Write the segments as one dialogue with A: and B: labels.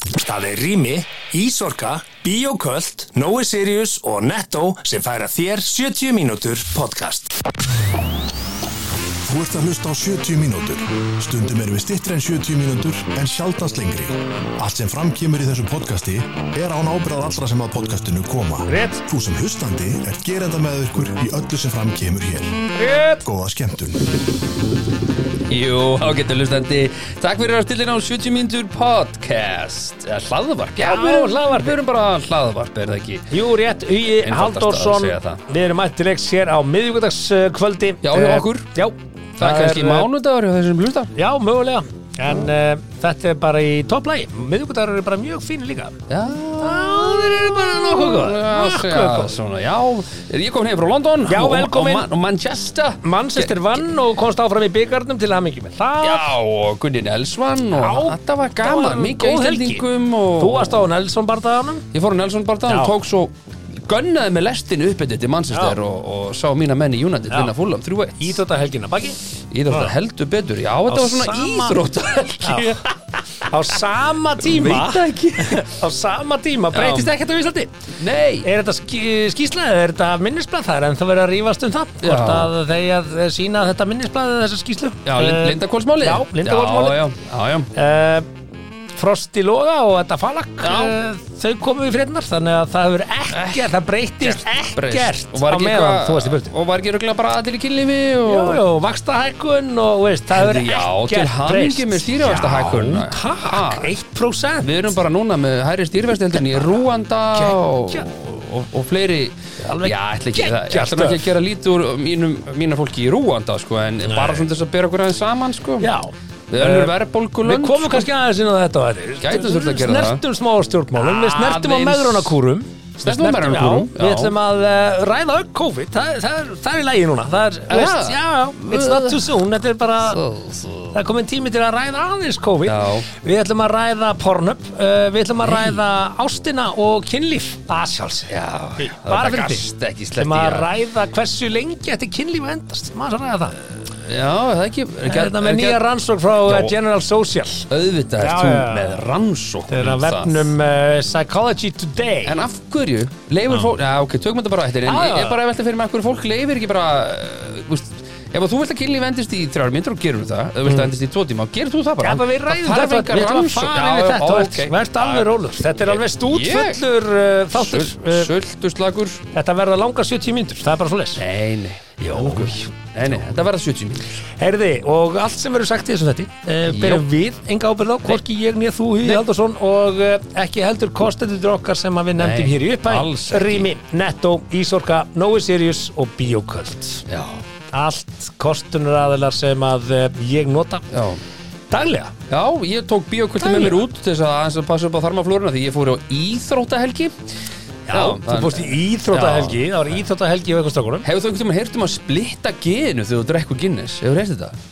A: Það er Rými, Ísorka, Bíoköld, Nói Sirius og Netto sem færa þér 70 mínútur podcast.
B: Þú ert að hlusta á 70 mínútur. Stundum erum við stittri en 70 mínútur en sjaldast lengri. Allt sem framkýmur í þessu podcasti er án ábyrðað allra sem að podcastinu koma.
C: Rétt.
B: Þú sem hlustandi er gerenda með ykkur í öllu sem framkýmur hér.
C: Rétt.
B: Góða skemmtun.
C: Jú, ágættu hlustandi Takk fyrir að stillina á 70 mínútur podcast Eða hlaðvarp Já,
D: Já, við erum hlaðvarp.
C: Við erum bara hlaðvarp, er það ekki?
D: Jú, rétt, Ugi
C: Einfaldast
D: Halldórsson,
C: að segja það.
D: við erum mættilegs hér á miðvíkudagskvöldi
C: Já, hjá okkur.
D: Já,
C: Það, er kannski
D: eh,
C: mánudagur hjá þessum hlusta
D: Já, mögulega, en uh, þetta er bara í topplægi, miðvíkudagur eru bara mjög fínu líka
C: Já,
D: þeir eru bara nokkuð góð
C: já, já, svona, já Er Ég kom heim frá London
D: Já,
C: og-
D: velkomin.
C: Og, Man- og Manchester
D: Manchester vann og komst áfram í byggarnum til hamingjum Það,
C: Já, og Gunnin Elsvan og
D: Já,
C: Þetta var
D: það
C: gaman,
D: var
C: mikið
D: góð helgi.
C: íslendingum og...
D: þú varst á Nelson bardaðanum
C: Ég fór á Nelson barðan og
D: Já.
C: tók svo Gönnaði með lestin uppbyttið til Manchester
D: Já.
C: og, og sá mína menn í United
D: Já.
C: vinna fúlam 3-1
D: Íþóta helgina baki
C: Íþróttar heldur betur, já þetta
D: Á
C: var svona
D: sama-
C: íþróttar helgi
D: Já. Á sama tíma
C: Veit það ekki
D: Á sama tíma breytist ekkert á Íslandi
C: Nei,
D: Er þetta sk skýsla eða er þetta minnisblad? Það er ennþá verið að rífast um það
C: Já.
D: Hvort að þeir að sína þetta minnisblad eða þessa skýslu
C: já, lind,
D: eh,
C: lindakólsmáli
D: Já, Lindarhvolsmálið.
C: Já, já, já,
D: Eh, Frosti Loga og þetta falak
C: Já.
D: eh, Þau komu í frednar Þannig að það hefur ekkert, það breytist
C: breyst.
D: ekkert
C: Og var
D: Á
C: ekki
D: meðan
C: eitthvað-
D: þú varst í burtu
C: Og var ekki röglega bara aðil í kynlífi
D: Jú,
C: og...
D: jú, vakstahækun og veist, það hefur
C: Já,
D: ekkert
C: til hamingi með
D: breyst.
C: stýrivaxtahækkun.
D: Já, takk, 1%
C: Við erum bara núna með hæri stýrvesteldur í Rúanda og,
D: Geggjað.
C: og, og fleiri
D: Alveg
C: Já, ætla ekki, það- ég
D: geggjað
C: ætla nú ekki
D: stöf.
C: að gera lítur mínum, mína fólki í Rúanda sko, en bara svona til þess að bera okkur aðeins saman sko.
D: Já
C: Við önnur sko.
D: Eh,
C: verðbólkulönd
D: Við komum kannski aðeins inn á þetta á eftir.
C: Gætum þurft að gera það.
D: Snertum smá á stjórnmálum, við snertum á
C: Aðeins.
D: meðrunarkúrum
C: Snertum á megrunarkúrum,
D: Við
C: já.
D: ætlum að uh, ræða upp COVID það, það, er, það er í lagi núna Það er,
C: Já.
D: veist, já, já, it's not too soon Þetta er bara, það er komin tími til að ræða aðeins COVID
C: Já.
D: Við ætlum að ræða pornöp uh, Við ætlum að ræða ástina og kynlíf Það sjálfs
C: Já,
D: Bara fyrir því
C: gast ekki
D: Við
C: slett
D: ætlum
C: í
D: að
C: að
D: ræða hversu lengi Þetta kynlíf að endast, maður að ræða það
C: Já, er það ekki er ekki-
D: Þetta
C: er
D: hérna með
C: ekki-
D: nýja rannsók frá uh,
C: Já.
D: General Social
C: Auðvitað
D: Já,
C: ert þú
D: já, já.
C: með rannsókn
D: Þetta er
C: um
D: að
C: það.
D: vefnum uh, Psychology Today
C: En af hverju leifur fólk Já, ok, tökum þetta bara eftir En
D: Já, já.
C: ég er bara að velta fyrir mig af hverju fólk leifir ekki bara uh, úst, Ef að þú vilt að kynlíf endist í þrjár myndur og gerum það Ef þú vilt að endist í tvo tíma, gerir þú það bara
D: Mm. Já, bara við ræðum
C: Það
D: þetta
C: þarf engar
D: Við ætlum að
C: rannsókn
D: fara yfir þetta okay. Verð alveg rólur Þetta er alveg stútfullur uh, þáttur uh,
C: Sölduslagur
D: Þetta verða langar 70 mínútur Það er bara svo les
C: Nei, nei Jó, nei, nei, þetta verða 70 mínútur
D: Herði, og allt sem verður sagt í þessum þetti uh,
C: Jó.
D: Berum við enga ábyrð á Hvorki ég nýja þú, Hugi Haldursson Og uh, ekki heldur kostendur okkar sem að við nefndum
C: Nei,
D: hér í
C: alls
D: uppæð
C: ekki.
D: Rými, Netto, Ísorka, Nói Sirius og Bíoköld
C: Já,
D: Allt kostunar sem að uh, ég nota
C: já
D: Daglega
C: Já, ég tók bíókvöldi með
D: Dæja.
C: mér út til þess að aðeins að passa upp á þarmaflóruna því ég fór á íþróttahelgi
D: Já, þú fórst í íþróttahelgi, það var íþróttahelgi á eitthvað strákunum.
C: Hefur þú einhvern tímann heyrt um að splitta ginu þegar þú drekkur Guinness? Hefur þú heyrt þetta?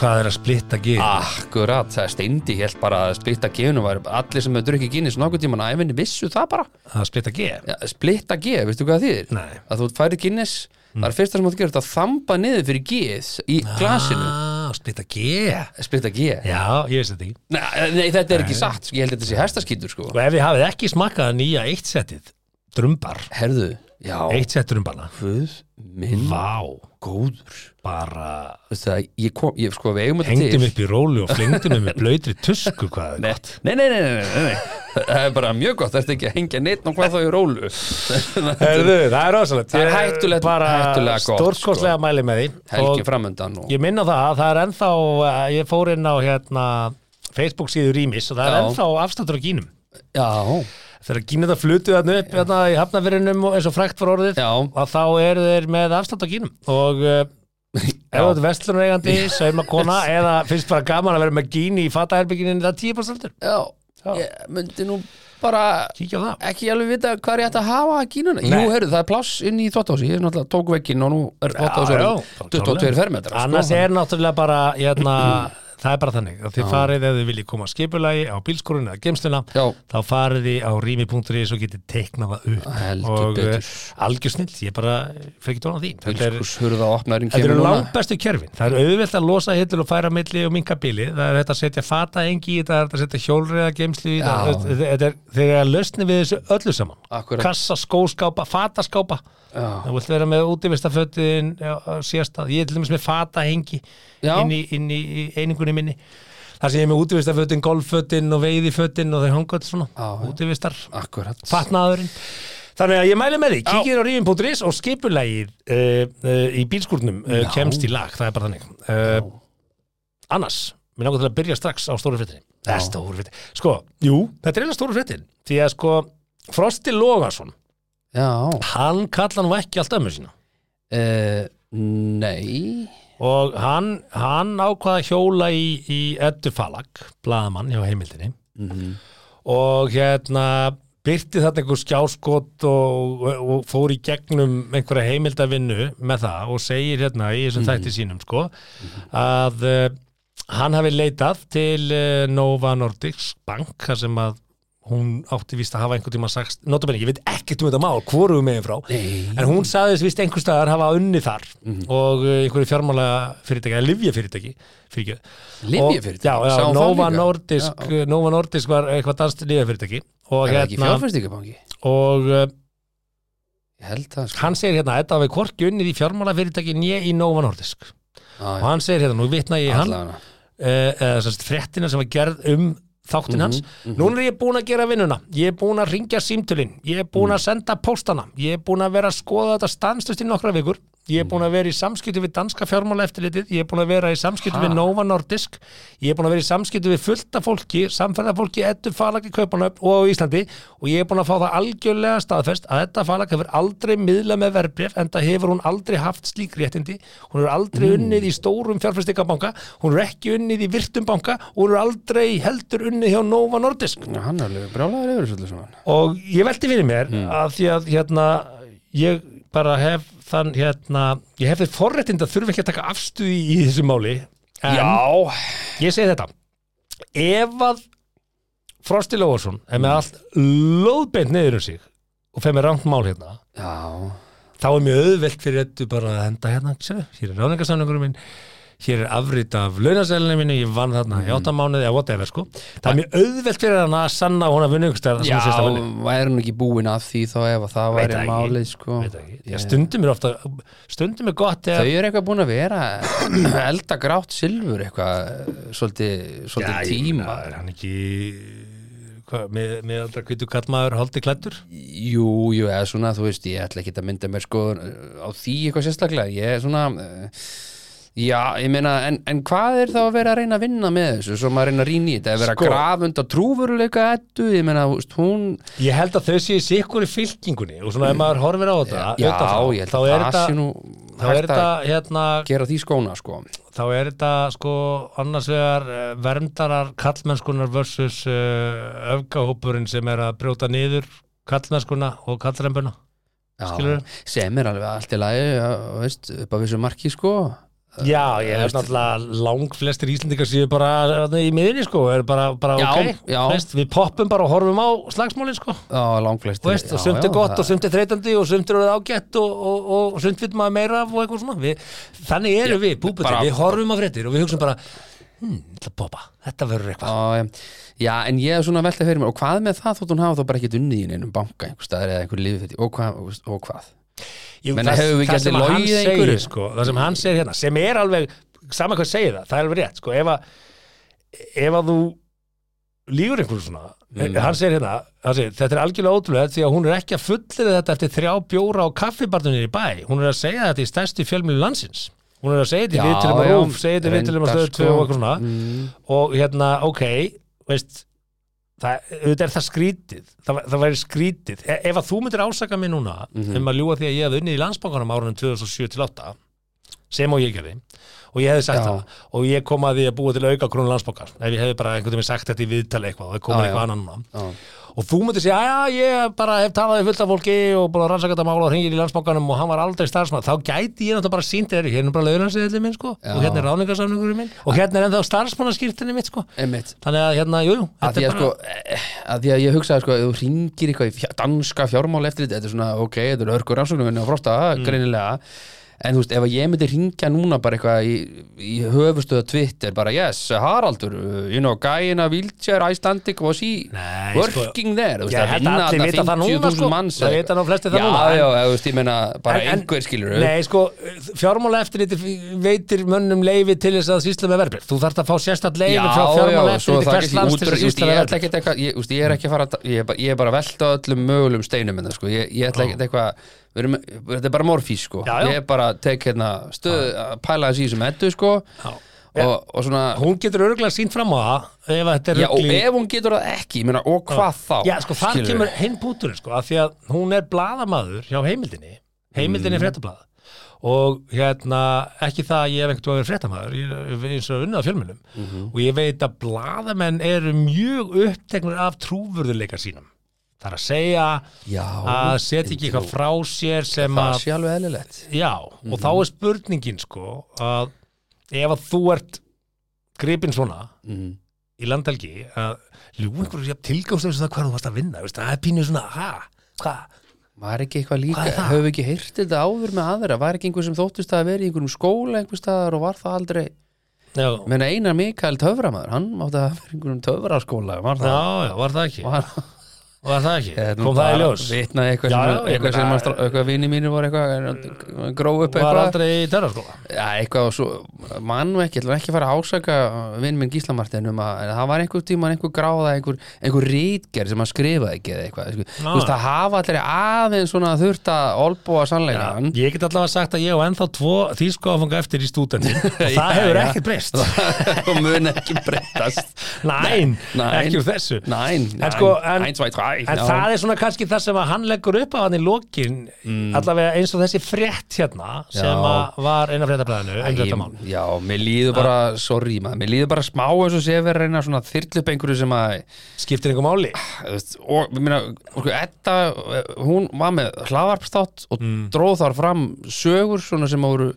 D: Hvað er að splitta gið?
C: Ah. Akkurat, það er steindi helt bara að splitta ginu var allir sem hefur drukkið Guinness nokkuð tímann æfinni vissu það bara
D: Að splitta gið?
C: ja, Splitta gið, veistu hvað það þýðir?
D: Nei.
C: Að þú færi Guinness, það er fyrsta sem þú gerir þetta að þamba niður fyrir gið í glasinu
D: Ah, splitta gið.
C: Splitta gið
D: Já, ég veist þetta ekki.
C: Nei, nei, þetta er ekki satt, sko, ég held að þetta sé hestaskýtur sko.
D: Og ef þið hafið ekki smakkað að nýja eitt settið, drumbar,
C: Herðu, já
D: eitt um sett drumbarna.
C: Guð minn
D: Vá,
C: góður
D: bara
C: Veistu það, ég kom, ég sko við eigum þetta
D: hengdum
C: til
D: upp í rólu og flengdum upp með blöytri tusku hvað er
C: Nei,
D: gott.
C: nei, nei, nei, nei, nei, nei. Það er bara mjög gott, það er ekki að hengja neitt og hvað þá í rólu
D: Herðu, það er rosalegt.
C: Það er
D: Ég
C: hættulegt-
D: bara
C: hættulega gott, sko.
D: Stórkostlega mæli með því.
C: Helgi
D: Og
C: framundan og...
D: Ég minna það að það er ennþá, eh, ég fór inn á hérna Facebook síður Rýmis og það er
C: Já.
D: ennþá afstættur á gínum.
C: Já,
D: Þegar gínir það flutu þarna upp hérna, í hafnafyrinum eins og frækt var orðið
C: Já.
D: að þá eru þeir með afslátt á gínum og uh, ef þú ert vestlunareigandi, saumakona eða finnst bara gaman að vera með gín í fataherbygginni það er 10%
C: já,
D: Já.
C: ég myndi nú bara
D: kíkja á það
C: ekki alveg vita hvað er ég ætti að hafa að kínuna Jú,
D: Nei.
C: heyrðu, það er pláss inn í þvottási Ég er náttúrulega tók vekkinn og nú er
D: Já, já,
C: þvottási
D: bara klárlega.
C: sko. 22 fermetra
D: annars er náttúrulega bara hérna, það er bara þannig að þið farið ef þið viljið koma að skipulagi á bílskorun eða gemsluna
C: Já.
D: þá farið þið á rými.is og getið teiknað það upp
C: Heldur
D: og
C: betur.
D: algjörsnill, ég bara fyrir ekki tóna því þetta er,
C: Bílskurshurða opnaðurinn
D: þetta
C: kemur
D: eru
C: núna
D: langbestu kerfin það er auðvelt að losa hillur og færa milli og minka bíli, það er þetta að setja fata engi í þetta, það er þetta að setja hjólriða gemslu í
C: Já.
D: þetta þú veist, þetta er, þegar lösni við þessu öllu saman
C: Akkurat.
D: kassa, skóskápa, fataskápa
C: Já.
D: það vilt vera með útivistafötin síðastað, ég er til dæmis með fatahengi
C: Já.
D: inn í, inn í í einingunni minni þar sem ég er með útivistafötin, golffötin og veiðifötin og þau hanga öll svona
C: Já, já.
D: útivistar,
C: Akkurat
D: fatnaðurinn þannig að ég mæli með því,
C: Já.
D: kikið á rífin.is og skipulægir uh, uh, í bílskúrnum uh,
C: Já.
D: kemst í lag, það er bara þannig uh, annars, mér langar til að byrja strax á stóru fréttinni, það er
C: Já.
D: stóru fréttin sko, jú, þetta er eiginlega stóru fréttin því að sko, Frosti Logason
C: Já
D: hann kalla nú ekki allt ömmu sína
C: Eh, Nei
D: og hann, hann ákvaða hjóla í, í Eddu Falag, blaðamann hjá heimildinni og hérna byrti þarna einhver skjáskot og, og fór í gegnum einhverja heimildavinnu með það og segir hérna í þessum þætti sínum sko að uh, hann hafi leitað til uh, Nova Nordics Bank þar sem að hún átti víst að hafa einhvern tíma sagt, notabene, ég veit ekkert um þetta mál, hvorum megin frá
C: Nei
D: En hún sagðist vist einhver staðar hafa unni þar
C: Mhm.
D: og uh, einhverju fjármála fyrirtæki, eða livja fyrirtæki, fyrir
C: Lyfjafyrirtæki?
D: Já,
C: Sá
D: já,
C: hún það
D: Nova
C: líka?
D: Nordisk,
C: Já,
D: Nova Nordisk var eitthvað danst livja fyrirtæki og,
C: Er það ekki
D: hérna,
C: fjárfæstingabangi?
D: og uh,
C: Ég held það sko
D: hann segir hérna, þetta hafi hvorki unnið í fjármála fyrirtæki nýja í Nova Nordisk og hann segir hérna, nú vitna ég í hann, uh,
C: Allavega.
D: eða sérst fréttina sem var gerð um þáttinn hans,
C: Mhm,
D: núna er ég búin að gera vinnuna ég er búin að ringja símtölin ég er búin að
C: Mhm.
D: senda póstana ég er búin að vera að skoða þetta stanslust í nokkra vikur ég er
C: Mhm.
D: búin að vera í samskipti við danska fjármála eftirlitið, ég er búin að vera í samskipti
C: Ha?
D: við Nova Nordisk, ég er búin að vera í samskipti við fullta fólki, samferðafólki ettu falag í Kaupanöfn og á Íslandi og ég er búin að fá það algjörlega staðfest að þetta falag hefur aldrei miðla með verbref en það hefur hún aldrei haft slík réttindi hún hefur aldrei unnið í stórum fjárfæstikabanka hún hefur ekki unnið í virtum banka og hún hefur aldrei heldur unnið hjá Nova Nordisk
C: Já, Hann er alveg brjálæður yfir þessu öllu saman
D: og ég velti fyrir mér að því að hérna ég bara hef þann hérna ég hef þeir forréttind að þurfa ekki að taka afstuði í þessu máli en ég segi þetta ef að Frosti Lóarsson er með allt lóðbeint niður um sig og fer með rangt mál hérna
C: Já
D: þá er mjög auðvelt fyrir þetta bara að henda hérna, sérðu, hér er ráningarsamningurum minn hér er afrit af launasælunum minni, ég vann þarna í áttamánuði eða whatever sko, það er mjög auðvelt fyrir hann að sanna að hún að vinna ykkur stærða
C: Já, væri hún ekki búin að því þá ef að það
D: Veit
C: væri
D: það ekki.
C: málið sko
D: Veit það ekki. Já, stundum er ofta stundum er gott
C: Þau
D: þegar
C: eru eitthvað búin að vera elda grátt silfur eitthvað eh, svolítið, svolítið tíma
D: er hann ekki hvað, með, með aldra kvítu kallmaður holdi klættur
C: Jú, jú, eða svona, þú veist, ég ætla ekki að mynda mér sko á því eitthvað sérstaklega ég er svona eh, Já, ég meina, en, en hvað er þá að vera að reyna að vinna með þessu, svo maður reyna að rýna í þetta að vera
D: Sko.
C: sko. grafund og trúfuruleika ettu, ég meina, þú veist, hún
D: ég held að þau séu sikkur í fylkingunni og svona ef maður horfir á þetta
C: Mm. Já,
D: utan frá,
C: ég held
D: þá
C: að
D: er
C: það sé
D: þetta
C: nú
D: þá er
C: hægt
D: þetta
C: að
D: hérna
C: gera því skóna, sko
D: þá er þetta sko annars vegar eh, verndarar kallmennskunar versus uh, öfgahópurinn sem er að brjóta niður kallmennskuna og kallrembuna
C: Já,
D: Skilurðu?
C: sem er alveg allt í lagi, já, veist, upp af þessu marki, sko
D: Já, ég
C: Þú
D: hef
C: veist-
D: náttúrulega lang flestir Íslendingar séu bara þarna í miðinni sko, er bara, bara
C: Já,
D: ok,
C: já.
D: Veist, við poppum bara og horfum á slagsmálin sko,
C: Já, langflest
D: Þú veist, og sumt er gott og sumt er þreytandi og sumt er orðið ágætt og, og, og, og sumt vil maður meira af og eitthvað svona við, þannig erum við, búbutir,
C: bara-
D: við horfum á fréttir og við hugsum bara, hm, ég ætla að poppa þetta verður eitthvað,
C: Já, já, en ég er svona að velta fyrir mér og hvað með það þótt hún hafa þá bara ekkert unnið í einum banka einhver staðar eða einhver lífið og hvað, og- og hvað?
D: Jú,
C: Menna, hefur við ekki
D: það sem
C: allir
D: hann
C: logið
D: segir
C: einhverju?
D: sko, það sem hann segir hérna, sem er alveg sama hvað segir það, það er alveg rétt sko, ef að, ef að þú lífur einhverju svona
C: Mm.
D: hann segir hérna, hann segir, þetta er algjörlega ótrúlega því að hún er ekki að fullið þetta eftir þrjá bjóra á kaffibarnunni í bæ hún er að segja þetta í stærsti fjölmjölu landsins hún er að segja þetta í viðtölum um að rúf segja þetta í viðtölum um að
C: reyndar,
D: stöðu 2 og eitthvað svona
C: mm,
D: og hérna, ok veist, það, auðvitað er það skrítið það, það væri skrítið e ef að þú myndir ásaka mig núna
C: Mhm.
D: um að ljúga því að ég hefði unnið í landsbankanum árunum 2007-2008 sem og ég gerði og ég hefði sagt það
C: Já.
D: og ég kom að því að búa til auka krónu landsbankar ef ég hefði bara einhvern veginn sagt þetta í viðtali eitthvað og það kom
C: Já,
D: eitthvað
C: já.
D: annan núna
C: já,
D: og þú myndir segja, já, ég bara hef talaði fullt af fólki og bara rannsaka þetta mála og hringir í landsbankanum og hann var aldrei starfsmæður, þá gæti ég náttúrulega bara sínt þér, hérna er bara launansæðið minn, sko,
C: Já.
D: og hérna er ráningarsamningurinn minn og hérna er ennþá starfsmæðaskýrtinni mitt, sko
C: Einmitt.
D: þannig að hérna, jú, jú,
C: að því að, sko, eh, að því að ég hugsaði sko, ef þú ringir eitthvað í fjá, danska fjármál eftir þetta, þetta er svona, ok, þetta er örkur rannsóknumvinni og frosta,
D: Mm.
C: greinilega en þú veist, ef að ég myndi ringja núna bara eitthvað í, í höfustuða Twitter bara, yes, Haraldur, uh, you know gæina Wheelchair Icelandic was he
D: Nei, sko,
C: working there, þú veist,
D: Ég
C: að
D: held að
C: vinna
D: allir vita það
C: þarna
D: núna,
C: 50.000
D: sko.
C: manns
D: Það vita nú flestir það
C: já,
D: núna, en-
C: já, já, þú veist, ég meina, bara
D: En- en-
C: einhver skilur
D: Nei, sko, fjármála veitir mönnum leifi til þess að sýsla með verbrif. Þú þarft að fá sérstætt leifi
C: Já,
D: frá fjármála
C: já, svo það
D: hvers
C: ekki
D: lands til
C: útrúið,
D: þess að
C: ég,
D: sýsla
C: ég,
D: með
C: ætla
D: verbrif.
C: ekkert eitthvað- ég, þú veist, ég er ekki að fara að- ég er bara- ég er bara að velta öllum mögulegum steinum en það sko, ég, ég ætla ekkert eitthvað við erum, þetta er bara morfís sko
D: Já, já.
C: ég er bara að tek hérna stöð, að pæla þessi sem ettu sko og, og svona
D: Hún getur örgulega sínt fram á það ef þetta er
C: já, og
D: rugl í-
C: ef hún getur það ekki, ég meina, og hvað þá
D: Já, sko, þar
C: skilurðu?
D: kemur hinn púturinn, sko, af því að hún er bladamaður hjá heimildinni, heimildinni mm. fréttablað og hérna, ekki það að ég hef einhvern veginn fréttamaður, ég er eins og unnað fjölmennum
C: Mhm.
D: og ég veit að bladamenn eru mjög uppteknur af trúvörðuleika sínum. Það er að segja
C: já,
D: að setja ekki eitthvað frá sér sem
C: það
D: að,
C: sé Mhm. alveg eðlilegt
D: já, og þá er spurningin, sko, að ef að þú ert gripinn svona,
C: mm.
D: í landhelgi að ljú einhverju tilgáðslega sem það hvað þú varst að vinna veist, það er pínu svona, ha, hva
C: var ekki eitthvað líka,
D: Hvað er það?
C: höfum við ekki heyrt þetta áður með aðra, var ekki einhver sem þóttist að vera í einhverjum skóla einhver staðar og var það aldrei
D: já,
C: menna Einar Mikael töframæður hann átti að vera í einhverjum töfraskóla var
D: já,
C: það,
D: já, var það ekki
C: og hann Hérna
D: var það ekki, kom það í ljós
C: vitnaði eitthvað
D: Já,
C: sem,
D: já, ég
C: eitthvað sem
D: meina-
C: að, eitthvað vini mínir voru eitthvað gróð upp
D: var
C: eitthvað
D: aldrei í terrorskóla
C: já, eitthvað og svo mann ekki, ætlum ekki að fara að ásaka vinn minn Gísla Martin um að en það var einhver tíma, einhver gráða, einhver, einhver rítgerð sem að skrifa ekki eða eitthvað sko.
D: Ná.
C: þú veist það hafa allir aðeins svona þurft að olbúa sannleikan
D: ég get allavega sagt að ég og ennþá tvo þýsku áfanga eftir í stúdentin og það hefur
C: já.
D: ekkert breyst
C: og mun ekki breytast
D: næn,
C: Nein.
D: ekki úr þessu
C: Nein,
D: En sko, en-
C: nein, eins, væ, tvæ,
D: En það er svona kannski það sem að hann leggur upp á hann í lokin, allavega eins og þessi frétt hérna sem
C: Mm. Já.
D: að var eina fréttablaðinu, um þetta mál.
C: Æ, já, mér líður bara, sorry maður, mér líður bara smá eins og sé verið að reyna svona þyrlu upp einhverju sem að
D: Skiptir einhver máli?
C: þú veist, og ég meina, okkur, Edda eh, hún var með hlaðvarpstátt og dróð þar fram sögur svona sem voru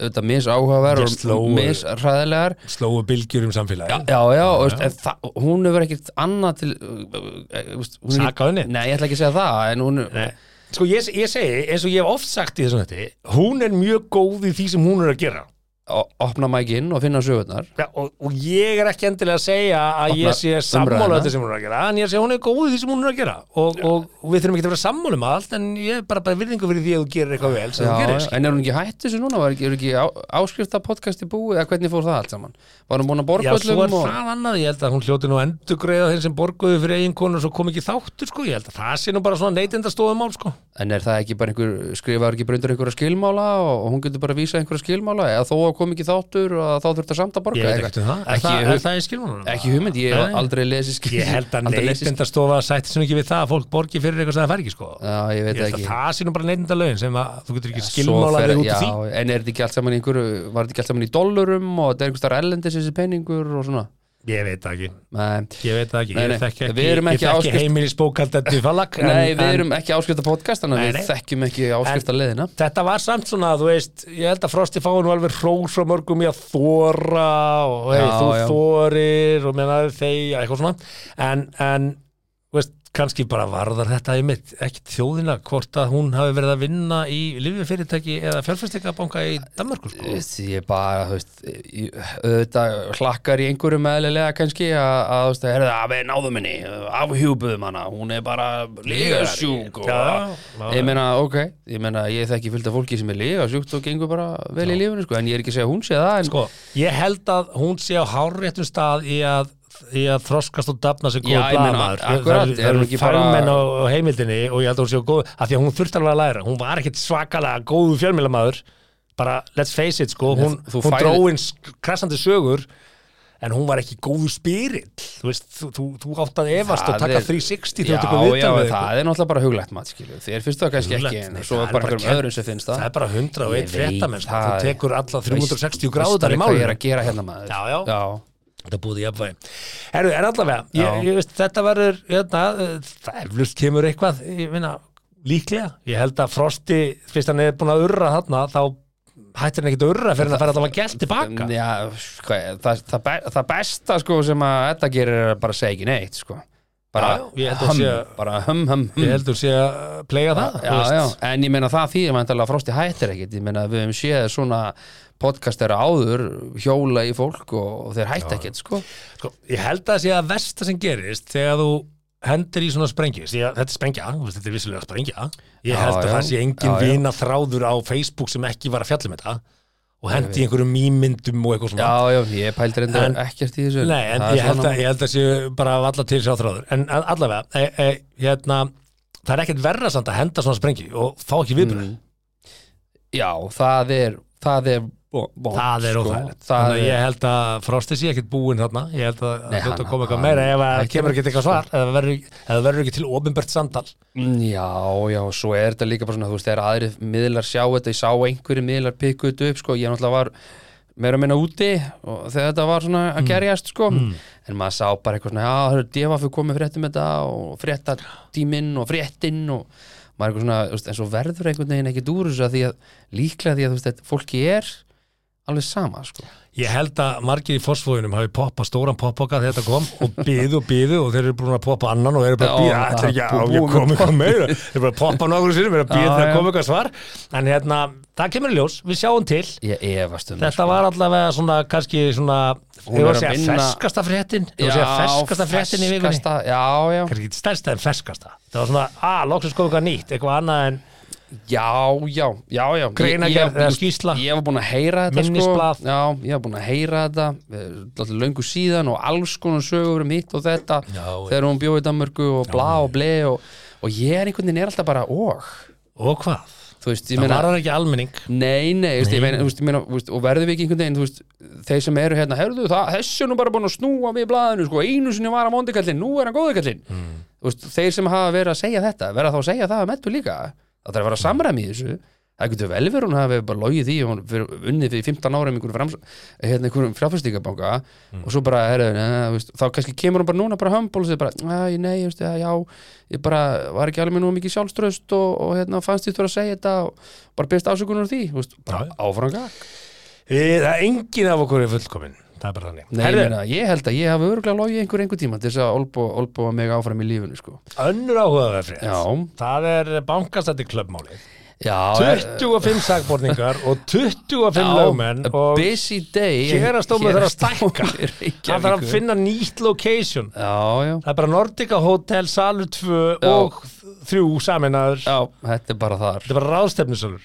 C: auðvitað misáhugaver
D: Just
C: og
D: slógu.
C: misræðilegar
D: Slóu bylgjur um samfélagi.
C: Já, já, og, veist, en það, hún hefur ekkert annað til eh, veist, hún hefur-
D: Sakað henni?
C: Nei, ég ætla ekki að segja það en hún,
D: Nei. Sko ég, ég segi, eins og ég hef oft sagt í þessum þetta, hún er mjög góð í því sem hún er að gera.
C: o- opna mækinn og finna sögurnar
D: Ja, og, og ég er ekki endilega að segja að
C: Opnar
D: ég sé sammála um
C: umræðuna.
D: þetta sem hún er að gera, en ég er að segja hún er góð í því sem hún er að gera. Og, og við þurfum ekki að vera sammála um allt, en ég er bara, bara virðingu fyrir því að þú gerir eitthvað vel sem
C: Já,
D: þú gerir.
C: já, en er hún ekki hætt þessu núna? Var ekki, er ekki á, áskrifta podcasti búið? Eða hvernig fór það allt saman? Var hún búin að
D: Já,
C: borga
D: svo er
C: öllum? og...
D: það annað, ég held að hún hljóti nú endugreiða þeir sem borguðu fyrir eigin konu og svo kom ekki þáttur, sko, ég held að það sé nú bara svona neytindastofumál, sko.
C: En er það ekki bara einhver, skrifaður ekki bara undir einhverja skilmála og, og hún getur bara að vísa einhverja skilmála eða þó að kom ekki þáttur og að þá þurft að samt að borga?
D: Ég veit
C: eitthvað?
D: ekkert um það. Er
C: Ekki,
D: það, er
C: hug-
D: það í skilmálunum?
C: ekki hugmynd, ég hef
D: Nei.
C: aldrei lesið skil.
D: Ég held að
C: aldrei lesið skil-
D: neytendastofa sætti sem ekki við það að fólk borgi fyrir eitthvað sem það fær ekki sko.
C: Já, ég
D: Ég
C: veit
D: held
C: ekki.
D: að það sé nú bara neytendalögin sem að þú getur ekki
C: Svo
D: skilmála
C: fer-
D: þér út
C: já,
D: af því.
C: En er þetta ekki allt saman í einhverju, var þetta ekki allt saman í dollurum og þetta er einhverstaðar ellendis þessi peningur og svona?
D: Ég veit það ekki.
C: Nei,
D: Ég veit það ekki.
C: Nei,
D: Ég
C: nei.
D: þekki ekki,
C: Við erum
D: ég
C: ekki
D: þekki
C: áskrift-
D: heimilisbókhaldandi falag. en-
C: Nei við
D: en
C: erum ekki áskrifta podcast þannig
D: Nei,
C: að
D: nei.
C: við þekkjum ekki áskrifta leðina
D: Þetta var samt svona, þú veist, ég held að Frosti fái nú alveg hrós frá mörgum í að þóra og hey,
C: Já,
D: þú
C: já.
D: þórir og mennaði þeir, eitthvað svona. En, en, þú veist, kannski bara varðar þetta í mitt, ekki þjóðina, hvort að hún hafi verið að vinna í lífið eða fjárfærsleikabanka í Danmarku, sko.
C: Eh, ég bara, þú veist ég- auðvitað hlakkar í einhverju meðlilega kannski að, að þú veist, herðu, að við náðum henni afhjúpuðum hana, hún er bara lígasjúk og
D: Já, já.
C: ég meina, ok, ég meina ég þekki fullt af fólki sem er lígasjúkt og gengur bara vel í lífinu, sko, en ég er ekki að segja hún sé það en
D: Sko, ég held að hún sé á hárréttum stað í að, í að þroskast og dafna sem góð
C: Já, ég meina,
D: blaðmaður.
C: akkurat,
D: það
C: er
D: eru
C: hún
D: er
C: ekki bara-
D: fagmenn á, á heimildinni og ég held að hún sé á góð, af því að hún þurfti alveg að læra. Hún var ekkit svakalega góðu fjölmjölamaður, bara let's face it, sko, hún,
C: þú
D: hún fæl...
C: færð-
D: dróin krassandi sögur, en hún var ekki góðu spyrill, þú veist, þú, þú, þú átt að efast
C: Það
D: og taka
C: er-
D: 360
C: Já,
D: þegar þú tekur
C: já,
D: viðtal við
C: það er náttúrulega bara huglægt mat, skilju, þér finnst það kannski
D: Huglægt,
C: ekki en
D: nei,
C: svo
D: það
C: er
D: er
C: bara
D: bara
C: einhverjum
D: kennt.
C: öðrum sem finnst
D: Það er bara 101
C: Ég veit
D: fréttamenn, sko.
C: það.
D: þú tekur alla
C: Veist-
D: 360
C: veist
D: gráðar
C: bara
D: í
C: hvað ég er
D: málinu.
C: að gera hérna maður
D: Já, já.
C: já.
D: Þetta búið í jafnvægi. Herru, en allavega, ég,
C: Já.
D: ég veist, þetta verður, hérna, eh, það eflust kemur eitthvað, ég minna, líklega. Ég held að Frosti, fyrst hann er búin að urra þarna, þá hættir hann ekkit að urra fyrir hann að fara allavega gælt tilbaka.
C: Já, hvað, það, það, be, það besta sko sem að þetta gerir er að bara segja ekki neitt sko. bara,
D: Já, já, ég held að
C: hum,
D: sé-
C: bara hum, hum, hum
D: Ég heldur sé að plega það,
C: já, já, en ég meina það því að Frosti hættir ekkit, ég meina við höfum séð svona podcastera áður hjóla í fólk og, og þeir hætti ekkit sko.
D: Sko, ég held að það sé að versta sem gerist þegar þú hendur í svona sprengju því að þetta er sprengja, þú veist, þetta er vissulega sprengja ég
C: Já,
D: held að
C: já.
D: það sé engin
C: Já, já.
D: vina þráður á Facebook sem ekki var að fjalla með þetta og hendi í einhverjum mýmyndum og eitthvað svona
C: já, já, ég pældi
D: En-
C: reyndar ekkert í þessu
D: Nei, en
C: Það er
D: ég held,
C: svona-
D: að, ég held að sé bara af alla til sá þráður en a- allavega, e, e, hérna það er ekkert verra samt að henda svona sprengju og fá ekki viðbröð
C: Mm. já, það er það er, von,
D: það er óþægilegt
C: sko, það
D: þannig að
C: er,
D: ég held að Frosti sé ekkit búinn þarna ég held að
C: Nei,
D: það hljóta
C: hann-
D: að koma eitthvað
C: hann-
D: meira ef að
C: hættir
D: kemur
C: ekki,
D: ekki eitthvað
C: sko.
D: svar eða það verður- ef það verður ekki til ofinbært samtal
C: Mm, Já, já, og svo er þetta líka bara svona, þú veist, þegar aðrir miðlar sjá þetta, ég sá einhverju miðlar pikkuð þetta upp, sko, ég náttúrulega var meira að minna úti og þegar þetta var svona að gerjast, sko, en maður sá bara eitthvað svona, já, það eru defafu komið fréttum þetta og fréttatíminn og fréttinn og maður eitthvað svona, þú veist, en svo verður einhvern veginn ekkit úr þessu að því að líklega því að, þú veist, þetta, fólki er alveg sama, sko.
D: Ég held að margir í fósfóðunum hafi poppað stóran poppoka þegar þetta kom og byðu og byðu og þeir eru búin að poppa annan og eru bara að
C: Já,
D: býða Þetta er ekki
C: það
D: að
C: búið
D: ég kom eitthvað meira Þeir eru bara að poppa nokkur sinni, eru að býða
C: Já,
D: þegar
C: já.
D: kom eitthvað svar En hérna, það kemur í ljós, við sjáum til
C: Ég efast um það,
D: Þetta var allavega svona, kannski svona
C: Hún
D: Ég var að
C: er að
D: segja
C: vinna-
D: ferskasta fréttin Ég var að segja ferskasta fréttin í vikunni
C: ferskasta- Já, já,
D: Kannski ekki stærsta en ferskasta Það var svona, að, loksins kom eitthvað nýtt, eitthvað annað en
C: Já, já, já, já
D: Greinargerð
C: Ég- ég-
D: eða skýrsla.
C: Ég var búin að heyra þetta
D: Minnisblað.
C: sko. Já, ég var búin að heyra þetta Alltaf löngu síðan og alls konar sögur um hitt og þetta
D: Já,
C: Þegar hún bjóði í Danmörku og bla og ble og, og ég er einhvern veginn er alltaf bara og
D: Og hvað?
C: Þú veist, ég
D: Það
C: meina
D: var ekki almenning
C: Nei, nei, þú veist, ég meina, þú veist, ég meina, þú veist, og verðum við ekki einhvern veginn, þú veist, þeir sem eru hérna, herðu það, þessi er nú bara búin að snúa við blaðinu, sko, einu sinni var að vondikallin, nú er hann góðikallin, mm. þú veist, þeir sem hafa verið að segja þetta, verða þá að segja það að mettu líka, það þarf að vera samræmi í þessu, það getur vel verið hún hafi bara logið því, og hún fyrir, unnið fyrir 15 ára um einhverjum, frams, hérna, einhverjum fráfæstingabanka
D: Mm.
C: og svo bara, herðu, neða, þú veist, þá kannski kemur hún bara núna bara hömból og segir bara, "Æ, nei, þú veist, já, ég bara var ekki alveg með nú mikið sjálfströst og, og hérna, fannst því þú að segja þetta og bara byrst ásökunar úr því, þú veist, bara
D: Já.
C: áfranga
D: Við- Það er engin af okkur er fullkomin Það er bara þannig
C: Nei, ég,
D: Herðu,
C: meina, ég held að ég hafi öruglega logið einhver einhver tíma til þess að olbúa, olbúa mig áfram í lífinu, sko.
D: önnur áhugaverð frétt
C: Já,
D: Það er bankastætti klubbmáli
C: já.
D: 25 sakborningar og 25
C: Já,
D: lögmenn
C: a
D: og
C: busy day.
D: Héraðsdómur þarf að stækka. hann
C: Það
D: þarf að finna nýtt location
C: Já, já.
D: Það er bara Nordica Hotel, Salur 2
C: Já.
D: og 3 saminnaður
C: Já, þetta er bara þar.
D: Þetta er bara ráðstefnisalur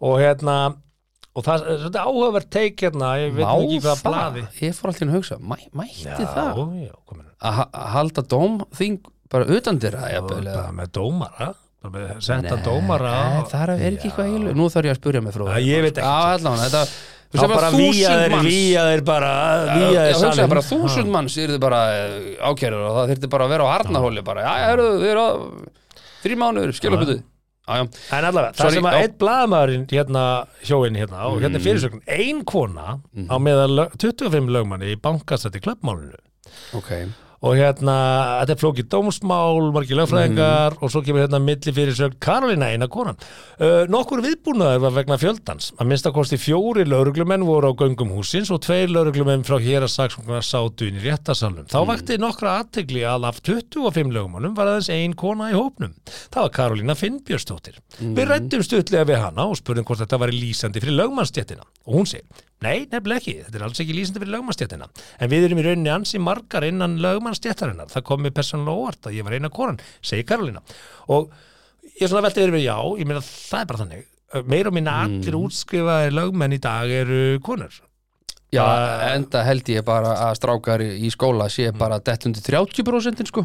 D: og hérna og það þetta er áhugaverð teik hérna ég veit nú ekki
C: Má
D: hvað blaði
C: Ég fór alltaf að hugsa, mæ, mætti það?
D: já, komin
C: Að ha- að halda dómþing bara utan þeirra, jafnvel. eða-
D: bara með dómara bara með setta
C: Nei,
D: dómara
C: nei,
D: og-
C: Það er ekki eitthvað heilu. Nú þarf ég að spurja mig frá
D: Já, ég veit ekki.
C: Já, allan, þetta...
D: þá
C: þú veist, það var
D: bara
C: 1000
D: víja þeir,
C: manns.
D: víja þeir bara víja
C: Já,
D: þeir
C: hugsaði
D: salinn.
C: bara þúsund manns yrði bara eh, ákærður og það þyrfti bara að vera á harnahóli bara, já, já, herru, þið eru að þrý mánuður, skilabutið Já, já,
D: En allavega, það
C: Sorry,
D: sem að
C: já. Mm.
D: einn blaðamaðurinn hérna hjóinn hérna og hérna er fyrirsögn ein kona
C: Mhm.
D: á meðal lög- 25 lögmanni í bankastætti klubbmálinu
C: ok
D: og hérna, þetta er flókið dómsmál margir lögfræðingar og svo kemur hérna milli fyrirsögn Karolina eina konan uh, Nokkur viðbúnaður var vegna fjöldans að minnsta kosti fjóri lögreglumenn voru á göngum húsins og tveir lögreglumenn frá hér að saksóknar sátu inn í réttasalum Þá vakti nokkra aðtegli að af 25 lögumannum var aðeins ein kona í hópnum Það var Karolina Finnbjörnsdóttir Við rættum stuttlega við hana og spurðum hvort þetta var lýsandi fyrir lögmannstjættina og hún segir, nei, nefnilega ekki, þetta er alls ekki lýsandi fyrir lögmannstjættina en við erum í rauninni ansi margar innan lögmannstjættarinnar, það kom mér persónulega óvart að ég var eina konan, segir Karolina og ég svona velti verið við já, ég meina það er bara þannig meir og minna allir útskrifaðir lögmenn í dag eru konur
C: Já,
D: Það-
C: enda held ég bara að strákar í í skóla sé bara dettundi 30% sko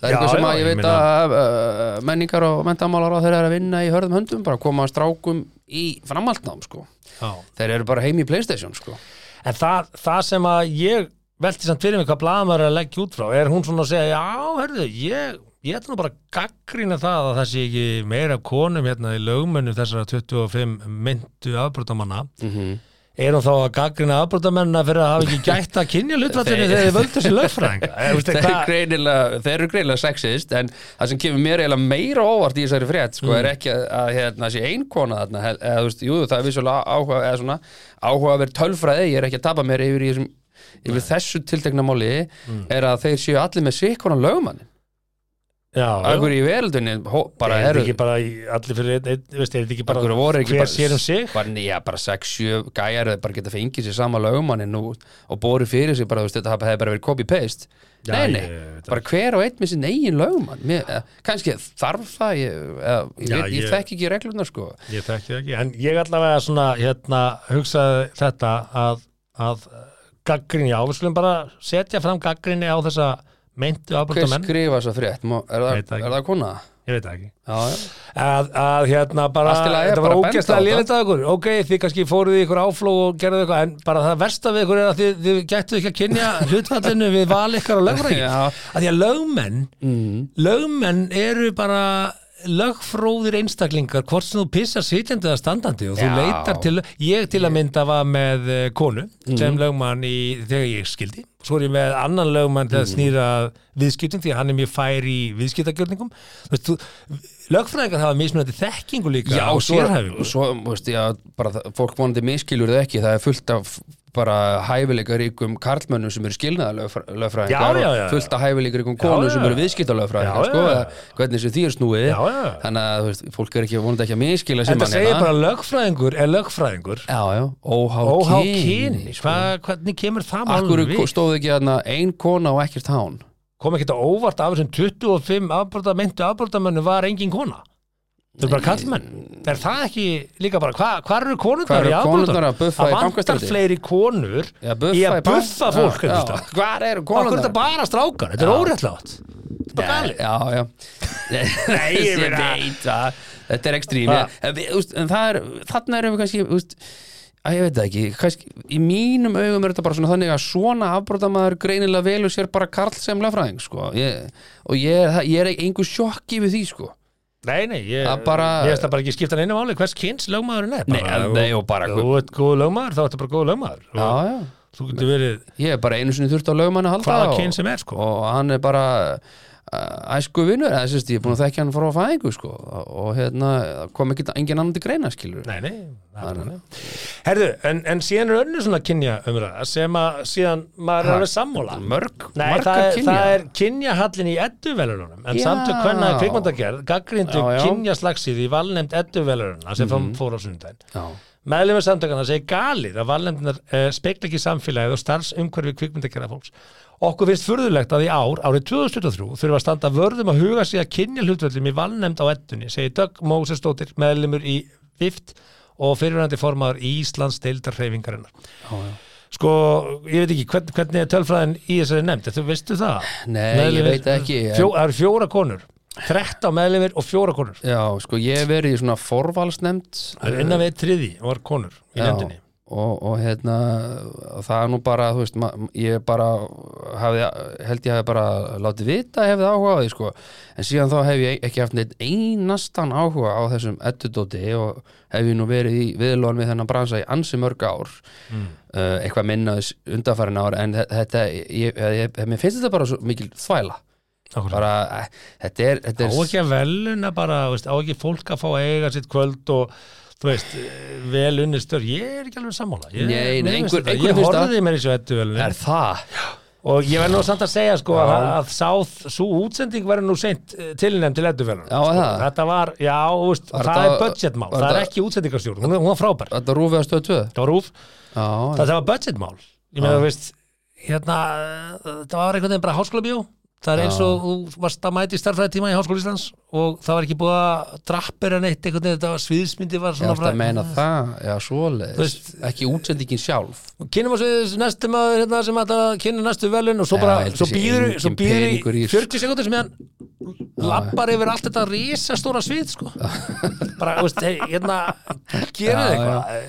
C: Það er
D: Mm. Já,
C: eitthvað sem
D: já,
C: að ég
D: ég
C: veit
D: meina-
C: að uh, menningar og mentamálar á þeir eru að vinna í hörðum höndum bara koma strákum í framhaldnám sko
D: já.
C: Þeir eru bara heim í Playstation sko
D: En það, það sem að ég velti samt fyrir mig hvað blaðamæður er að leggja út frá er hún svona að segja, já, hörðu, ég ég ætla nú bara að gaggrýna það að það sé ekki meira konum hérna í lögmönnum þessara 25 myndu afbrotamanna
C: mm -hmm.
D: er hún þá að gaggrina afbrotamennina fyrir að hafa ekki gætt að kynja hlutfallinu
C: Þeir-
D: þegar þið völdu sér lögfræðinga Eh, veistu,
C: þeir,
D: hvað-
C: greinilega, þeir eru greinilega sexist en það sem kemur mér eiginlega meira óvart í þessari frétt sko,
D: Mm.
C: er ekki að, að hérna, sé ein kona þarna hel- eða, þú veist, jú, það er vissulega áhuga, eða svona, áhuga að vera tölfræði, ég er ekki að tapa mér yfir, í þessum, yfir þessu tiltekna máli
D: Mm.
C: er að þeir séu allir með sikkona lögumann
D: Já, já.
C: okkur í veröldunni hó- bara
D: er þetta
C: eru
D: ekki bara í- allir fyrir einn, einn, veist, er þetta ekki bara
C: Akkur voru ekki
D: hver
C: bara-
D: sér um sig
C: bara, já, bara 6-7 gæjar eða bara geta fengið sér sama lögumannin og, og boru fyrir sig bara, þú veist, þetta hafa- hefði bara verið copy-paste
D: Já,
C: nei,
D: ég-
C: nei,
D: ég veit
C: bara hver og einn með sinn eigin lögumann Mér, eh, kannski þarf það ég, eða, ég,
D: Já,
C: veit, ég,
D: ég-
C: þekki ekki reglurnar sko
D: Ég þekki það ekki, en ég allavega svona hérna, hugsaði þetta að, að gaggrinni á, við skulum bara setja fram gaggrinni á þessa meintu
C: hver
D: afbrotamenn,
C: skrifa þessa frétt, Má- er það,
D: Veit það ekki.
C: er það kona?
D: ég veit það ekki
C: Já, já.
D: að, að hérna bara,
C: Allt í lagi,
D: þetta
C: bara
D: var
C: benda á
D: ógeðslega
C: þetta.
D: lélitt að ykkur ok, þið kannski fóruð í ykkur áflóg og gerðuð eitthvað, en bara það versta við ykkur er að þið, þið gættu ekki að kynja hlutfallinu við val ykkar á lögrækjum
C: Já. Mhm.
D: að því að lögmenn lögmenn eru bara lögfróðir einstaklingar hvort sem þú pissar sitjandi eða standandi og þú
C: Já.
D: leitar til, ég til að mynda var með eh, konu sem
C: Mhm.
D: lögmann í, þegar ég skildi, svo er ég með annan lögmann til
C: Mhm.
D: að snýra að viðskiptum því að hann er mjög fær í viðskiptagjörningum þú veist, þú, lögfræðingar hafa mismunandi þekkingu líka
C: Já,
D: og
C: svo,
D: sérhæfingu
C: svo veist, já, bara, það- fólk vonandi miskilur það ekki það er fullt af bara hæfileikaríkum karlmönnum sem eru skilnaðalöfræðingar
D: Já, já, já,
C: og
D: já.
C: fullt af hæfileikaríkum konum
D: já.
C: sem eru
D: Já,
C: viðskiptalöfræðingar
D: já,
C: sko,
D: já.
C: eða hvernig sem því er snúið
D: Já, já.
C: þannig að þú veist, fólk er ekki vonandi ekki að miskila sem
D: þetta
C: mann
D: segir
C: hérna.
D: bara lögfræðingur er lögfræðingur
C: já, já, óhá,
D: óhá
C: kyni sko.
D: kyni, Hva, hvernig kemur það
C: Akkur
D: málum við?
C: stóð ekki þarna ein kona og ekkert hán
D: kom ekki þetta óvart af þessum 25 afbrota, meintu afbrotamönnu var engin kona þau eru bara kallmenn er það ekki líka bara, hva, hvar eru
C: Hvar
D: konurnar
C: eru
D: í
C: konurnar
D: afbrotamönnu?
C: að buffa í
D: vantar
C: bankastræti?
D: fleiri konur
C: Já,
D: í að buffa fólk
C: já, já.
D: einhvers staðar.
C: Hvar
D: Akkur
C: eru
D: er
C: konan
D: þetta bara strákar, þetta er óréttlátt þetta er bara galið
C: Já, já Nei,
D: ég meina-
C: veit það Þetta er ekstrím
D: Ha?
C: ég- en við- úst, En það er, þarna erum við kannski úst, að ég veit það ekki, kannski, í mínum augum er þetta bara svona þannig að svona afbrotamaður greinilega velur sér bara karl sem lögfræðing sko. ég, og ég, það- ég er engu sjokki við því sko.
D: Nei, nei, ég
C: Að
D: veist
C: bara-
D: það bara ekki skipta neina máli hvers kyns lögmaðurinn er
C: Nei, að- nei, og bara-
D: Þú ert góð lögmaður, þá ertu bara góð lögmaður
C: já,
D: og
C: já.
D: Þú getur verið
C: ég er bara einu sinni þurft á lögumann að halda
D: hvaða
C: og-
D: kyns sem er sko
C: og hann er bara uh, æsku vinnur, eða sérst ég er búin að þekka hann frá fæðingu sko og, og hérna það kom ekki engin annan til greina skilur
D: Nei, nei, það er bara þannig. Herðu, en, en síðan er önnur svona kynja umræða sem að síðan maður er alveg sammála
C: mörg,
D: Nei,
C: margar
D: það er,
C: kynja
D: það er kynjahallin í edduvelunum en
C: Já.
D: samtök hvernig kvikmyndagerð gaggrindu
C: Já, Mhm. já.
D: kynjaslagsið í valnefnd edduvelunum sem mm. fór á sunnudaginn
C: Já,
D: Meðlumir samtökana segir galið að valnefndar uh, speikla ekki samfélagið og starfsumhverfi kvikmyndagerða fólks. Okkur finnst furðulegt að í ár, árið 2023, þurfa að standa vörðum að huga sig að kynja hlutvöldum í valnefnd á ettunni, segir Dögg Mósesdóttir, meðlumur í VIFT og fyrirvændi formaður í Íslands deildar hreyfingarinnar.
C: já, já.
D: Sko, ég veit ekki, hvern, hvernig er tölfræðin í þessari nefnd? Þú veistu það?
C: Nei, ég
D: Meðlimir-
C: veit það ekki, en-
D: Fjó, það eru fjóra konur, 13 meðlumir og fjóra konur.
C: já, sko ég hef verið í svona forvalsnefnd
D: Það er innan við þriði var konur í
C: Eh, Já,
D: nefndinni.
C: og, og hérna og það er nú bara, þú veist, ma- ég bara hafði, held ég hafi bara látið vita hefði áhuga á því, sko en síðan þá hef ég ekki haft neitt einastan áhuga á þessum ettudóti og hef ég nú verið í viðlóðan við þennan bransa í ansi mörg ár
D: Mm.
C: uh, eitthvað minnaðis undanfærin ár en þe- þetta, ég, ég, ég, mér finnst þetta bara svo mikil þvæla
D: Akkurat.
C: bara, eh, þetta er, þetta
D: á
C: er
D: ekki að veluna bara þú veist, á ekki fólk að fá að eiga sitt kvöld og þú veist, eh, vel unni stör ég er ekki alveg sammála ég,
C: Nei, nei,
D: mér finnst
C: einhver-
D: þetta-
C: einhverjum
D: ég
C: finnst
D: horfði mér í svo ettu velinu
C: er það
D: og ég verð nú samt að segja sko að, að sá, svo útsending verður nú seint tilnæm til ettu velinu
C: Já,
D: sko.
C: það.
D: þetta var, já, þú veist,
C: Var
D: það,
C: þetta-
D: er budgetmál það
C: var
D: er
C: þetta-
D: ekki útsendingarstjórn, hún, er- hún var frábær
C: Þetta rúfið að stöðu tvö
D: það var úf,
C: Já,
D: það, það var budgetmál ég meina, þú veist, hérna það var einhvern veginn bara háskóla bjó það er eins og þú varst að mæti starfræðitíma í háskóla Íslands og það var ekki búið að drappir en eitt einhvern veginn, þetta var sviðismyndi var
C: ég
D: svona
C: ætti að meina það, já,
D: Þú
C: svoleiðis
D: veist-
C: ekki útsendingin sjálf
D: kynum við þessu næstu maður hérna, sem ætlar að kynna næstu velun og svo
C: Já,
D: bara,
C: ég held
D: svo
C: þessi
D: býður
C: engin
D: svo býður
C: peningur í
D: í 40
C: þessu.
D: sekundir sem hérna lappar yfir allt þetta risastóra svið sko bara, þú veist, hey, hérna gerir
C: Já,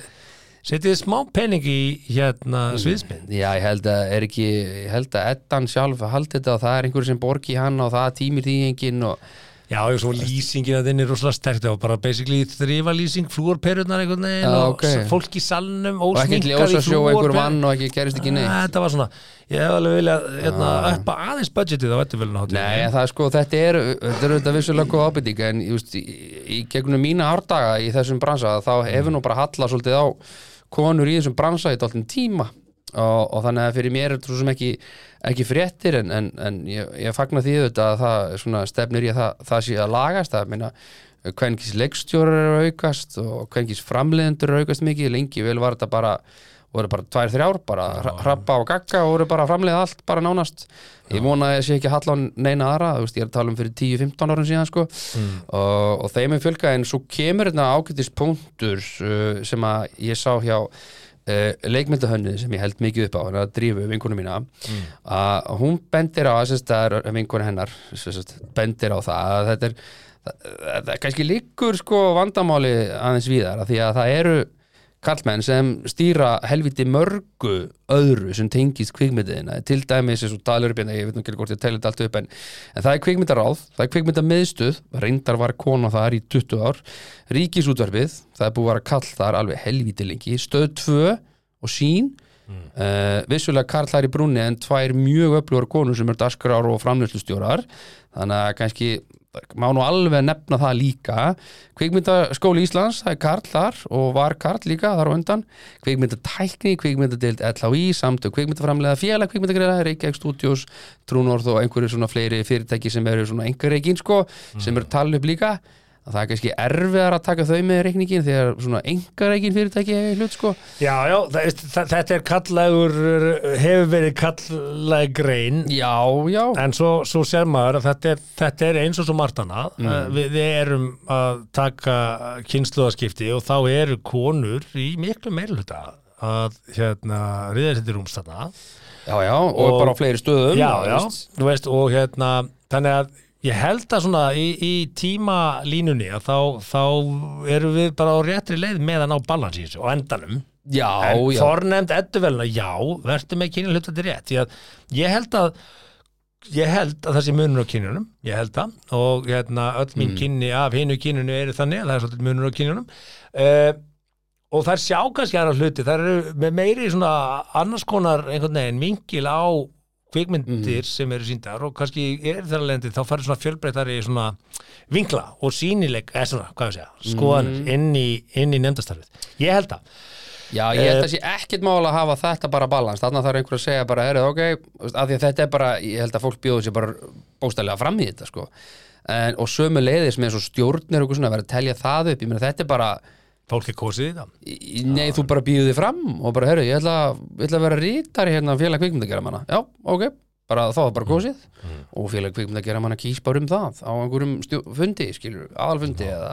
C: Mm.
D: eitthvað setið smá pening í hérna sviðsmynd
C: Já, ég held að er ekki, ég held að Eddan sjálf haldi þetta og það er einhver sem borgi hann og það tímir því enginn og
D: Já, og svo lýsingin að þinn er rosalega sterkt og bara basically þrifa lýsing, flúorperurnar einhvern veginn
C: Já,
D: og
C: ok.
D: s- fólk í salnum
C: og ekki til
D: ósminkað
C: ós
D: í
C: að sjó einhver vann
D: flúorperur
C: og ekki gerist ekki neitt Ah.
D: Þetta var svona, ég hef alveg viljað hérna, uppa aðeins budgetið á ettufölun
C: Nei, það er sko, þetta er þetta er auðvitað vissulega góð ábyrting en ég veist, í, í gegnum mína árdaga í þessum bransa, þá hefur nú bara hallað svolítið á konur í þessum bransa í dálfinn tíma og, og þannig að fyrir mér er þetta svo sem ekki, ekki fréttir en, en, en ég, ég fagna því auðvitað að það svona, stefnir í að það, það sé að lagast að minna kvenkis leikstjórar eru að aukast og kvenkis framleiðendur eru að aukast mikið lengi vel var þetta bara voru bara tvær, þrjár, bara hra- hrappa og gagga og voru bara framleiða allt, bara nánast ég vona að ég sé ekki að halla á neina aðra þú veist, ég er að tala um fyrir 10-15 árum síðan sko. og, og þeim er fjölga en svo kemur þetta ágætis punktur uh, sem að ég sá hjá uh, leikmyndahönnuð sem ég held mikið upp á hann að drífu vinkonu mína að hún bendir á sérst, að vinkonu hennar sérst, bendir á það að þetta er það, það, kannski líkur sko vandamáli aðeins víðar að því að það eru kallmenn sem stýra helviti mörgu öðru sem tengist kvikmyndiðina til dæmis eins og dalirbjörn ég veit nú ekki hvort ég telja þetta allt upp en, en það er kvikmyndaráð, það er kvikmyndamiðstuð reyndar var kona þar í 20 ár ríkisútvarfið, það er búið að vera kall þar alveg helviti lengi, stöð 2 og sín mm. vissulega karl þar í brúnni en tvær mjög öflugar konur sem eru daskrar og framlýslustjórar þannig að kannski má nú alveg nefna það líka kvikmyndaskóli Íslands, það er Karl þar og var Karl líka þar á undan kvikmyndatækni, kvikmyndadeild LHI samt kvikmyndaframlega félag kvikmyndagreira Reykjavík Studios, Trúnorð og einhverju svona fleiri fyrirtæki sem eru svona einhverreikin sko, sem eru talið upp líka það er kannski erfiðar að taka þau með reikningin þegar svona einhverreikin fyrirtæki eiga í hlut sko
D: Já, já, það, veist, þa- þetta er kallagur hefur verið kallag grein
C: Já, já,
D: en svo, svo sér maður að þetta er, þetta er eins og svo margt annað mm. við, við erum að taka kynsluðaskipti og þá eru konur í miklu meirluta að hérna, riða sér til rúmstanna
C: já, já og, bara á fleiri stöðum
D: já,
C: þú
D: já,
C: veist.
D: þú veist og hérna, þannig að ég held að svona í, í tímalínunni að þá, þá erum við bara á réttri leið með að ná balans í þessu og endanum
C: Já,
D: en
C: já,
D: fornefnd edduvelna, já, verður með kynja hlutandi rétt, því að ég held að ég held að það sé munur á kynjunum ég held það og hérna, öll
C: Mm.
D: mín kynni af hinu kynjunu eru þannig að það er svolítið munur á kynjunum uh, og þær sjá kannski aðra hluti þær eru með meiri svona annars konar einhvern veginn vinkil á
C: Mhm.
D: kvikmyndir sem eru síndar og kannski er þar að lendi þá farið svona fjölbreytari svona vinkla og sínileg eða svona, hvað ég segja, skoðanir
C: Mhm.
D: inn, í, inn í nefndastarfið, ég held það
C: já, ég held að sé ekkit mála að hafa þetta bara balans, þannig að það er einhver að segja bara, heyrðu, ok, þú veist, af því að þetta er bara ég held að fólk bjóðu sér bara bóstælega fram í þetta, sko, en, og sömu leiðis með svo stjórnir og eitthvað svona, verið að telja það upp, ég meina, þetta er bara
D: fólk er kosið í það
C: í- í- Nei, þú bara býðu þig fram og bara, heyrðu, ég ætla, ég ætla að vera rítari hérna á félag kvikmyndagera manna. Já, ok, bara þá
D: Mm.
C: er bara kosið og félag kvikmyndagera manna kýs bara um það á einhverjum stjó- fundi, skilur, aðalfundi eða...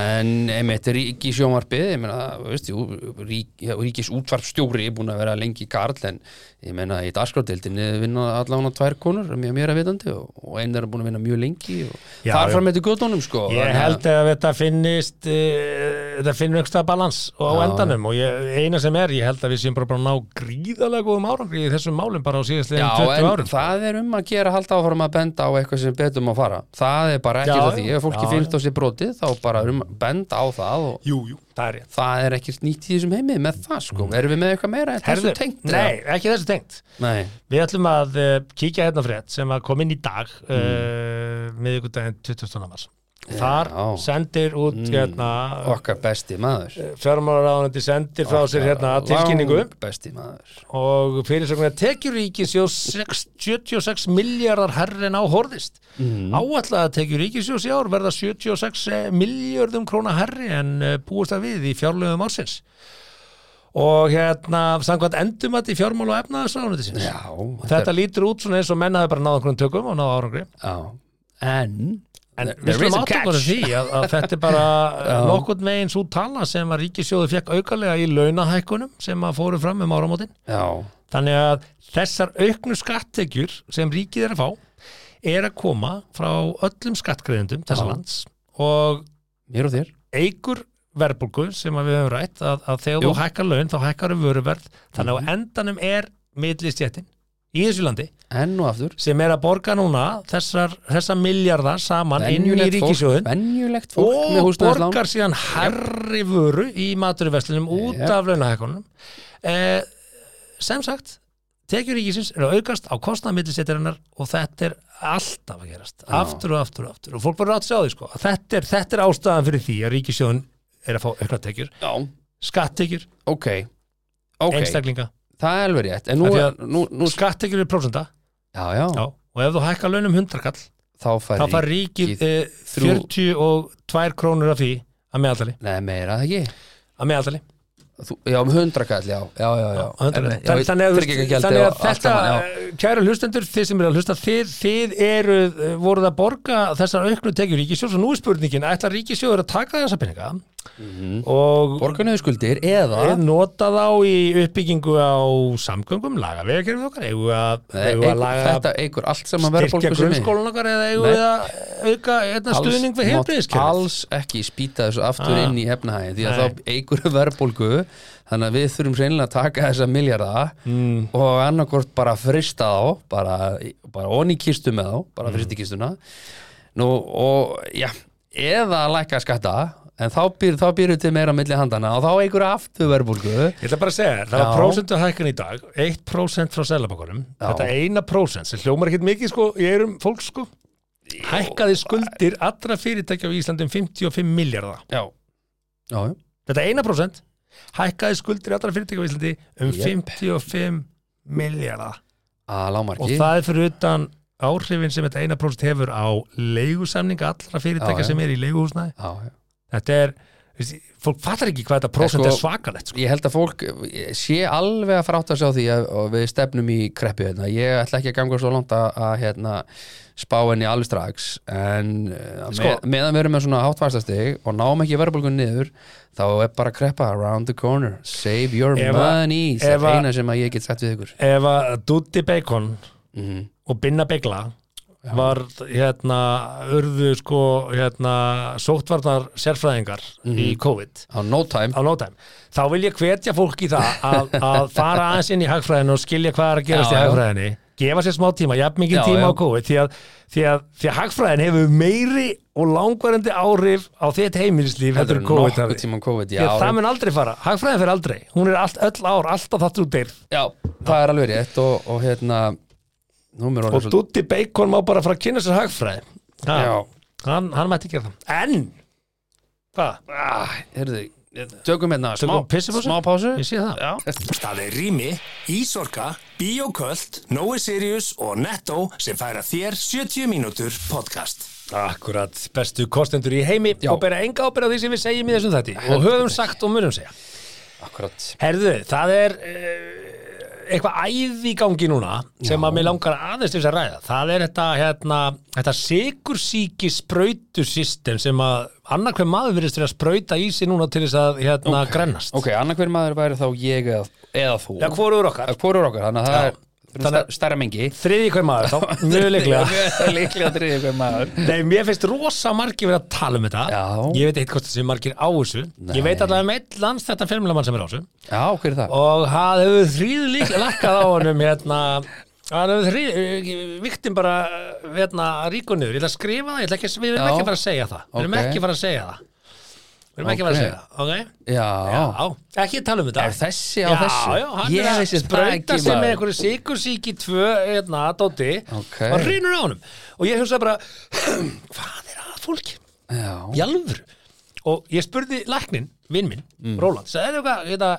C: En einmitt ríkisjónvarpið, ég meina, veist, jú, rík, já, ríkisútvarpstjóri er búin að vera lengi karl en ég meina í dagskrádeildinni vinna allan á tvær konur, mjög mér að vitandi og, og einn er búin að vinna mjög lengi og
D: Já,
C: þar
D: já.
C: fram eftir göttunum sko.
D: Ég
C: þannig að-
D: held að þetta finnist uh, þetta finnur einhverstað balans og á
C: Já,
D: endanum og ég, eina sem er, ég held að við séum bara búin að ná gríðalega góðum árangri í þessum málum bara á síðastlegin
C: Já,
D: 20
C: en
D: árum
C: það er um að gera halda áfram að benda á eitthvað sem betur um að fara það er bara ekki
D: Já,
C: það því,
D: já,
C: ef fólki
D: já,
C: finnst á sér brotið þá bara er um að benda á það og
D: Jú, jú, það er rétt
C: það er ekkert nýtt í þessum heimi með það sko, erum við með eitthvað meira en
D: Mm. Herðu,
C: þessu tengt eða?
D: nei, ekki þessu tengt
C: nei,
D: Við ætlum að uh, kíkja hérna á frétt sem að kom inn í dag mm. uh, miðvikudaginn 20. mars Þar
C: Mm. Já. Mm.
D: sendir út hérna,
C: okkar besti maður
D: fjármálaráðunandi sendir Eh, frá sér hérna tilkynningu
C: Lang besti maður
D: og fyrirsögnin að tekjur ríkisjós 76 miljardar herrin á horðist
C: Mhm.
D: mm. áallega að tekjur ríkisjós í ár verða 76 miljardum eh, króna herri en eh, búist að við í fjárlögum ársins og hérna samkvæmt endum að í fjármál og efnaðarsráðunisins
C: já,
D: þetta lítur út svona eins og menn hafi bara náða okkur tökum og náða árangri
C: já, en
D: en
C: There
D: við
C: is
D: slum
C: a
D: áttum
C: catch.
D: okkur á því að, að þetta er bara nokkurn veginn svo tala sem að ríkisjóðu fekk aukalega í launahækkunum sem að fóru fram um áramótin
C: já,
D: Þannig að þessar auknu skattekjur sem ríkið er að fá er að koma frá öllum skattgreðendum þessa
C: Já.
D: lands og
C: mér og þér
D: eigur verðbólgu sem að við höfum rætt að, að þegar
C: Jú. Mhm.
D: þú hækkar laun þá hækkar um vöruverð þannig að á endanum er millistjættin í þessu landi
C: enn og aftur
D: sem er að borga núna þessar, þessar miljardar saman inn í
C: Venjulegt fólk,
D: ríkisjóðin
C: venjulegt fólk með
D: og
C: húsnæðislán
D: borgar síðan herri vöru í maturverslunum út
C: Jep.
D: af launahækkunum eh, sem sagt tekjur ríkisins eru að aukast á kostnaðmillisetarinnar og þetta er alltaf að gerast aftur og aftur og aftur og fólk bara rátt sér á því sko að þetta er, þetta er ástæðan fyrir því að ríkisjóðin er að fá aukna tekjur,
C: Já,
D: skattekjur
C: ok Ok,
D: einstaklinga,
C: það er alveg rétt En nú,
D: Af því
C: er,
D: að-
C: nú, nú
D: skattekjur er prósenda
C: já, já,
D: já, og ef þú hækkar launum hundrakall
C: þá fær
D: þá fær ríkið
C: ríkið
D: eh,
C: þrjú-
D: 42 krónur af því að meðaldali,
C: Nei, meira það ekki
D: að meðaldali
C: Þú, já, um hundrakall, já, já, já, já.
D: Á hundrað
C: Einmitt,
D: kall. Þann-
C: já,
D: þannig að,
C: tryggingagjaldi
D: þannig að
C: og allt
D: þetta
C: saman, já.
D: eh, kæru hlustendur, þið sem eru að hlusta þið, þið eru, eh, voruð að borga þessar auknu tekjur ríkisjóðs og nú er spurningin ætla ríkisjóður að taka þessa peninga og
C: Mhm. Borga niður skuldir eða
D: nota þá í uppbyggingu á samgöngum laga vegakerfið okkar, eigum við að,
C: Nei,
D: eigum við að
C: eykur-
D: laga
C: Þetta eigur allt saman
D: styrkja
C: verðbólgu sem er.
D: grunnskólan okkar eða eigum
C: Nei.
D: við að auka einna
C: Alls
D: stuðning við
C: mátt
D: heilbreyðiskerfið
C: alls ekki spýta þessu aftur
D: Ah.
C: inn í efnahægin því
D: Nei.
C: að þá eigur verðbólgu þannig að við þurfum reynilega að taka þessa miljarda mm. og annarkvort bara frista þá bara, bara onni kistu með þá
D: Mm.
C: bara fristi kistuna Nú, og já, eða lækka skatta en þá býr, þá býr til meira milli handana og þá eigur aftur verðbólgu
D: Ég ætla bara að segja, þér, það var
C: Já.
D: prósentu hækkan í dag 1% frá selabakunum þetta eina prósent sem hljómar ekkert mikið sko, ég er um fólk sko hækkaði skuldir allra fyrirtækja á Íslandi um 55 miljardar
C: já, já, já.
D: þetta eina prósent hækkaði skuldir allra fyrirtækja á Íslandi um
C: Jep.
D: 55 miljardar
C: að
D: og
C: lámarki
D: það er fyrir utan áhrifin sem þetta eina prósent hefur á leigusamninga allra
C: Já,
D: fyrirtækja
C: já.
D: sem er í leiguhúsnaði
C: já, já.
D: þetta er, veist, fólk fattar ekki hvað þetta prósent
C: sko,
D: er svakalegt sko.
C: ég held að fólk sé alveg að frátta sig á því að, að við stefnum í kreppu hérna. ég ætla ekki að ganga svo langt að, að hérna, spá henni alveg strax en sko, með,
D: Sko.
C: meðan við erum með svona hátværstastig og náum ekki verðbólgun niður þá er bara kreppa around the corner save your
D: Ef að-
C: money það
D: ef
C: er
D: að-
C: eina sem að ég get sagt við ykkur
D: ef að Dúti Bacon
C: Mhm.
D: og Binna Begla var hérna urðu sko hérna sóttvarnar sérfræðingar
C: Mhm.
D: í COVID
C: á no time
D: á nótæm, þá vil ég hvetja fólk í það að, að fara aðeins inn í hagfræðinu og skilja hvað er að gerast í
C: Já, já.
D: hagfræðinu gefa sér smá tíma, jafn mikið
C: Já,
D: tíma
C: já.
D: á COVID því að, því, að, því að hagfræðin hefur meiri og langvarandi áhrif á þitt heimilislíf
C: Þetta
D: heldur
C: eru
D: en COVID
C: nokkuð
D: hafði.
C: tímann COVID,
D: Því að
C: já.
D: það mun aldrei fara, hagfræðin fer aldrei hún er allt, öll ár, alltaf þáttur út deyrð
C: já, það er alveg rétt og, og hérna númer
D: og
C: orðin svo
D: Dutti Bacon má bara fara að kynna sér hagfræði ha,
C: Já.
D: hann, hann mætti gera það en hvað?
C: ah, heyrðu, tökum hérna smá,
D: Tökum pissupásu?
C: smá pásu
D: ég sé það
C: já
A: Það er Rými, Ísorka, Bíoköld, Nói Sirius og Netto sem færa þér 70 mínútur podcast.
D: akkurat bestu kostendur í heimi
C: Já.
D: og bera enga ábyrða því sem við segjum í þessum þætti og höfum sagt og munum segja
C: Akkurat
D: herðu það er uh, eitthvað æði í gangi núna sem að mér langar aðeins til þess að ræða það er þetta hérna þetta sigursíki sprautusystem sem að annar hver maður virðist til að sprauta í sig núna til þess að hérna grennast
C: Ok, annarkver maður væri þá ég eða, eða þú
D: Já, hvorugur okkar?
C: Hvor er okkar, þannig að það
D: Já.
C: er þannig,
D: Þannig
C: stær, stærra mengi
D: Þriði hver maður þá, mjög líklega
C: Líklega þriðið hver maður
D: Nei, mér finnst rosa margir verið að tala um þetta
C: Já.
D: Ég veit eitthvað hvort það sem margir á þessu Ég veit allavega um einn lands þetta fjölmjölamann sem er á þessu
C: Já, hver er það?
D: Og það hefur þrýð líklega lakkað á honum hérna Það hefur þrýð, viktum bara hérna ríku niður Ég ætla að skrifa það, ég ætla ekki, að- við erum
C: Já.
D: ekki að fara að segja það Við erum
C: Ok.
D: ekki að fara að segja það Við erum ekki að fara að segja það, ok?
C: Já,
D: Já, ekki tala um þetta
C: Er þessi á
D: já,
C: þessu?
D: já, hann
C: Ég
D: er að
C: vissi það
D: sprauta
C: ekki,
D: sig
C: maður.
D: með einhverju sikursíki tvö, hérna, dóti
C: Ok.
D: og hrýnur á honum og ég hugsa bara hvað er að fólki?
C: Já,
D: Í alvöru og ég spurði læknin, vinn minn,
C: Mm.
D: Róland sagði, "Er eitthvað, hérna,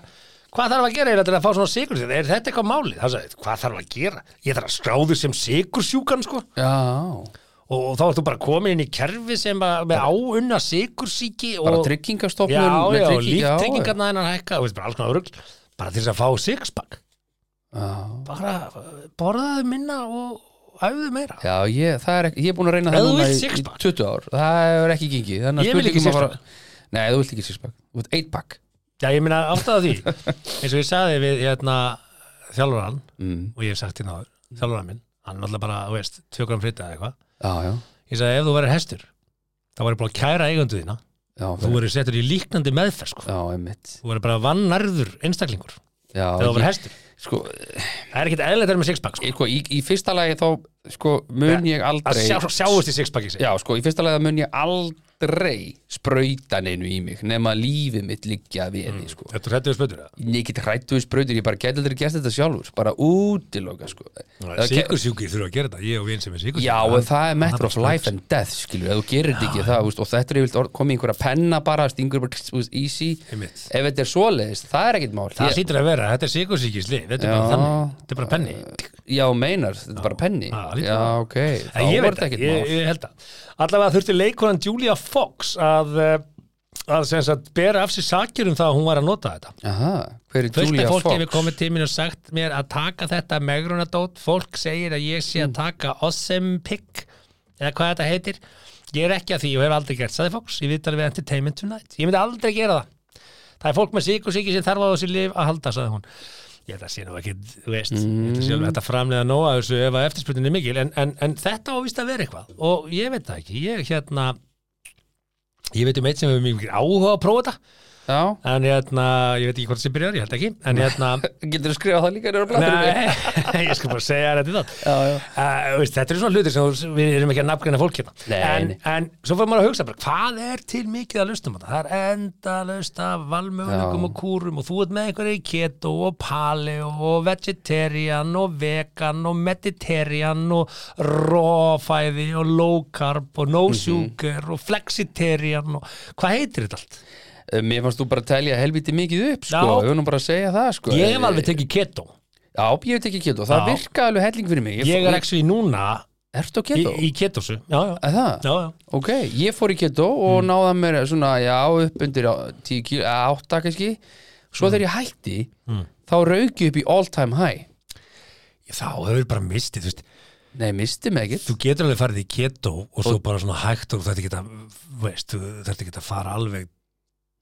D: hvað þarf að gera eiginlega til að fá svona sikursíki? Er þetta eitthvað málið? Það sagði, hvað þarf að gera? Ég þarf að skráðu sem sikursjúkan, sko
C: já
D: og, og þá ertu bara komin inn í kerfi sem að, með áunna sikursíki og,
C: Bara tryggingastofnun
D: já,
C: með
D: já,
C: trygging- já,
D: líftryggingarna hennar hækka þú veist, bara alls konar rugl, bara til þess að fá sixpack
C: Já,
D: bara borðaðu minna og æfðu meira
C: já ég, það er ekki, ég er búin að reyna
D: Ef
C: það
D: þú
C: núna
D: vilt
C: í, í
D: sixpack.
C: 20 ár Það hefur ekki gengið Þannig
D: Ég vil ekki
C: spurningin var bara- Nei, þú vilt ekki sixpack Þú vilt eight pack
D: Já, ég meina áttaðu því eins og ég sagði við hérna, þjálfurann og ég hef sagt hérna áður, þjálfurann minn hann er náttúrulega bara, þú veist, tvö gram frita eða eitthvað
C: Já, já,
D: ég sagði ef þú verður hestur þá verður bara að kæra eigundu þína
C: já
D: þú verður settur í líknandi meðferð sko.
C: Já, einmitt
D: þú verður bara vannarður einstaklingur
C: Já,
D: þegar það var
C: ég-
D: hestur
C: sko,
D: það er ekkit eðlilegt að vera með sixpack sko.
C: sko í, í fyrsta lagi þá sko, mun ég
D: að
C: aldrei
D: sjá, sjáust í sixpacki sig
C: Já, sko, í fyrsta lagi þá mun ég aldrei sprauta neinu í mig nema lífið mitt liggja við
D: Mm.
C: henni, sko
D: þetta er hættu spötur
C: ég get hrættu við sprautur, ég bara geti aldrei gert þetta sjálfur bara útiloka, sko Það ke-
D: sikursjúkir þurfa að gera þetta, ég og vinn sem er sikursjúkir
C: Já, en það er matter of life and death, skilur, ef þú gerir þetta ekki það, veist, og þetta er yfirleitt orð- komið í einhverja penna bara, stingur bara, þú veist, easy
D: Einmitt.
C: Ef þetta er svoleiðist, það er ekkert mál
D: það
C: Ég-
D: sýtur að vera, þetta er sikursjúkislið þetta er
C: Já.
D: bara þannig, þetta er bara penni
C: Já, meinar, þetta er bara penni
D: Já, lítur
C: Já,
D: það.
C: ok, þá
D: Nei, ég
C: var
D: veit
C: þetta
D: það,
C: ekkert
D: ég,
C: mál
D: ég held það allavega þurfti leikonan Julia Fox að, eh, að, sem sagt, bera af sér sakir um það að hún var að nota þetta
C: Aha, hver er
D: Fullt
C: Julia
D: af
C: Fox?
D: fólki hefur komið til mér og sagt mér að taka þetta megrunadót fólk segir að ég sé að taka Ozempic eða hvað þetta heitir ég er ekki að því og hef aldrei gert saði fólks ég veit alveg Entertainment Tonight ég myndi aldrei gera það það er fólk með sík og síki sem þarf á þessi lif að halda saði hún ég held að sé nú ekki, þú veist ég held að sé alveg þetta framlega nóg að þessu ef að eftirspurnin er mikil en, en, en þetta ávist að vera eitthvað og ég veit það ekki, ég hérna ég veit um eitt sem hefur mikið áhuga á að prófa þetta
C: Já,
D: en hérna, ég veit ekki hvort sem byrjar, ég held ekki en hérna,
C: getur þú skrifað það líka nefnir á blætturinn?
D: nei ég skal bara segja þetta í það
C: Já, já.
D: Uh, veist, þetta er svona hlutir sem þú- við erum ekki að nafngreina fólk hérna
C: Nei,
D: en,
C: nei.
D: en svo fyrir maður að hugsa bara, hvað er til mikið að lustum á þetta það er endalaust af valmöguleikum
C: Já.
D: og kúrum og þú ert með einhverju keto og paleo og vegetarian og vegan og meditarian og rawfæði og low carb og no
C: Mhm.
D: sugar og flexitarian og hvað heitir þetta allt?
C: Um, Mér fannst þú bara að telja helviti mikið upp, sko
D: Já.
C: Við erum nú bara að segja það, sko
D: Ég hef alveg tekið keto
C: Já, ég hef tekið keto, það
D: Já.
C: virka alveg helling fyrir mig
D: Ég er ekki núna
C: Ertu á
D: í,
C: keto?
D: í ketosu Já, já,
C: Er það?
D: já, Mm. já.
C: Ok, ég fór í keto og náða mér svona, já, upp undir á- 10 kíl, eða 8 kannski Svo
D: Mm.
C: þegar ég hætti, þá rauk ég upp í all time high
D: Þá hefur bara mistið, þú veist
C: Nei, misti mig ekkert
D: Þú getur alveg farið í keto og svo bara svona hægt og þetta geta veist, þú þetta geta fara alveg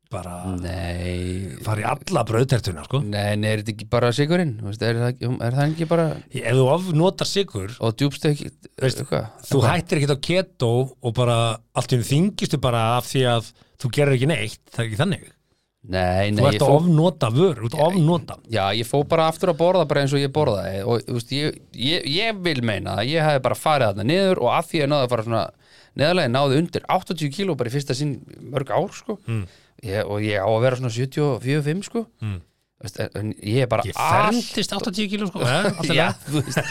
D: bara
C: Nei,
D: fara í alla brauðtertuna, sko
C: nei, nei, er þetta ekki bara sigurinn? Þú veist, Er, það- er það ekki bara
D: Ef þú of notar sigur
C: og djúbst ekki
D: Veist,
C: eitthvað?
D: þú hættir ekkert á keto og bara allt um þingistu bara af því að þú gerir ekki neitt, það er ekki þannig
C: Nei,
D: Þú
C: nei, ég
D: ert að
C: fór,
D: ofnota vör, þú ert að ofnota
C: já, ég fór bara aftur að borða bara eins og ég borðaði og þú veist, ég, ég, ég vil meina að ég hefði bara farið þarna niður og að því ég náði að fara svona neðarlega náði undir 80 kíló bara í fyrsta sinn í mörg ár sko
D: Hmm.
C: ég, og ég á að vera svona 74-5 sko mm. veist, en- en ég er bara
D: Ég
C: all-
D: fermdist 80 kíló, sko eh, allt í
C: Já,
D: lagi.
C: þú veist,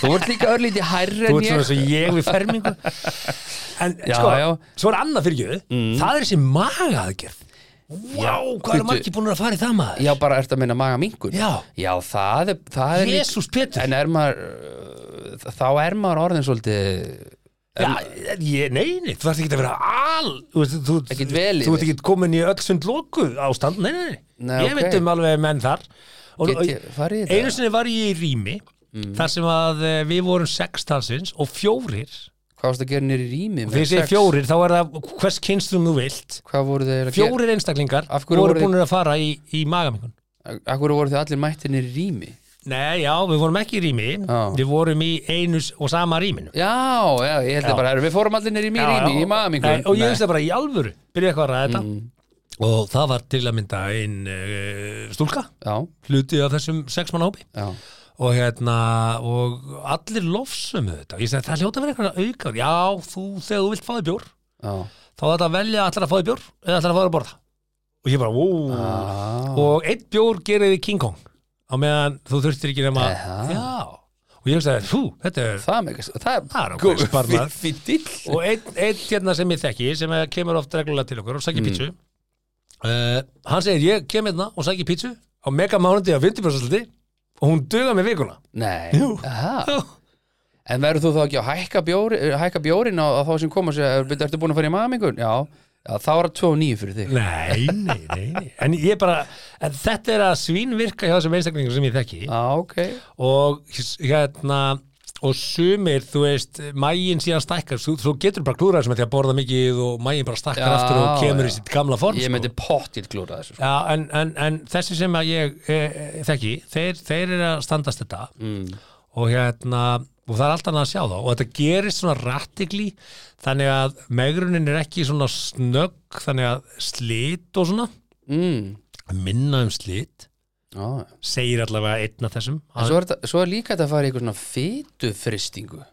C: þú ert líka örlítið hærri
D: Þú
C: en
D: ert
C: ég
D: svona svo ég við fermingu En
C: Já,
D: sko,
C: já. Mm.
D: svo er annað fyrir gjöðu Það er þessi magaaðgerð Vá, hvað
C: bíddu.
D: eru margir búin að fara í það maður?
C: Já, bara ertu að minna maga mingun
D: Já.
C: það er, það er líka-
D: Jesús Pétur
C: En er maður uh, þá er maður orðin svolítið
D: Já, ég, nei, nei, þú þarft ekki að vera al Þú veist, þú,
C: Ekkit vel
D: þú ert
C: yfir.
D: ekki komin í öll sund loku ástand Nei, nei, nei,
C: Nei,
D: ég
C: ok.
D: veit um alveg menn þar og,
C: Get ég Mm. farið í þetta?
D: Einu sinni var ég í rými Þar sem að eh, við vorum sex talsins Og fjórir
C: Hvað varst að gera nýri rými? með
D: Þegar ég segi
C: sex?
D: fjórir, þá er það hvers kynstum þú vilt
C: Hvað voru þeir að
D: Fjórir einstaklingar
C: Af hverju
D: voru
C: voru þið-
D: búinir að fara í, í magamingun
C: gera? Akkur voru þið allir mættir nýri rými?
D: Nei, já, við vorum ekki í rými
C: Já.
D: Við vorum í einu s- og sama rýminu
C: Já, já, ég held
D: Já.
C: að bara, herru, við fórum allir
D: Já,
C: nýri rými,
D: já.
C: rými í Mm. maga
D: Nei,
C: mingun
D: Og ég veist það bara í alvöru, byrja eitthvað að ræða þetta Og það var til að mynda einn uh, stúlka
C: Já,
D: Hluti af þessum sex mann hópi
C: já,
D: Og hérna, og allir lofsömu þetta Ég segi, það hljóta að vera eitthvað aukar Já, þú, þegar þú vilt fáði bjór
C: já
D: Þá þetta velja allar að fáði bjór Eða allar að fáði að borða Og ég bara, ó
C: ah.
D: og einn bjór gerir þið King Kong á meðan þú þurftir ekki nema
C: Eha.
D: já, og ég veist að hú, þetta er
C: Það er mega, það
D: Það er ákveðin sparnaður.
C: Fittill
D: og einn ein, hérna sem ég þekki sem eh, kemur oft reglulega til okkur og sækir pítsu uh, hann segir ég kem hérna og sækir pítsu á mega mánundi á 50% og hún duga með vikuna
C: Nei,
D: Jú.
C: aha
D: Já.
C: En verður þú þá ekki að hækka, bjóri, eh, hækka bjórin á, á þá sem koma og segja, "Er- ertu búin að fara í maga mingun? Já, já, þá er það 2.9 fyrir þig
D: nei, nei, nei, nei en ég bara, en þetta er að svínvirka hjá þessum einstaklingum sem ég þekki
C: Já, Ah, ok
D: og hérna og sumir, þú veist, mægin síðan stækkar, svo, svo getur bara klúrað þessum með því að borða mikið og mægin bara stækkar
C: Já,
D: aftur og kemur
C: já.
D: í sitt gamla form
C: Ég
D: sko.
C: myndi pottill glúra þessu sko.
D: Já, en, en, en þessi sem að ég e, e, þekki, þeir, þeir eru að standast þetta
C: Mm.
D: og hérna og það er allt annað að sjá þá og þetta gerist svona rattigli þannig að megrunin er ekki svona snögg þannig að slit og svona
C: mm.
D: minna um slit
C: já.
D: segir allavega einn af þessum
C: En svo er, þetta, svo er líka þetta að fara í eitthvað svona fitufristingu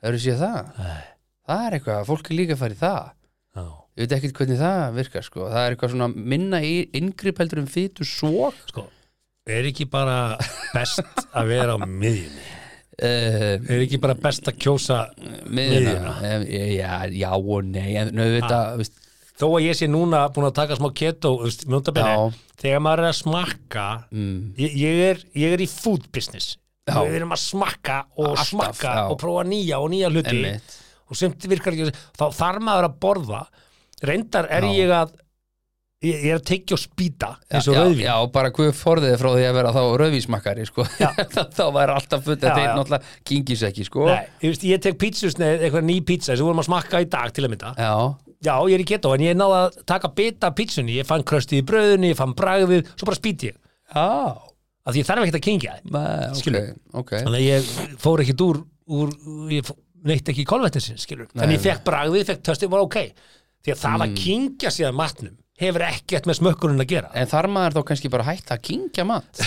C: Hefur séð það?
D: Nei.
C: Það er eitthvað, fólk er líka að fara í það
D: Já.
C: Ég veit ekkert hvernig það virkar sko Það er eitthvað svona minna í inngrip heldur um fitu svo
D: sko, er ekki bara best að vera á miðjunni er ekki bara best að kjósa
C: Miðjuna Eh, Já, já og nei En auðvitað, veist,
D: þó að ég sé núna búin að taka smá keto þú veist, mjóndabene,
C: Já. mm,
D: þegar maður er að smakka ég, ég, er, ég er í food business
C: Já.
D: við erum að smakka og
C: Alltaf,
D: smakka
C: já.
D: og prófa nýja og nýja hluti
C: Einmitt.
D: og semt virkar ekki þá þarf maður að borða reyndar er ég að ég, ég er að tekja og spýta eins og
C: já,
D: rauðvín
C: já, bara hvað forðið frá því að vera þá rauðvísmakkari sko. þá væri alltaf fullt
D: Já,
C: að þeir
D: já.
C: náttúrulega kingis ekki sko.
D: Nei, ég, veist, ég tek pítsusneið, eitthvað ný pítsa sem vorum að smakka í dag til að mynda
C: já,
D: Já, ég er í keto, en ég náði að taka bita af pítsunni, ég fann kröstið í bröðunni, ég fann bragðið, svo bara spýti ég
C: já
D: af því ég þarf ekkert að kingja þið
C: Nei, ok,
D: Skilur.
C: Ah, ok
D: þannig að ég fór ekkit úr, úr ég fó- neitt ekki í kolvetnisin skilur, Nei, Mm. en ég fekk bragðið, ég fekk töstið var ok, því að það að kingja síðan matnum hefur ekkert með smökkunum að gera
C: En þar maður þá kannski bara hægt að kingja mat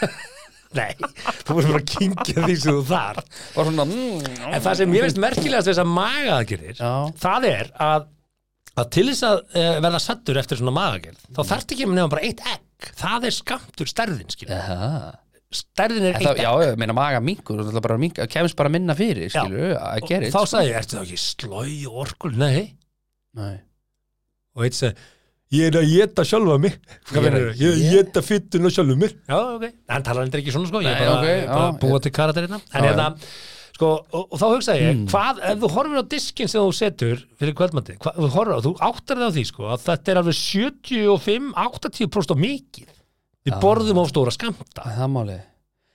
D: Nei, þú veist bara að kingja því sem þú þar
C: Bara svona mm,
D: en það sem mér finnst merkilegast við þess að magaaðgerðir
C: Já.
D: það er að, að til þess að e, verða sattur eftir svona magaaðgerð þá þarft ekki nefnum bara eitt egg það er skamtur stærðin skilur
C: Aha.
D: stærðin er
C: En þá,
D: eitt
C: Já,
D: egg
C: ég meina maga minkur og náttúrulega bara mink, kemst bara minna fyrir, skilur að gera
D: þá sagði ég, ertu þá ekki slói og orkul nei,
C: Nei,
D: og eitt sagði ég er að geta sjálfa mig
C: Ég
D: Hvað
C: er að-
D: meinarðu? ég er að
C: ég-
D: geta fytun og sjálfa mig já, ok, hann talar hendur ekki svona sko ég
C: Nei,
D: er bara,
C: ok,
D: okay, bara
C: já,
D: að búa til karaterina en
C: Já, Hmm.
D: hérna, sko, og, og þá hugsaði ég hvað, ef þú horfir á diskinn sem þú setur fyrir kvöldmandi, hvað, þú horfir á, þú áttar þig á því sko, að þetta er alveg 75-80% of mikið við borðum of stóra skamta
C: það er máli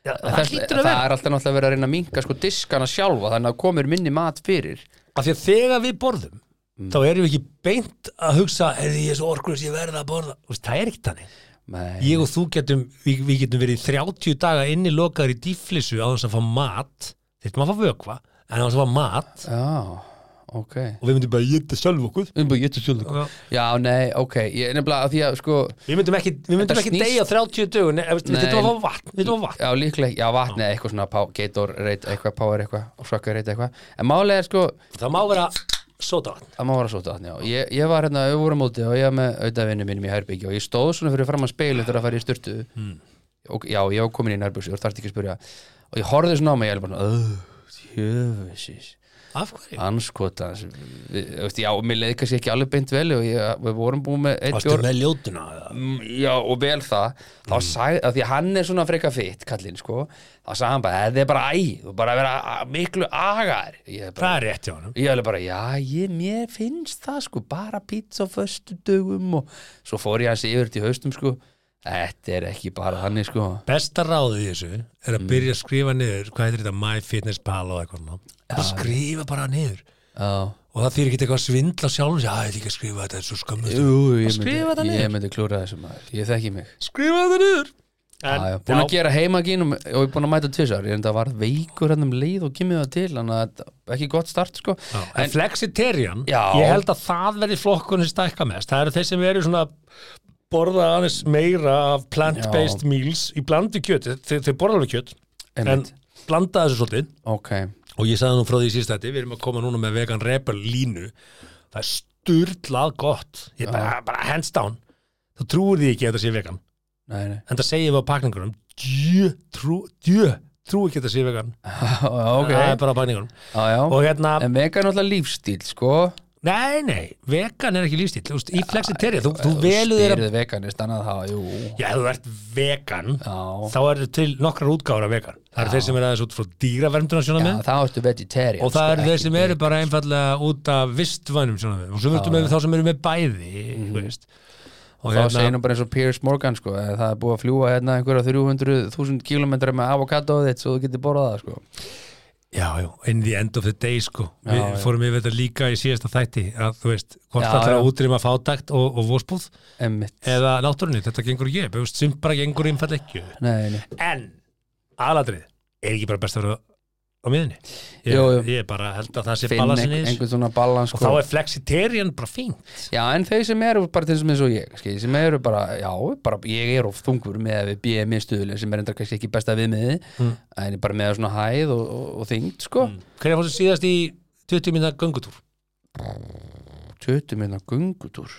D: Já, það
C: Þess,
D: hlýtur
C: það
D: að vera,
C: er alltaf náttúrulega verið að reyna að minka sko diskana sjálfa þannig að komur minni mat fyrir
D: af því að þegar við borðum þá erum við ekki beint að hugsa er því ég er svo orkulis, ég verða að borða Þú veist, það er ekki þannig
C: Nei,
D: ég og þú getum, við, við getum verið 30 daga inni lokaður í dýflissu á þess að fá mat, þetta maður að fá vökva en á þess að fá mat
C: já, ok
D: og við myndum bara geta sjálf okkur
C: um bara getur sjálf
D: Já.
C: já, nei, ok, ég nefnilega að því að sko
D: við myndum ekki, við myndum
C: Þetta
D: ekki
C: snýst-
D: deyja á 30 dögun
C: Nei.
D: þetta var vatn, þetta var vatn
C: já, líklega, já, vatni eða eitthvað svona pá- Gator reit eitthvað, Power eitthvað og Soccer reit eitthvað, en málega er sko
D: það má vera sótavatn
C: að má vera svolítið vatni, já, ég, ég var hérna við vorum úti og ég var með auðavinu mínum í Herbyggju og ég stóð svona fyrir fram að speilu þegar að fara í styrtu
D: Hmm.
C: og já, ég var komin í nærbjössu og þarf ekki að spyrja og ég horfði svona á mig, ég er bara jöfisís
D: af hverju?
C: anskotans Við- þú veist, já, mér leið kannski ekki alveg beint vel og ég, við vorum búin með eitt
D: varstu
C: bjór
D: með Hmm. ljótuna eða?
C: Mm, Já, og vel það þá sagði, af því að hann er svona freka fitt kallinn, sko, þá sagði hann bara þetta er bara æ, þú bara að vera a- miklu agar ég er bara,
D: það er rétt hjá hann
C: ég er alveg bara já, ég, mér finnst það sko bara pizza á föstu dögum og svo fór ég hans yfir til haustum, sko þetta er ekki bara þannig, sko
D: besta ráðið í þessu er að byrja að skrifa niður hvað heitir þetta MyFitnessPal og eitthvað svona. bara skrifa bara niður
C: já,
D: og það fyrir ekki eitthvað að svindla sjálfum sér, að ég ætla ekki að skrifa þetta, þetta er svo skammust
C: Jú, ég
D: skrifa það
C: myndi,
D: niður.
C: ég myndi klúra þessu maður ég þekki mig,
D: skrifa þetta niður
C: já, já, búin að gera heimagínum og ég er búin að mæta tvisar, ég er enda varð veikur hann um leið og kemur það til, þannig að þetta- ekki gott start, sko
D: Já, en, flexitarian,
C: Já.
D: ég held að það verði flokkunni stækka mest, það eru þeir sem eru svona borða aðeins meira af plant-based meals í blandu kjöti, þeir, þeir borða alveg kjöt en
C: Einmitt.
D: blanda þessu svolítið
C: ok,
D: og ég sagði nú frá því í síðstætti, við erum að koma núna með vegan rebel línu, það er sturlað gott, ég bara, bara hands down, þú trúir því ekki að þetta sé vegan,
C: nei, nei
D: en það segjum við á pakningunum djö, trú, djö trú ekki að þetta sé vegan,
C: ok,
D: það er bara á pakningunum
C: já, já.
D: og hérna,
C: en vegan er alltaf lífstíl sko
D: Nei, nei, vegan er ekki lífstíl Þú veist, Í flexiteri, þú, þú
C: Þú
D: velur þér að
C: stýrið veganist annað það, jú,
D: Já, ef þú ert vegan
C: Já.
D: þá eru til nokkrar útgáfur af vegan Það eru þeir sem eru aðeins út frá dýraverndunasjónum
C: já, þá ertu vegetarian
D: og það
C: sko,
D: eru þeir
C: ekki-
D: sem eru bara einfallega út af vistvænum sjónum og svo verðum við þá sem eru með bæði þú veist og
C: þá
D: hérna-
C: segir nú bara eins Mhm. og Piers Morgan sko að það er búið að fljúa hérna einhverja 300.000 km með avokadóð þitt svo þú getur borðað það sko
D: já, já, in the end of the day sko við
C: já.
D: fórum yfir þetta líka í síðasta þætti að þú veist, hvort
C: Já,
D: það er
C: já.
D: að útrýma fátækt og, og vóspúð
C: emmitt,
D: eða náttúrunni, þetta gengur ekki upp þú veist, sem bara gengur einfallega ekki upp
C: nei, nei,
D: En aðladrið er ekki bara best að vera á miðinni ég,
C: Jú, jú.
D: ég bara held að það sé
C: finn
D: balansin í
C: einhver,
D: þessu
C: einhvern svona balans
D: og
C: sko.
D: þá er flexitarian bara fínt
C: Já, en þeir sem eru bara til þessum eins og ég skil, sem eru bara, já, bara, ég er of þungur með við BMI stuðuleg sem er enda kannski ekki besta viðmiði
D: Mm.
C: en bara með svona hæð og, og, og þyngd sko.
D: hvernig fórstu síðast í 20 minna göngutúr
C: 20 minna gungutúr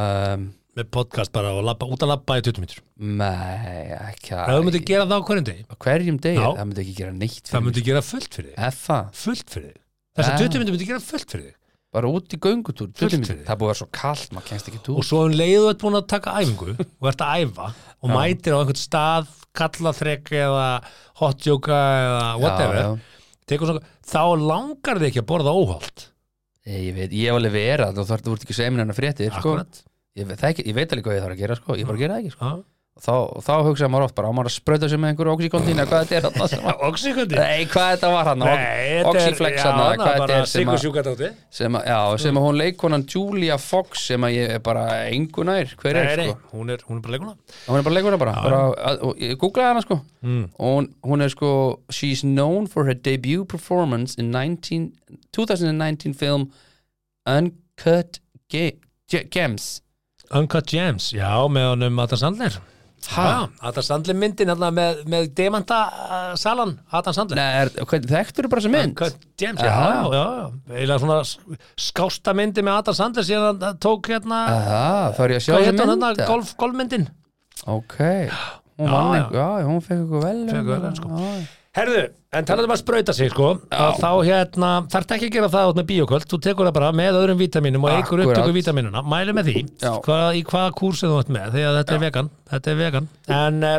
C: um,
D: með podcast bara og labba, út að labba í 20 minnur
C: Nei, ekki
D: ef þú
C: að
D: myndir gera það á hverjum degi
C: á hverjum degi,
D: Já.
C: það myndi ekki gera neitt
D: það
C: fyrir
D: myndir gera fullt fyrir þig
C: mig Eða,
D: fullt fyrir þig þessar
C: Ah.
D: 20 minnur myndir gera fullt fyrir þig
C: bara út í göngutúr 20
D: Fullt
C: mínútur,
D: fyrir.
C: það er búið að vera svo kallt maður kennst ekki
D: og
C: túr
D: svo um leiðu þú ert búin að taka æfingu og ert að æfa og mætir á einhvern stað kallaþrek eða hot yoga eða whatever
C: já,
D: Tekur Svona, þá langar þig ekki að borða óholt
C: já. ég veit, ég hef alveg vera þú þarf þú ert ekki seimin hennar fréttir sko.
D: Akkúrat.
C: ég, veit- það ekki, ég veit alveg hvað ég þarf að gera sko. ég bara gera það ekki sko.
D: Já.
C: þá, þá hugsaði maður oft bara á maður að sprauta sig með einhverju oxykondín eða hvað þetta er þarna sem var-
D: Oxykundi
C: Nei, hvað þetta var hann Oxyflex
D: já,
C: hann, hvað þetta
D: bara
C: er sem að,
D: sykursjúkadátti
C: sem að, já, sem að hún leikonan Julia Fox sem að ég er bara engu nær, hver er sko
D: hún er hún er bara leikuna
C: og hún er bara leikuna bara, bara að, og ég googlaði hana sko
D: Mm.
C: og hún, hún er sko she's known for her debut performance in 19, 2019 film Uncut Ge Ge Gems
D: Uncut Gems, já, með honum Adam Sandler Já, Adam Sandler myndin hérna með, með demanta uh, salan Adam Sandler
C: Nei, er, hvern, þekktur bara sem mynd
D: Uncut Gems, já,
C: Aha.
D: já, já eiginlega svona s- skásta myndi með Adam Sandler síðan hann- hann tók hérna
C: Aha, þá er ég að sjá
D: hvað
C: þessa
D: hérna
C: mynd
D: hérna,
C: eða?
D: golf, golfmyndin
C: ok, hún
D: Já,
C: vann
D: já.
C: einhver já, hún fekk eitthvað vel
D: Fekk verðlaun, sko. Herðu, en talaðu bara að sprauta sig sko að þá hérna, þarf ekki að gera það út með bíoköld, þú tekur það bara með öðrum vítaminum og eigur
C: Akkurat.
D: upptöku vítaminuna, mælu með því
C: Já.
D: hvað, í hvaða kúrsu þú ert með, því að þetta er vegan þetta er vegan, en uh,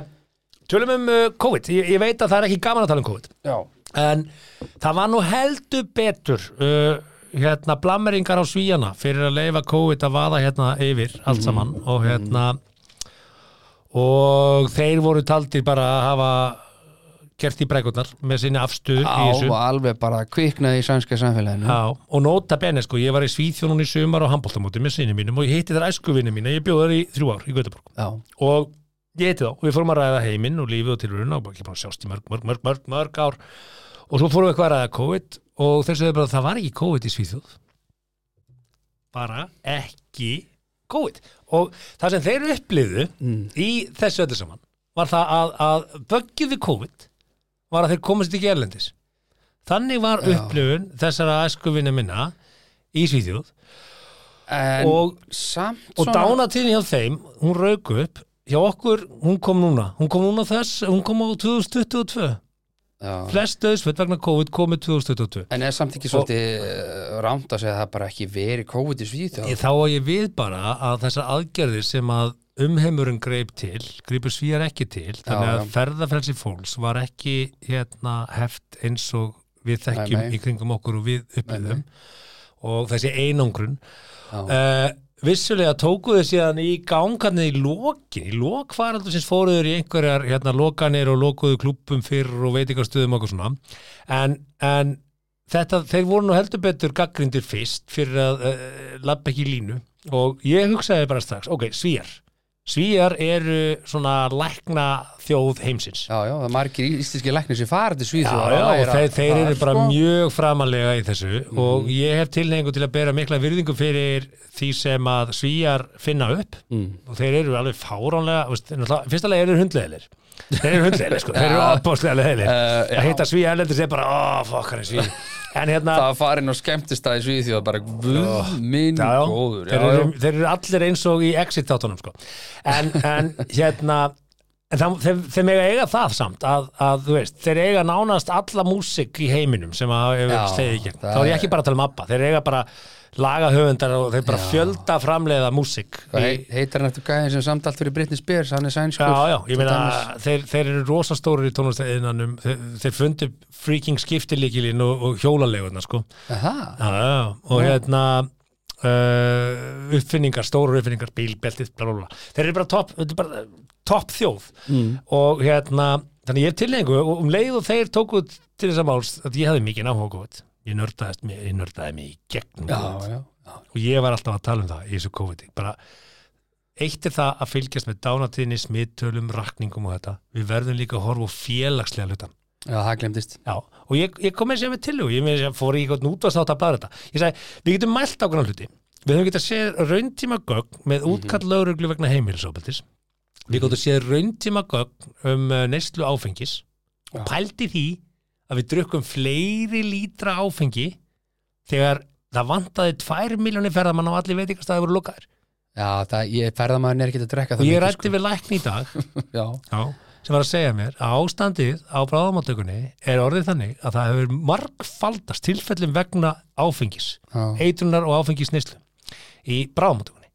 D: tölum um uh, COVID, ég, ég veit að það er ekki gaman að tala um COVID,
C: já,
D: en það var nú heldur betur uh, hérna, blammeringar á svíjana fyrir að leifa COVID að vaða hérna yfir allt saman og hérna og þeir voru taldir bara að hafa gert í bregurnar með sinni afstöðu í
C: á,
D: þessu
C: alveg bara kviknaði í sænska samfélaginu
D: Já, og nota benni sko, ég var í Svíþjónun í sumar á handbóltamóti með sinni mínum og ég hitti þar æskuvinni mína, ég bjóð þar í þrjú ár í Göteborg
C: já,
D: og ég hitti þá og við fórum að ræða heiminn og lífið og tilurinn og bara- ekki bara sjást í mörg, mörg, mörg, mörg, mörg ár og svo fórum við eitthvað að ræða COVID og þeir sögðu bara að það var ekki COVID í Svíþjóð bara ekki COVID og það sem þeir upplifðu í þessu öllu saman var það að, að böggið við COVID var að þeir komast ekki erlendis þannig var upplifun þessara æskuvinni minna í Svíþjóð
C: en
D: Og-
C: samt
D: og dánatíðin hjá þeim, hún rauk upp hjá okkur, hún kom núna hún kom núna þess, hún kom á 2022
C: já.
D: flest döðsveit vegna COVID komið 2022
C: En er samt ekki svolítið og... rámt að segja að það bara ekki verið COVID í Svíþjóð?
D: Ég, þá á ég við bara að þessar aðgerðir sem að umheimurinn greip til, greipur svíjar ekki til, þannig að
C: já.
D: ferðafrelsi fólks var ekki hérna heft eins og við þekkjum
C: nei.
D: í kringum okkur og við upplifum og þessi einangrun.
C: Já.
D: Uh, vissulega tókuðu síðan í gangarnið í lokin, í lok faraldur sinns fóruður í einhverjar hérna lokanir og lokuðu klúppum fyrr og veitingastöðum og okkur svona, en, en þetta, þeir voru nú heldur betur gaggrindir fyrst fyrir að uh, labba ekki í línu og ég hugsaði bara strax, ok, svíjar svíjar eru svona lækna þjóð heimsins
C: Já, já, það er margir íslenski læknir sem fara til Svíþjóð
D: já, og þeir, þeir eru bara
C: sko. Mhm.
D: mjög framalega í þessu og ég hef tilhengu til að bera mikla virðingu fyrir því sem að svíjar finna upp
C: Mm.
D: og þeir eru alveg fáránlega veist, náttúrulega- fyrst alveg eru þeir hundleðilir þeir eru hundleðilir sko, þeir eru
C: Já.
D: opbóðslega leðilir
C: Eh, já.
D: að hitta svíja erlendis er bara, ó, fokk hann er svíja en hérna,
C: Það að fara inn á skemmtistað í Svíþjóð bara, guð minn
D: já, já.
C: góður
D: þeir,
C: já,
D: eru, þeir eru allir eins og í exit þáttunum sko. en, en hérna en það, þeir, þeir mega eiga það samt að, að þú veist, þeir eiga nánast alla músik í heiminum sem að hefur
C: Já,
D: stegið í gegn,
C: það
D: þá er ég
C: er-
D: ekki bara að tala um abba þeir eiga bara laga höfundar og þeir bara fjölda framleiða músik
C: Hvað
D: í,
C: hei- heitir hann eftir gæðin sem samtalt fyrir Britney Spears, hann er sænskur
D: Já, já, ég
C: til
D: meina
C: dæmis.
D: þeir, þeir eru rosastórir í tónlistæðinanum þeir, þeir fundu freaking skiptilíkilin og, og hjólalegurna sko
C: Aha,
D: já, já, já. og hérna uh, uppfinningar, stóru uppfinningar bílbeltið, bla bla bla þeir eru bara topp top þjóð
C: Mm.
D: og hérna, þannig ég er tilhengu og um leið og þeir tóku til þess að máls að ég hefði mikið náhuga COVID ég nördaðist mig, ég nördaði mig í gegnum
C: já,
D: COVID.
C: já
D: og ég var alltaf að tala um það í þessu COVID bara, eitt er það að fylgjast með dánatíðinni, smittölum, rakningum og þetta, við verðum líka að horfa á félagslega hlutan
C: Já, það glemdist
D: Já, og ég, ég kom með sér með tillögu, ég með sér fór í eitthvað útvarsnátt að blaða þetta. Ég sagði, við getum mælt ákveðan hluti. Við höfum getað séð rauntíma gögn með útkall
C: Mhm.
D: lögreglu vegna heimilisofbeldis. Við getum séð rauntíma gögn um uh, neyslu áfengis og pældi því að við drukkum fleiri lítra áfengi þegar það vantaði tvær miljónir ferðamann á allir veitingastæði voru lokaðir.
C: Já, það, ég ferðamaðurinn er ekki að drekka
D: Og
C: það
D: ég
C: mikið,
D: rætti við lækni í dag
C: sko. Já,
D: Já. sem var að segja mér að ástandið á bráðamáttökunni er orðið þannig að það hefur margfaldast tilfellum vegna áfengis
C: já,
D: eitrunar og áfengis neyslu í bráðamáttökunni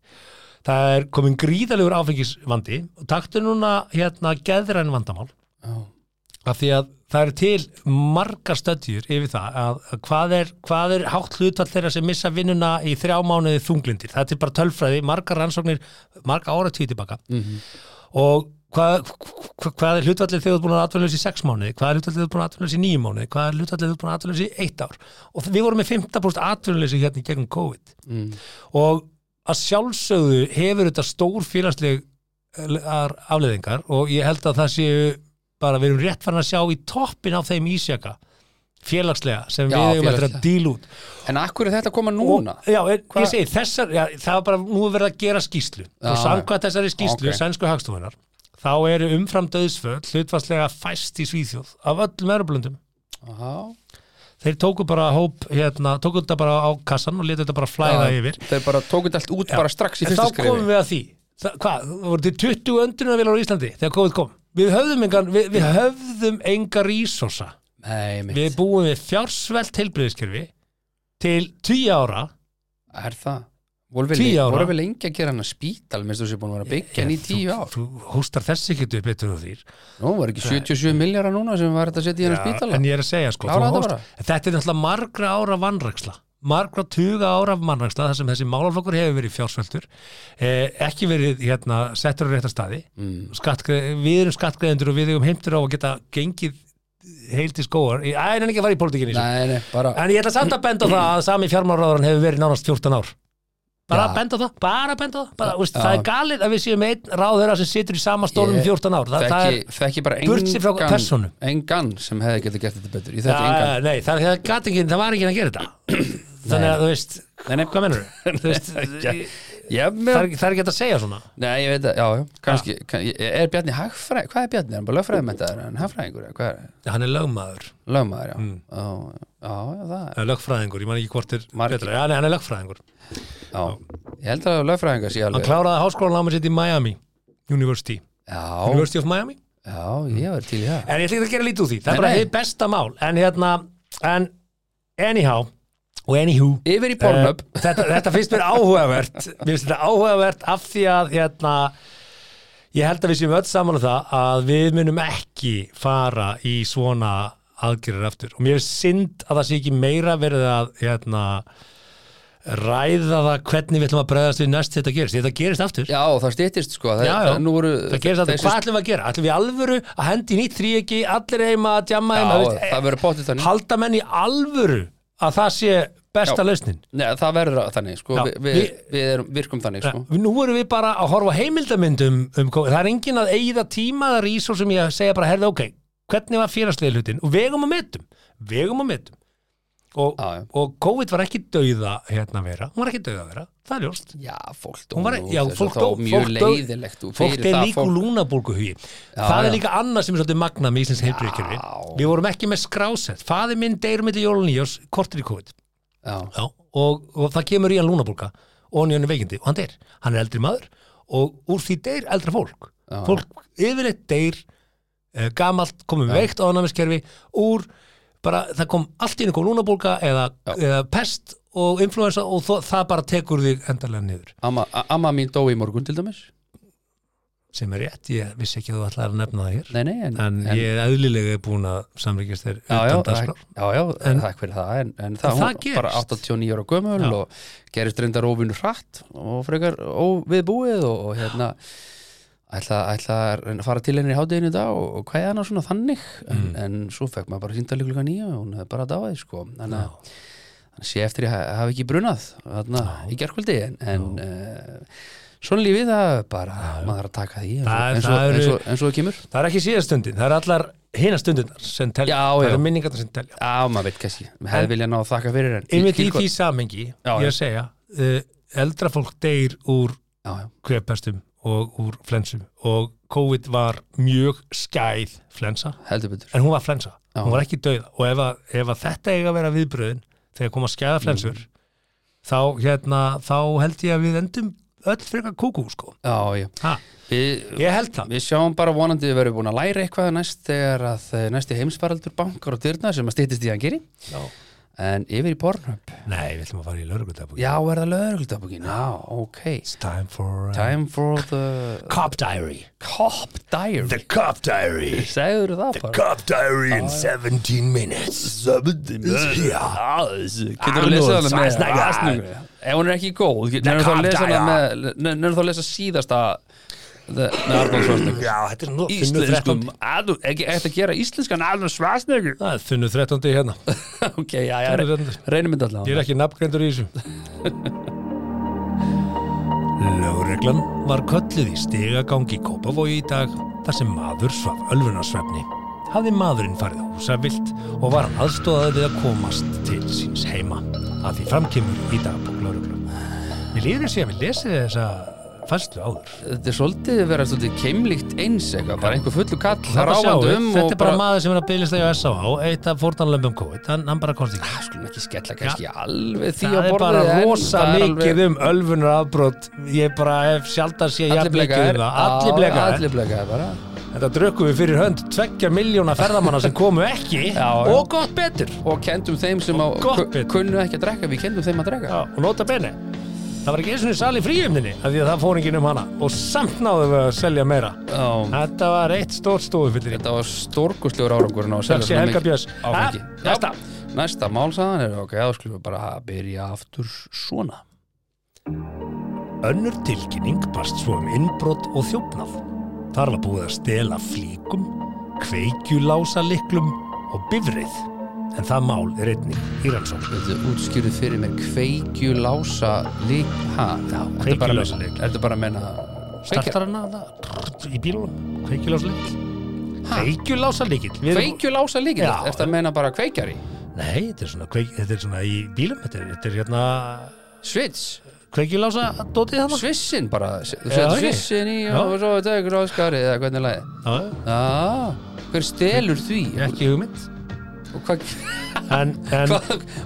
D: það er komin gríðalegur áfengisvandi og taktu núna hérna geðræn vandamál
C: já.
D: af því að það eru til margar stöðjur yfir það að að hvað er, hvað er hátt hlutfall þeirra sem missa vinnuna í þrjá mánuði þunglindir það er til bara tölfræði, margar rannsóknir margar ára tíu tilbaka og hvað, hvað, hvað er hlutvallið þegar þú ert búin að atvinnulegs í sex mánuði hvað er hlutvallið þegar þú ert búin að atvinnulegs í níu mánuði hvað er hlutvallið þegar þú ert búin að atvinnulegs í eitt ár og við vorum með 15% atvinnuleysi hérna í gegnum COVID
C: Mm.
D: og að sjálfsögðu hefur þetta stór félagslegar afleðingar og ég held að það séu bara við erum rétt farin að sjá í toppin af þeim ísjaka félagslega sem
C: Já,
D: við hefum eftir að
C: félagslega.
D: díla út
C: En akkur er þetta að koma
D: og,
C: núna?
D: já, en,
C: Hva-
D: ég segi þessar, já, það var bara nú er verið að gera skýslu
C: Já,
D: og samkvæmt þessari skýslu
C: Ok.
D: sænsku hagstofunar þá eru umfram döðsföll hlutfarslega fæst í Svíþjóð af öllum erublöndum
C: Já,
D: þeir tóku bara hóp hérna, tóku þetta bara á kassan og letu þetta bara flæða
C: Já,
D: yfir
C: Þeir bara tóku þetta allt út bara strax í
D: en þá
C: fyrsta
D: komum
C: skrifi
D: við að því Þa, hvað, það voru til 20 öndunarvilar á Íslandi þegar COVID kom við höfðum engan, við, við höfðum enga resursa
C: Nei, mitt,
D: við búum við fjársvelt heilbriðiskerfi til 10 ára
C: er það? Voru við,
D: Tíu
C: lengi,
D: ára.
C: voru við lengi að gera hana spítal minnst þú sé búin að vera að byggja hann í tíu ár
D: þú, þú hóstar þessi ekki upp betur þú þýr
C: Nú, var ekki 77 miljara núna sem var þetta að setja í hana spítala
D: en ég er að segja sko
C: Klára
D: þú
C: þetta
D: hóst- en þetta er náttúrulega margra ára vanræksla margra tuga ára vanræksla þar sem þessi málaflokkur hefur verið fjársveltur eh, ekki verið hérna, settur á réttar staði
C: Mm.
D: Skattgre við erum skattgreðendur og við erum heimtur á að geta gengið heilt í skóar Æ, en ekki að fara í pólitíkinni sko.
C: Nei, nei, bara
D: en ég ætla samt að benda á það að sami fjármálaráðan hefur verið nánast 14 ár bara
C: Já.
D: að benda á það, bara að benda á það bara, úst,
C: Já.
D: það er galið að við séum einn ráðherra sem situr í sama stólum
C: Ég
D: í 14 ár það, það er,
C: þekki, þekki bara
D: burt sér frá
C: engan,
D: persónu.
C: engan sem hefði getið gert þetta betur Ég
D: ja,
C: þekki engan
D: nei, það, það, gat ekki, það var ekki að gera þetta þannig að þú veist nei, nei, hvað menur þú veist,
C: Ég,
D: það,
C: með,
D: er, það er ekki hægt að segja svona
C: Nei, ég veit að, já, já, kannski kann, Er Bjarni hagfræð, hvað er Bjarni? Er hann bara lögfræðmentaður, en hagfræðingur, eða hvað er
D: hann er lögmaður,
C: lögmaður, já
D: Mm.
C: Já, já, já, það er
D: eða lögfræðingur, ég man ekki hvort er
C: Margir.
D: betra, ja, nei, hann er lögfræðingur
C: Já, ég held að lögfræðingar sé
D: hann
C: alveg
D: kláraði háskólanámið sitt í Miami University,
C: Já,
D: University of Miami
C: já, ég var til í það
D: En ég ætla ekki að gera lítið úr því, það
C: Nei,
D: er bara
C: nei.
D: hið besta mál En hérna, en anyhow og anywho
C: Yfir í Pornhub
D: Eh, þetta, þetta finnst mér áhugavert Mér finnst þetta áhugavert af því að hérna, ég held að við séum öll saman um það að við munum ekki fara í svona aðgerðir aftur og mér er synd að það sé ekki meira verið að hérna, ræða það hvernig við ætlum að bregðast við næst þetta gerist, þetta gerist aftur
C: Já, það stýttist sko það,
D: Já, já,
C: það, nú eru,
D: það gerist alltaf,
C: þessi-
D: hvað ætlum við að gera? ætlum við í alvöru að hendi í nýtt þríegi, allir heima að djamma
C: Já,
D: heima, þú veist,
C: það verður bóttið þannig
D: halda menn í alvöru að það sé besta
C: Já.
D: lausnin
C: Nei, það verður að- þannig, sko
D: Já,
C: við, við,
D: við-
C: við erum, virkum þannig, sko
D: Nú erum við bara að horfa á heimildamyndum um, kó- það er engin að eigða tíma eða rísó sem ég segja bara, herði, ok, hvernig var félagslega hlutin og vegum og metum vegum og metum og,
C: Já, já.
D: og COVID var ekki dauða hérna vera, hún var ekki dauða vera, það er ljóst
C: Já, fólk dó
D: Hún var,
C: nú,
D: já,
C: þess að
D: fólk
C: þá
D: dó,
C: Mjög
D: fólk dó-
C: leiðilegt og
D: fólk
C: fyrir
D: er
C: það
D: líku lúnabólgu hugi það
C: já.
D: er líka annað sem er svolítið magnað með Íslands heilbrigðkerfi
C: Já.
D: við vorum ekki með skrásett, faði minn deyrum milli jólun í oss, kortur í COVID
C: Já,
D: Já, og, og það kemur í hann lúnabólka og hann í hann veikindi og hann deyr hann er eldri maður og úr því deyr eldra fólk
C: Já.
D: fólk yfirleitt deyr eh, gamalt, komum veikt ofnæmiskerfi úr bara, það kom allt í einu kom lúnabólka eða,
C: Já.
D: eða pest og influensa og þó, það bara tekur þig endarlega niður
C: amma, a- amma mín dó í morgun til dæmis
D: sem er rétt, ég vissi ekki að þú ætlaði að nefna það hér
C: Nei, nei, en,
D: en, ég er eðlilega búin að samlíkjast þér
C: Já, já,
D: utan
C: það-
D: dagskrá.
C: já, já, takk fyrir það en, en það,
D: það
C: hún bara
D: gerist.
C: 89 ára gömul
D: Já.
C: og gerist reyndar óvinu hratt og frekar óviðbúið og, og hérna ætla, ætla að reyna að fara til henni í hádeginu í dag og, og hvað er hana svona þannig en,
D: Mm.
C: en svo fekk maður bara síndali klukka nýja og hún hefði bara dáið sko þannig að hann sé eftir að hafa ekki brunað þarna, í gerkvöldi en, en uh, svona lífið það er bara, maður þarf að taka því eins og,
D: Það-
C: eins og,
D: það eru-
C: eins og, eins og það kemur
D: Það er ekki síðastundin, það er allar hina stundunar sem telja,
C: Já, já.
D: það er minningarnar sem telja
C: Já, maður veit kannski, maður hefði viljað ná að þakka fyrir en
D: einmitt í
C: Ég-
D: því samengi,
C: Já,
D: ég
C: já.
D: er að segja uh, eldra fólk deyr úr
C: Já, já,
D: kvepestum og úr flensum og COVID var mjög skæð flensa,
C: heldur betur
D: en hún var flensa
C: Já.
D: hún var ekki dauða og ef, að, ef að þetta eiga að vera viðbröðin þegar koma
C: Mm.
D: skæða flensur þá, hérna, þá held ég að við endum öll frekar kúkú sko.
C: Já, já,
D: Ha,
C: við,
D: ég held það
C: við sjáum bara vonandi við verðum búin að læra eitthvað næst þegar að eh, næsti heimsfaraldur bankar og dyrna sem að stýttist í hann geri
D: Já.
C: en yfir í Pornhub
D: Nei, við ætlum að fara í lögreglutabúki
C: Já, er það lögreglutabókin? Já, ok
D: It's time for uh,
C: Time for the
D: Cop Diary
C: Cop Diary
D: Cop Diary
C: Segður það bara
D: Cop Diary
C: Ah,
D: in 17 minutes yeah.
C: Ah, Getur þú að
D: Arnold
C: lesa hana með
D: Schwarzenegger.
C: Asningu? Ef hún er ekki góð, nefnir þú
D: Cop
C: að lesa hana
D: Diary.
C: með nefnir þú að lesa síðasta the- með Arnold Svarsningu
D: Já, þetta er nú þunnu
C: Íslenskum
D: 13.
C: Arnold, ekki eftir að gera íslenskan Arnold Svarsningu
D: Það er þunnu 13. hérna
C: Ok, já, já,
D: Þunnu 13.
C: reynum þetta
D: Ég
C: allavega
D: er ekki nafngreindur í þessu Lögreglan var kölluð í stigagangi í Kópavogi í dag þar sem maður svaf ölfunarsvefni. Hafði maðurinn farið húsavilt og var hann aðstóðað við að komast til síns heima að því framkemur í dagbók lögreglan. Mér líður sér að mér lesi þessa fæslu áður.
C: Þetta er svolítið vera svolítið keimlíkt eins eitthvað, bara einhver fullu kall
D: Þetta sjáum
C: ráfandi
D: við,
C: um
D: þetta
C: og
D: er bara maður sem er að bygglist að SAH, eitt af fórtanlömbum COVID, hann, hann bara komst ekki.
C: Ah, skulum ekki skella kannski alveg því
D: það
C: að
D: er bara
C: borðið en
D: rosa
C: það er alveg-
D: mikið um ölfunar afbrot ég bara hef sjálft að sé
C: Allir
D: jafn mikið um
C: blekaðir
D: það, allir blekaðir
C: Allir blekaðir bara
D: þetta drökkum við fyrir hönd tveggja miljóna ferðamanna sem komu ekki
C: Já, já.
D: og gott betur
C: Og kendum þeim sem á,
D: gott
C: ku-
D: betur.
C: kunnu ekki að drekka Við kendum þeim að drekka
D: já, og nota bene það var ekki eins og sal í fríumninni af því að það fór enginn um hana og samt náðum við að selja meira
C: Já,
D: þetta var eitt stórt stofu fyrir
C: Þetta var stórkustlegur árangur ná að
D: Þökk sé
C: selja svona
D: Helga
C: mikið
D: Björns.
C: áfengi.
D: Ha,
C: Já,
D: næsta.
C: Næsta málsaðan er ok, þá skulum við bara að byrja aftur svona
D: Önnur tilkynning barst svo um innbrott og þjófnað. Þar var búið að stela flíkum, kveikjulása liklum og bifrið. En það mál er einnig í rannsókn.
C: Þetta er útskjúrið fyrir mér kveikjulása lík ha, Já,
D: kveikjulása lyk.
C: Þetta er bara að menna
D: Startar hann að það í bílunum? Kveikjulása likl? Kveikjulása likl?
C: Kveikjulása lík,
D: Já.
C: er þetta að menna bara kveikjari
D: Nei, þetta er svona, kveik, þetta er svona í bílum. Þetta er, þetta er hérna
C: Svits,
D: kveikjulása dótið þarna.
C: svissin bara s- Þú
D: Já,
C: setur
D: ekki.
C: svissin í
D: Já.
C: og svo þetta er gráskari eða hvernig lagi
D: Já, já,
C: Já, hver stelur því
D: ekki hugmynd.
C: og hva,
D: En, en,
C: hva,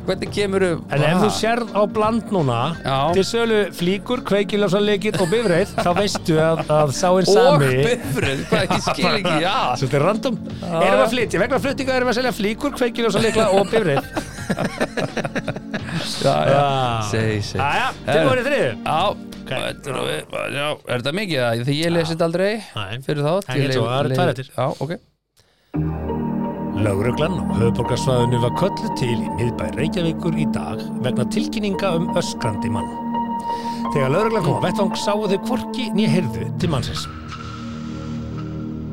C: hvernig kemur upp
D: en ef þú sérð á bland núna
C: Já.
D: til sölu flíkur, kveikjulása likl og bifrið, þá veistu að, að sáinn
C: og
D: sami
C: bifröð, hvað ég skil ekki já,
D: Svolítið random Erum við að flytja, vegna flyttinga erum við að selja flíkur, kveikiljósa líkla og bifrið
C: já, já. segi, segi
D: Jæja, tilbúin í þriðu
C: já, þetta er alveg- já, er þetta mikið það, því ég lesi þetta aldrei
D: Nei.
C: fyrir þá
D: En ég trú, það eru tvær eftir.
C: já, ok
D: Lauruglan á höfuborgarsvæðinu var köllu til í miðbæ Reykjavíkur í dag vegna tilkynninga um öskrandi mann Þegar lauruglan kom á vettvang sáu þau hvorki nýja heyrðu til mannsins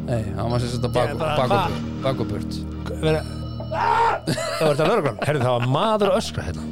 C: Nei, hann var sem sagt að
D: Ég er bara-
C: baka baka burt
D: vera Það var þetta lögreglan, herrðu það var maður að öskra hérna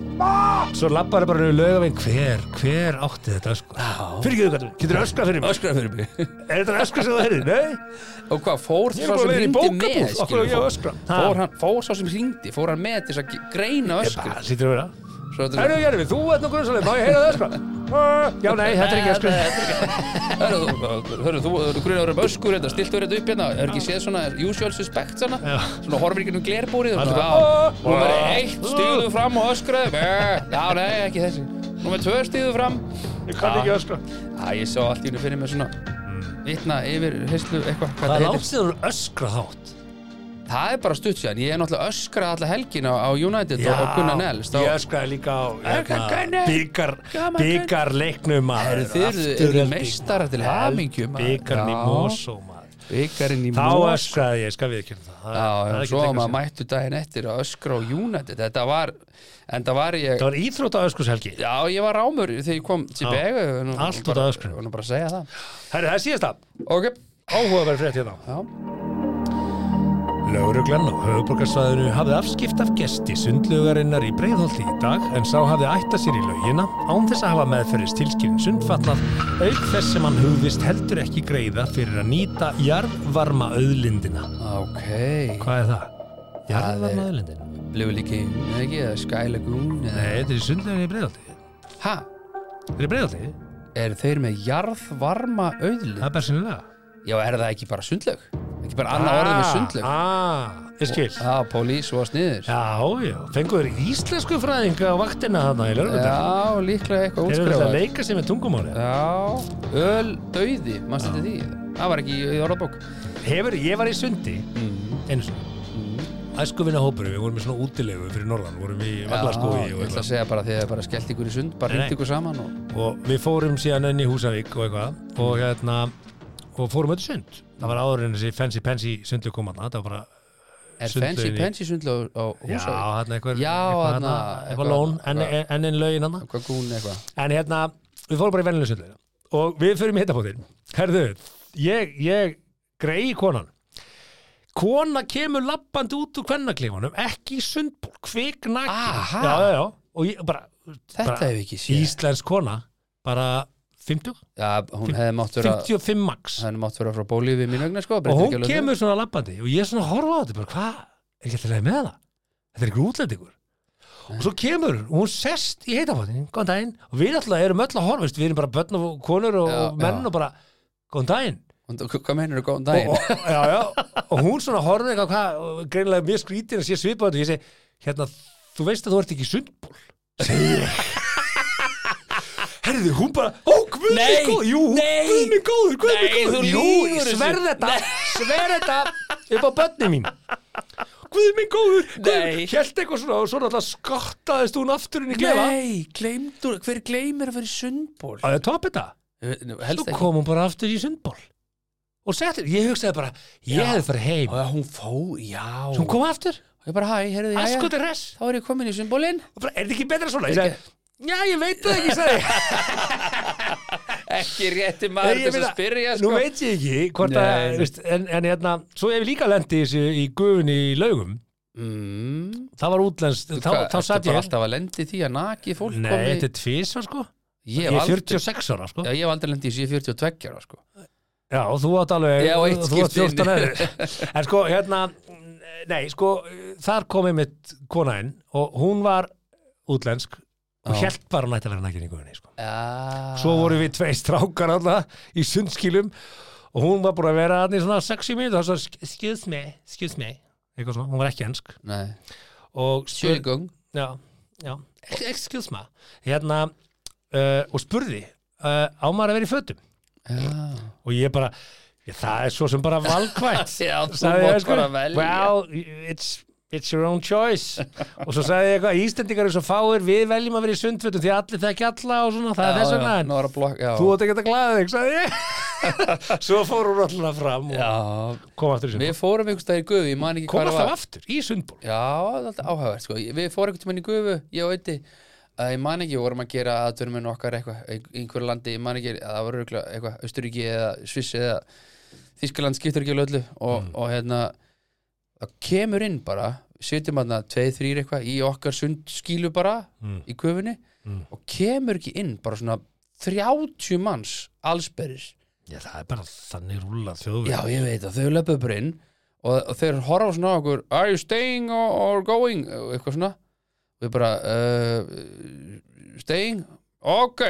D: Svo labbaði bara niður laugavinn Hver, hver átti þetta öskra? Fyrir getur þetta, getur þetta öskra fyrir mig?
C: öskraði fyrir mig
D: Er þetta öskra sem þú heyrði? Nei,
C: og hvað, fór
D: ég
C: sá
D: er bara
C: sem
D: að vera í
C: hringdi með
D: bókabúð Okkur
C: skilur,
D: og ég að
C: fór,
D: öskra
C: fór, hann, fór sá sem hringdi fór hann með til þess að ge- greina öskur
D: Það sýttir að vera
C: Svo þetta
D: Herru, Jörfi, þú ert nú grunnsalið, má ég heyra það öskra? Já, nei, þetta er ekki öskra
C: Hörru, þú- hörru, þú eru grunar um öskur hérna, stiltur þetta upp hérna, er ekki séð svona usual suspects hérna? hana,
D: Já.
C: svona horfir ekki um glerbúrið og
D: Alltaf
C: svona,
D: bara,
C: á, númer eitt stíðu fram og öskraðu, "Bæ." já, nei, ekki þessi, númer tvö stíðu fram,
D: Ég kann ekki öskra
C: já, ég sá allt í hennu fyrir mér svona, vitna yfir, heyslu, eitthvað, hvað
D: Það
C: þetta heitir.
D: látt sér öskra þátt
C: Það er bara stutt sér, ég er náttúrulega öskrað alla helgina á United og, og Gunnar Nels,
D: ég
C: þá,
D: öskraði líka á
C: Öskra Gunnar.
D: byggar,
C: Gaman Gunnar.
D: byggar leiknum maður
C: Herru, þið eruð- eruð meistarar til hamingju, maður.
D: byggarn í
C: Já.
D: Mosó maður
C: byggarinn í
D: Þá
C: Mós.
D: öskraði ég, skal við ekki það. það.
C: Já,
D: það
C: já,
D: er ekki
C: svo að
D: lengra
C: maður
D: síðan.
C: mættu daginn eftir að öskra á United, þetta var, en það var ég,
D: Það var íþróta öskushelgi.
C: Já, ég var rámur þegar ég kom til
D: Já.
C: Begu
D: Allt út af öskrinu.
C: Nú bara að segja það
D: Herri, það er síðasta.
C: Ok,
D: Áhugaverð frétt hérna.
C: já
D: Lauruglan á höfuborgarsvæðinu hafði afskipt af gesti sundlugarinnar í Breiðholti í dag en sá hafði ætta sér í laugina án þess að hafa meðferðist tilskilin sundfallað auk þess sem hann hugðist heldur ekki greiða fyrir að nýta jarðvarma auðlindina.
C: Ok
D: Hvað er það? Jarðvarma auðlindina?
C: Blefu líki, eða ekki, eða Sky Lagoon eða...
D: Nei, þetta er sundlugarinn í Breiðholti.
C: Ha,
D: Þetta er Breiðholti?
C: er þeir með jarðvarma auðlið?
D: Það er bersinlega.
C: Já, er það ekki bara sundlög? Ekki bara annað orðið með sundlög?
D: Ah, ég skil.
C: Já, pólís og sniður
D: Já, já, fengur íslensku fræðinga á vaktina þarna í lörgutum.
C: Já, líklega
D: Þeir eru alltaf að
C: eitthvað útskrifað
D: leika sér með tungumálið.
C: Já, öl dauði, mannst þetta því Það var ekki í orðabók
D: Hefur, ég var í sundi
C: Mhm.
D: einu sinni mm. Æskuvina hópurum, við vorum í svona útilegu fyrir norðan vorum í
C: Já,
D: vallarskói
C: Ég
D: og,
C: ætla að
D: eitthvað.
C: segja bara að þið hefur bara skellt ykkur í sund bara
D: Nei,
C: hringt
D: nei.
C: ykkur saman og
D: og við fórum síðan enn í Húsavík og eitthvað og hérna og fórum öll í sund það var áður en þessi fancy pansy sundu kom hana það var bara,
C: Er
D: Sundlaugin
C: fancy
D: í-
C: pensi sundlög á
D: já,
C: húsavík?
D: hérna eitthvað
C: Já,
D: eitthvað,
C: þarna,
D: þarna,
C: eitthvað-
D: eitthvað lón, E enn
C: eitthvað-
D: en, en lögin hana
C: Hvað gún eitthvað?
D: en hérna, við fórum bara í vennilega sundlegina og við fyrir með hittapóttin herðu, ég, ég grei konan kona kemur lappandi út úr kvennakleifanum ekki í sundból, kviknaki
C: Aha.
D: já, já, já, og ég bara
C: Þetta
D: bara,
C: hef ég ekki séð.
D: Íslensk kona, bara 50,
C: Já, hún hefði mátt vera
D: 55 max
C: hann mátt vera frá Bólífi mín vegna sko
D: og
C: breytir ekki
D: hún
C: alveg
D: kemur svona lappandi og ég svona horfa á þetta, bara hvað er ekki alltaf leið með það? Þetta er ykkur útlendingur og svo kemur hún, og hún sest í heitafóttin, góðan daginn og við alltaf erum öll að horfa, veist, við erum bara börn og konur og,
C: Já,
D: og menn
C: já.
D: og bara góðan daginn
C: Hún- Hvað meinar þú góðan daginn?
D: og, og, já, já, og hún svona horfði eitthvað hvað, og greinilega mjög skrítin að sé svipað og ég segi, hérna, þú veist að þú ert ekki í sundból Herðu, hún bara, ó, guð
C: Nei,
D: minn góður, jú,
C: nei.
D: guð minn góður, guð minn
C: Nei,
D: góður,
C: þú
D: jú,
C: lýgur
D: ég
C: þessu.
D: sverð þetta, sverð þetta upp á börni mín. Guð minn góður, guð
C: Nei.
D: minn, hjælt eitthvað svona og svo náttúrulega skottaðist hún aftur inn í klefa.
C: Nei, gleymdur, hver gleymir að vera í sundból?
D: Að það topi þetta,
C: Helst
D: svo
C: ekki
D: kom hún bara aftur í sundból og settir, ég hugsaði bara, ég
C: Já.
D: hefði farið heim.
C: Já, hún fó, já
D: Svo hún kom aftur,
C: Ég bara, hæ, heyrðu, já, já
D: askotir res.
C: Þá er ég komin í sundbólinn
D: Og bara, er þetta ekki betra svona? Ég sagði, já, ég veit það ekki, sagði ég.
C: Ekki rétti
D: Nei,
C: maður
D: ég
C: þess að
D: meina,
C: spyrja
D: Nú
C: sko
D: veit ég ekki hvort að,
C: Nei.
D: veist, en, en hérna, svo hef ég líka lendi þessu í gufunni í laugum.
C: Mm,
D: Það var útlenskt, þá,
C: hvað,
D: þá
C: ertu
D: satt
C: bara
D: ég.
C: alltaf að lendi því að naki fólk
D: Nei,
C: komi-
D: þetta er tvísvar sko.
C: Ég
D: Ég
C: hef
D: er
C: aldrei-
D: 46 ára sko.
C: Já,
D: Já,
C: ég hef aldrei lendið í 42 ára sko.
D: og þú átt alveg,
C: Já, og eitt
D: þú átt
C: skipti
D: 14
C: inni.
D: ára. En sko, hérna, nei, sko, þar komið mitt kona inn og hún var útlensk og
C: Já.
D: hjælt bara nætti að vera nægin í gufunni sko.
C: Já.
D: Svo voru við tvei strákar alltaf í sundskilum og hún var búin að vera hann í svona 60 mínútur og svo, excuse me, excuse me eitthvað svona, hún var ekki ensk
C: Nei,
D: og spurði,
C: sjölgung
D: já, já, "E, excuse me hérna, uh, og spurði uh, á maður að vera í fötum
C: Já,
D: og ég bara, ég, það er svo sem bara valkvætt
C: Já, þú
D: Sagði
C: mátt
D: ég, sko,
C: bara velja.
D: well, it's, it's your own choice og svo sagði ég eitthvað, Íslendingar eru svo fáir við veljum að vera í sundfötum því allir þekki alla og svona, það er þess vegna en
C: Nú var að blokk, já
D: Þú átt ekki að glæða þig, sagði ég Svo fór hún alltaf fram og
C: Já,
D: kom aftur í sundból
C: við fórum einhvers dag í gufu, ég man ekki
D: Kom
C: hvað það
D: alltaf
C: var
D: aftur í sundból
C: Já, það er alltaf áhugavert sko Við fórum einhvern tímann í gufu, ég og Öddi að ég man ekki, við vorum að gera aðtörum en okkar eitthvað, í einhverju landi, ég man ekki að það var örugglega eitthvað, Austuríki eða Sviss eða Þískaland skiptur ekki alveg öllu
D: Mm.
C: og, og hérna það kemur inn bara, setjum hann að tveið, þrýr eitthvað, í okkar sundskílu bara
D: Mm.
C: í gufunni og kemur ekki inn bara svona 30 manns allsberðis
D: Já, það er bara þannig rúla þjóðveg
C: Já, ég veit að þau löpuðu bara inn og, og þeir horfa svona á okkur Are you staying or, or going? og eitthvað svona við bara uh, staying? Ok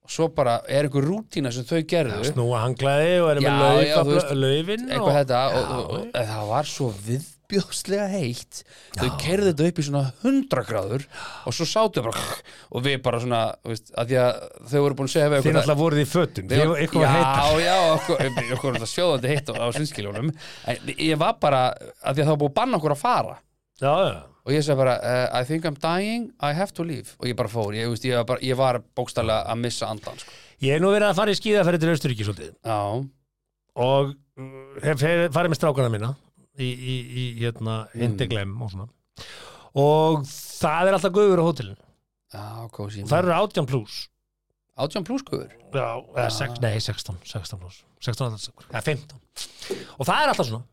C: og svo bara er einhver rútína sem þau gerðu
D: Snúa hanglaði og erum
C: Já, já, þú
D: með
C: veist,
D: laufin
C: eitthvað þetta og, og, og en það var svo viðbjóðslega heitt þau kerðu þetta upp í svona 100 gráður og svo sátu bara og við bara svona, þú veist, að því að þau voru búin að segja við
D: Þið
C: okkur að-
D: alltaf voruð í fötum
C: Við-
D: Þið eitthvað
C: já,
D: að heita
C: já, okkur, okkur er það sjóðandi heitt á, á sinnskiljónum ég var bara, af því að það var búið að banna okkur að fara
D: Já, já
C: og ég sagði bara, uh, I think I'm dying I have to leave, og ég bara fór ég, veist, ég, var, bara, ég var bókstallega að missa andan sko.
D: Ég hef nú verið að fara í skíðaferði til Austuríki svolítið
C: já,
D: og mm, hef hef farið með strákana mína í, í, í hérna Hindeglem og svona og það er alltaf guður á hótelinu
C: já, kósi
D: og það eru átján pluss
C: átján plúskuður
D: Já, eða sex, nei, 16, 16 pluss 16 alltaf, eða 15 og það er alltaf svona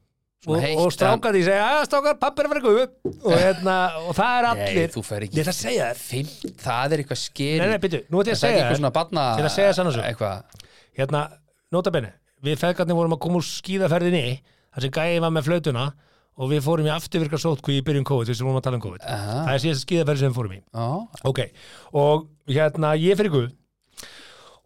D: og,
C: heitt,
D: og strákar því segja, að strákar, pappi er að vera gufu og, hérna, og það er allir
C: Nei, þú fer ekki
D: Ég ætla að segja þér
C: Fimm, það er eitthvað skeri
D: Nei, nei, byrju, nú ætla ég að
C: Það er
D: segja
C: eitthvað
D: þér.
C: svona batna
D: Ég ætla að segja sann og svo.
C: Eitthvað
D: hérna, notabene við feðgarnir vorum að koma úr skíðaferðinni þar sem gæði var með flötuna og við fórum í afturvirka sótkví í byrjun COVID þess að vorum að tala um COVID
C: Aha.
D: það er síðast skíðaferð sem við fórum í
C: Já,
D: ok, og hérna ég fyrir guð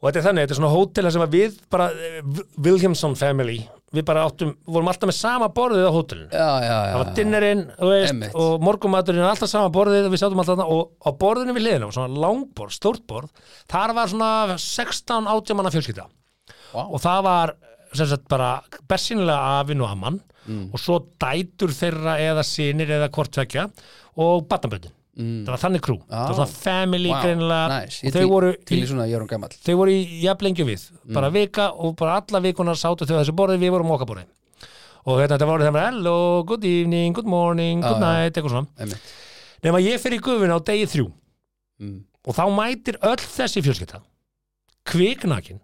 D: og þetta er þannig, þetta er svona hótel þar sem að við bara, eh, Williamson family við bara áttum, vorum alltaf með sama borðið á hótelinu
C: já, já, já
D: það var dinnerinn þú veist,
C: Einmitt.
D: og morgumaturinn alltaf sama borðið og við sátum alltaf þarna og á borðinu við hliðina var svona langborð, stórt borð þar var svona 16-18 manna fjölskylda
C: Vá.
D: og það var sem sagt bara bersýnilega afinn og amman
C: Mm.
D: og svo dætur þeirra eða sinir eða hvort vekja og batnaböndin mm. það var þannig krú, það var svona family
C: Vá,
D: greinilega
C: nice.
D: og þau voru
C: Til
D: í-
C: í svona Jörn Gamall
D: þau voru í jafnlengju við bara
C: Mm.
D: vika og bara alla vikuna sátu þau að þessu borði, við vorum á okkar borði og hérna, þetta voru þeim bara hello, good evening, good morning, good
C: Já, já.
D: night, eitthvað svona
C: Ah. Einmitt.
D: nema ég fer í gufuna á degi þrjú
C: Mm.
D: og þá mætir öll þessi fjölskylda kviknakin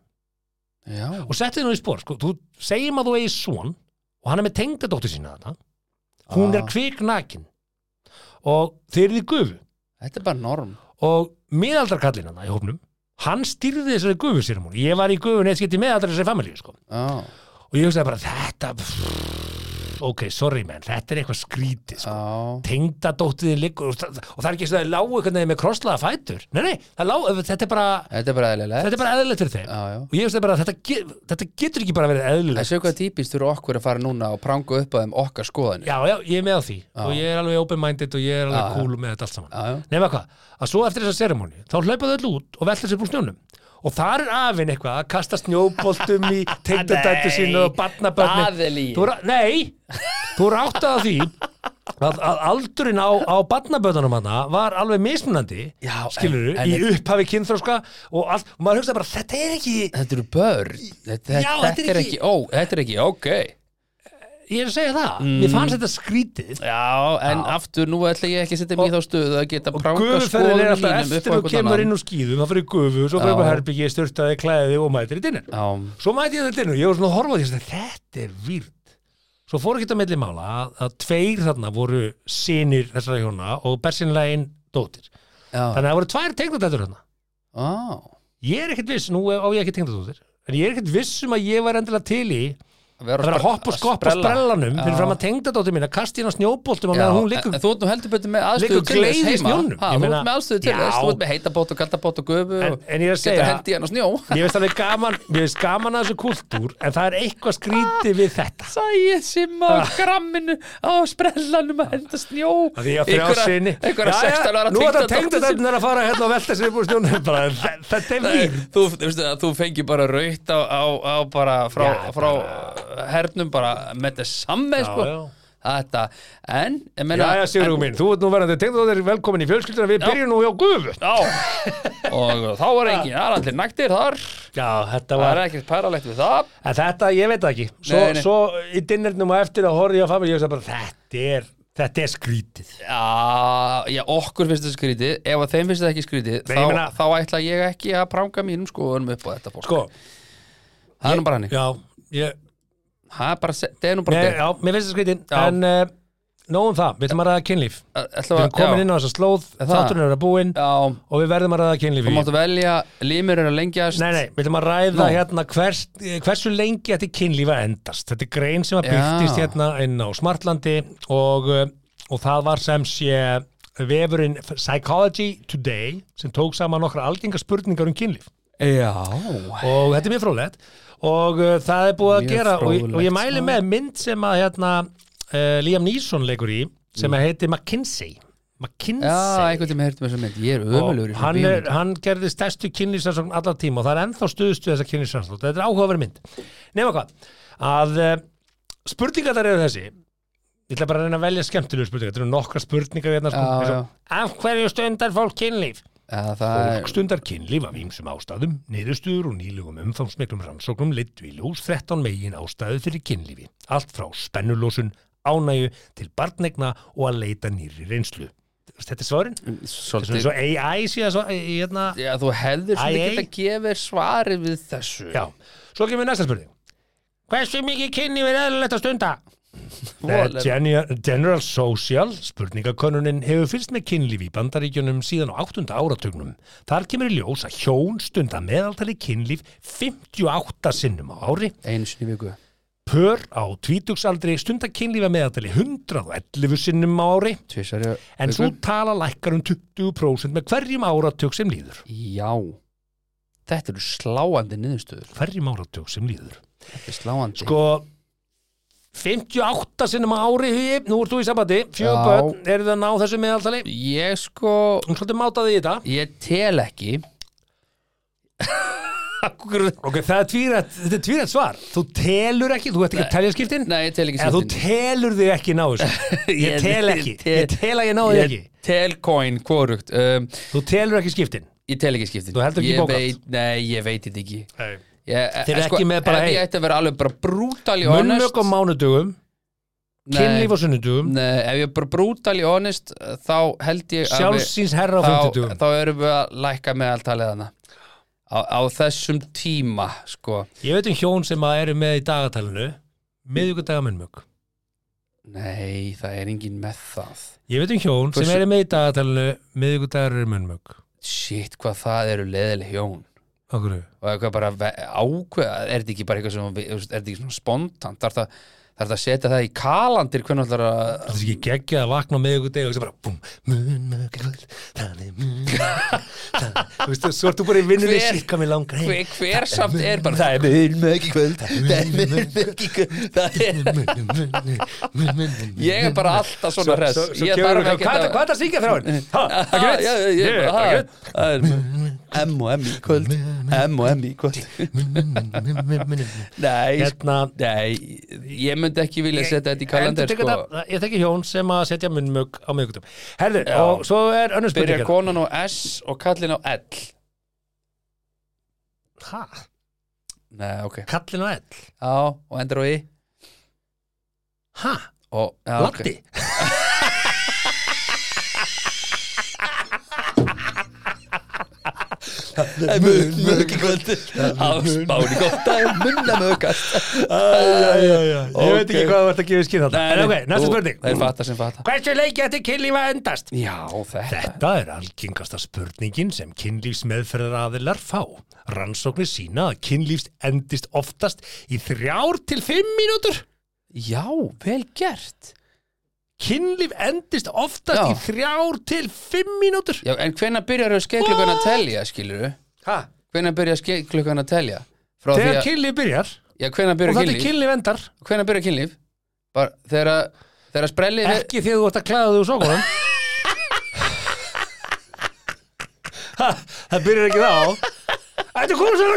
C: Já,
D: og setti nú í spór, sko, þú segjum að þú eigi svon og hann er með tengdadóttir sína þetta hún
C: Ah.
D: er kviknakin og þeir eru í gufu
C: þetta er bara norm
D: og miðaldarkallinn hann í hópnum hann stýrði þessari gufu sér ég var í gufunni eitt skipti með allra þessari familíu sko.
C: Já,
D: og ég hugsaði bara þetta pff, ok, sorry menn, þetta er eitthvað skrítið sko.
C: já
D: tengdadóttiði liggur og, það- og það er ekki svo að það lágu einhvern veginn með krosslaða fætur nei, nei, það lágu, þetta er bara
C: Þetta er bara eðlilegt
D: þetta er bara eðlilegt fyrir þeim
C: Já, já
D: og ég hugsaði bara, þetta, ge- þetta getur ekki bara verið eðlilegt
C: Það séu hvað típist fyrir okkur að fara núna og pranga upp á þeim okkar skoðinu
D: já, já, ég er með á því og ég er alveg open-minded og ég er alveg cool með þetta allt saman
C: Já, já.
D: nema hvað, að svo eftir þessa seremóni þá hlaupaðu öll út og velta sér búr snjónum og þar er afinn eitthvað að kasta snjóboltum í tengdadættu sínu og
C: það er lygi.
D: barnabörni Nei, þú rátt að því að, að aldurinn á, á barnabörnunum hana var alveg mismunandi
C: Já, en-
D: skilur
C: en-
D: í upphafi kynþróska og, allt, og maður hugsa bara, þetta er ekki
C: Þetta eru börn Þetta,
D: Já,
C: þetta,
D: þetta er
C: er
D: ekki-
C: ekki, ó, þetta er ekki, ok
D: ég er að segja það,
C: Mm.
D: mér fannst þetta skrítið
C: Já, en aftur, nú ætla ég ekki að setja mig í þá stöðu að geta pranga
D: Gufuferðin er
C: skoðinu
D: alltaf
C: mínum upp á
D: eftir þú
C: einhvern
D: kemur inn
C: annan
D: úr skýðum, það fyrir gufu, svo fyrir
C: Já.
D: bara herbyggi, styrtaði, klæði og mætir í dinner.
C: Já,
D: Svo mæti ég þetta inn og ég var svona að horfa á því að þetta er výrt. Svo fór ekki þetta milli mála að, að tveir þarna voru sinir þessara hjóna og bersinlega einn dóttir.
C: já,
D: Þannig að það voru tvær tengdadættur þarna.
C: já
D: Ég er ekkert viss, nú á ég ekki tengdadóttir, en ég er ekkert viss um að ég var endilega til í að vera að hoppa og skoppa á sprellanum fyrir fram að tengdadóttir mín að kasta hérna snjóboltum og
C: Já,
D: meðan hún
C: en,
D: liggur
C: en þú ert nú heldur betur með aðstöðu
D: Liggur
C: til þess
D: gleið í
C: heima
D: snjónum,
C: ha,
D: ég
C: Þú
D: meina-
C: ert með aðstöðu til
D: Já.
C: þess, þú ert með heitabót og kaldabót og göfu
D: En-
C: og
D: en ég er að segja-
C: Getur hendi hann á snjó
D: Ég veist alveg gaman, ég veist gaman að þessu kultúr en það er eitthvað skrítið við þetta
C: Sæði sem á gramminu á sprellanum að henda snjó
D: Ah. Af Því að frjá sinni
C: Einhverja 16 ára
D: Nú er þetta
C: tengdadóttur
D: tengdadóttir er að fara hérna og velta sér upp úr snjónum bara, þe- Þetta er
C: Nei,
D: vír
C: þú, þú, veistu það, þú fengi bara raut á, á, á bara frá,
D: Já,
C: frá hernum bara með þetta samme sko.
D: já.
C: þetta en, ég meina-
D: Jæja Sigurður minn, þú ert nú verðandi tengdadóttir velkomin í fjölskylduna, við byrjum nú hjá gufu
C: Já, og þá var engin,
D: Ah.
C: það er allir naktir þar
D: Já, þetta
C: Það er
D: var
C: ekkert pæralegt við það
D: En þetta, ég veit það ekki Svo,
C: Nei, nei.
D: svo í dinnernum og eftir að horfa ég á familju ég veist bara, þetta er, þetta er skrítið
C: Já, já, okkur finnst þetta skrítið Ef að þeim finnst þetta ekki skrítið
D: Nei,
C: þá,
D: ég meina-
C: þá ætla ég ekki að pranga mínum skoðunum upp á þetta fólk
D: Sko,
C: Það er nú bara hann
D: já, ég
C: Það er bara, se- það er nú bara
D: Mér,
C: þeim
D: já, mér finnst það skrítin
C: Já.
D: En uh, nógum það, við ætlum að ræða kynlíf Við
C: Ætla
D: erum komin inn á þessa slóð, þátturinn er að búin
C: Já,
D: Og við verðum að ræða kynlíf
C: þú
D: í
C: máttu velja Límur er að lengjast
D: Nei, nei, við ætlum að ræða
C: Nú.
D: hérna hvers, hversu lengi þetta kynlíf að endast Þetta er grein sem að
C: Já.
D: byrtist hérna inn á Smartlandi og, eh, og það var sem sé vefurinn Psychology Today sem tók saman nokkra algengar spurningar um kynlíf
C: Já
D: og þetta er mjög frólægt og uh, það er búið að
C: Mjög
D: gera og, ég- og ég
C: fróðlegt,
D: mæli
C: sko.
D: með mynd sem að hérna, uh, Liam Neeson leikur í sem að heiti McKinsey McKinsey
C: Mm. Já, einhvern tímann heyrtum þess að mynd Ég er
D: Og
C: ömulegur í svona
D: hann, er,
C: bíómyndum.
D: hann gerði stærstu kynlýsansókn allar tíma og það er ennþá stuðstu þessa kynlýsansókn þetta er áhugaverð mynd nema hvað, að uh, spurningar þar eru þessi ég ætla bara að reyna að velja skemmtilegu spurningar þetta eru nokkra spurningar hérna sko,
C: Já,
D: eins
C: já.
D: og, af hverju stundar fólk kynlíf
C: Já, það
D: Fólk
C: er
D: stundar kynlíf af ýmsum ástæðum, niðurstöður og nýlegum umfangsmiklum rannsóknum leittu í ljós 13 megin ástæðu fyrir kynlífi. Allt frá spennulósun, ánægju til barnegna og að leita nýri reynslu. Þetta er svarin? Þetta er
C: svolítið
D: svo AI síðan svo, eh, hérna.
C: Já, þú hefðir
D: Æ,
C: svona
D: æ.
C: ekki að gefa þér svarið við þessu
D: Já, svo kemur næsta spurning. Hversu mikið kynlíf er eðlilegt að stunda? Eh, Genu- General Social, spurningakönnunin, hefur fyrst með kynlíf í bandaríkjunum síðan á 8. áratugnum. Þar kemur í ljós að hjón stunda meðaltali kynlíf 58 sinnum á ári.
C: einu sinni í viku
D: Pör á tvítugsaldri stunda kynlífa meðaltali 111 sinnum á ári.
C: tvisari
D: En svo tala lækkar um 20% með hverjum áratug sem líður.
C: já þetta eru sláandi niðurstöður
D: Hverjum áratug sem líður.
C: þetta er sláandi
D: Sko, 58 sinnum á ári hugi, nú ert þú í sabati,
C: Já.
D: fjögur börn, eru það að ná þessu meðaltali?
C: ég sko
D: Hún svolítið mátaði í þetta.
C: ég tel ekki
D: Ok, það er tvírætt, þetta er tvírætt svar. Þú telur ekki, þú ert ekki að telja skiptin?
C: nei ég tel ekki
D: En þú
C: skiptin.
D: telur þig ekki ná þessu. Ég tel ekki, ég tel að ég ná þig
C: ég
D: ekki.
C: tel coin korugt um,
D: Þú telur ekki skiptin.
C: ég tel ekki skiptin
D: Þú heldur ekki
C: Ég
D: bókhald?
C: veit, nei ég veit þetta ekki
D: Nei.
C: ég, sko,
D: Þeir eru ekki með bara,
C: ef
D: hey.
C: ég ætti að vera alveg bara brútali
D: Munnmök á mánudugum, kynlíf á sunnudugum,
C: Nei, ef ég er bara brútali honest þá held ég að við-
D: sjálfsins herra á
C: þá,
D: fymtudugum.
C: þá erum við að lækka meðaltalið hana á, á þessum tíma sko,
D: Ég veit um hjón sem að eru með í dagatalinu miðvíkudaga munnmök
C: nei það er engin með það
D: Ég veit um hjón sem
C: Hversu-
D: eru með í dagatalinu miðvíkudagar eru munnmök
C: shit hvað það eru leðileg hjón
D: Okkur
C: og eitthvað bara ve- ákveða er þetta ekki bara eitthvað sem, við- þú veist, er þetta ekki svona spontant þarf það, þarf það að setja það í kalandir hvernig ætlar
D: Það
C: að
D: er ekki geggjað að vakna á miðvíkudaga og það er bara búm, munnmök er kvöld það er munnmök Þú veist, svo ertu bara í vinnunni
C: Hver-
D: síkka mig langar heim
C: hver, hver samt er bara það er
D: munnmök í kvöld
C: það er ég er bara alltaf svona hress ég þarf ekki
D: Hvað hvað er það að syngja frá henn? Ha,
C: Ha,
D: ekki veit?
C: já, já, ég-
D: Ég-
C: ha,
D: ekki veit?
C: það er- M og M í kvöld M og M í kvöld Nei, sk-
D: Hérna,
C: nei Ég myndi ekki vilja setja þetta í kalendar
D: Endurtaka
C: sko.
D: þetta, ég þekki hjón sem að setja munnmögg á miðgutum Herðu, og svo er önnur
C: Byrja
D: spurning hérna.
C: konan á S og kallin á L
D: Ha,
C: Nei, ok
D: kallin og ell
C: Já, og endur á I
D: Ha,
C: og, já, Ah, ok.
D: Latti
C: Mjög, mjög í kvöld Áspáni gott að munna mögast
D: Ég veit ekki
C: Ok.
D: hvað þú ert að gefa skinn þetta En ok, næsta
C: Þeir
D: spurning
C: fata sem fata
D: Hversu leiki þetta kynlífa endast?
C: Já, þetta
D: Þetta er algengasta spurningin sem kynlífsmeðferðaraðilar fá. Rannsóknir sína að kynlífs endist oftast í þrjár til fimm mínútur.
C: Já, vel gert
D: Kynlíf endist oftast
C: Já.
D: í þrjár til fimm mínútur.
C: Já, en hvenær byrjar þau skeiklugan að telja, skilur þau?
D: Ha?
C: Hvenær byrjar skeiklugan að telja? Frá því
D: Þegar
C: að,
D: kynlíf byrjar
C: já, hvenær
D: og
C: byrjar
D: þetta er
C: kynlíf?
D: kynlíf endar,
C: Hvenær byrjar kynlíf? Bara þegar að, þegar að sprellið er,
D: ekki þegar þú ert að klæða þig úr sókunum. Ha, það byrjar ekki þá. Þetta kom svo,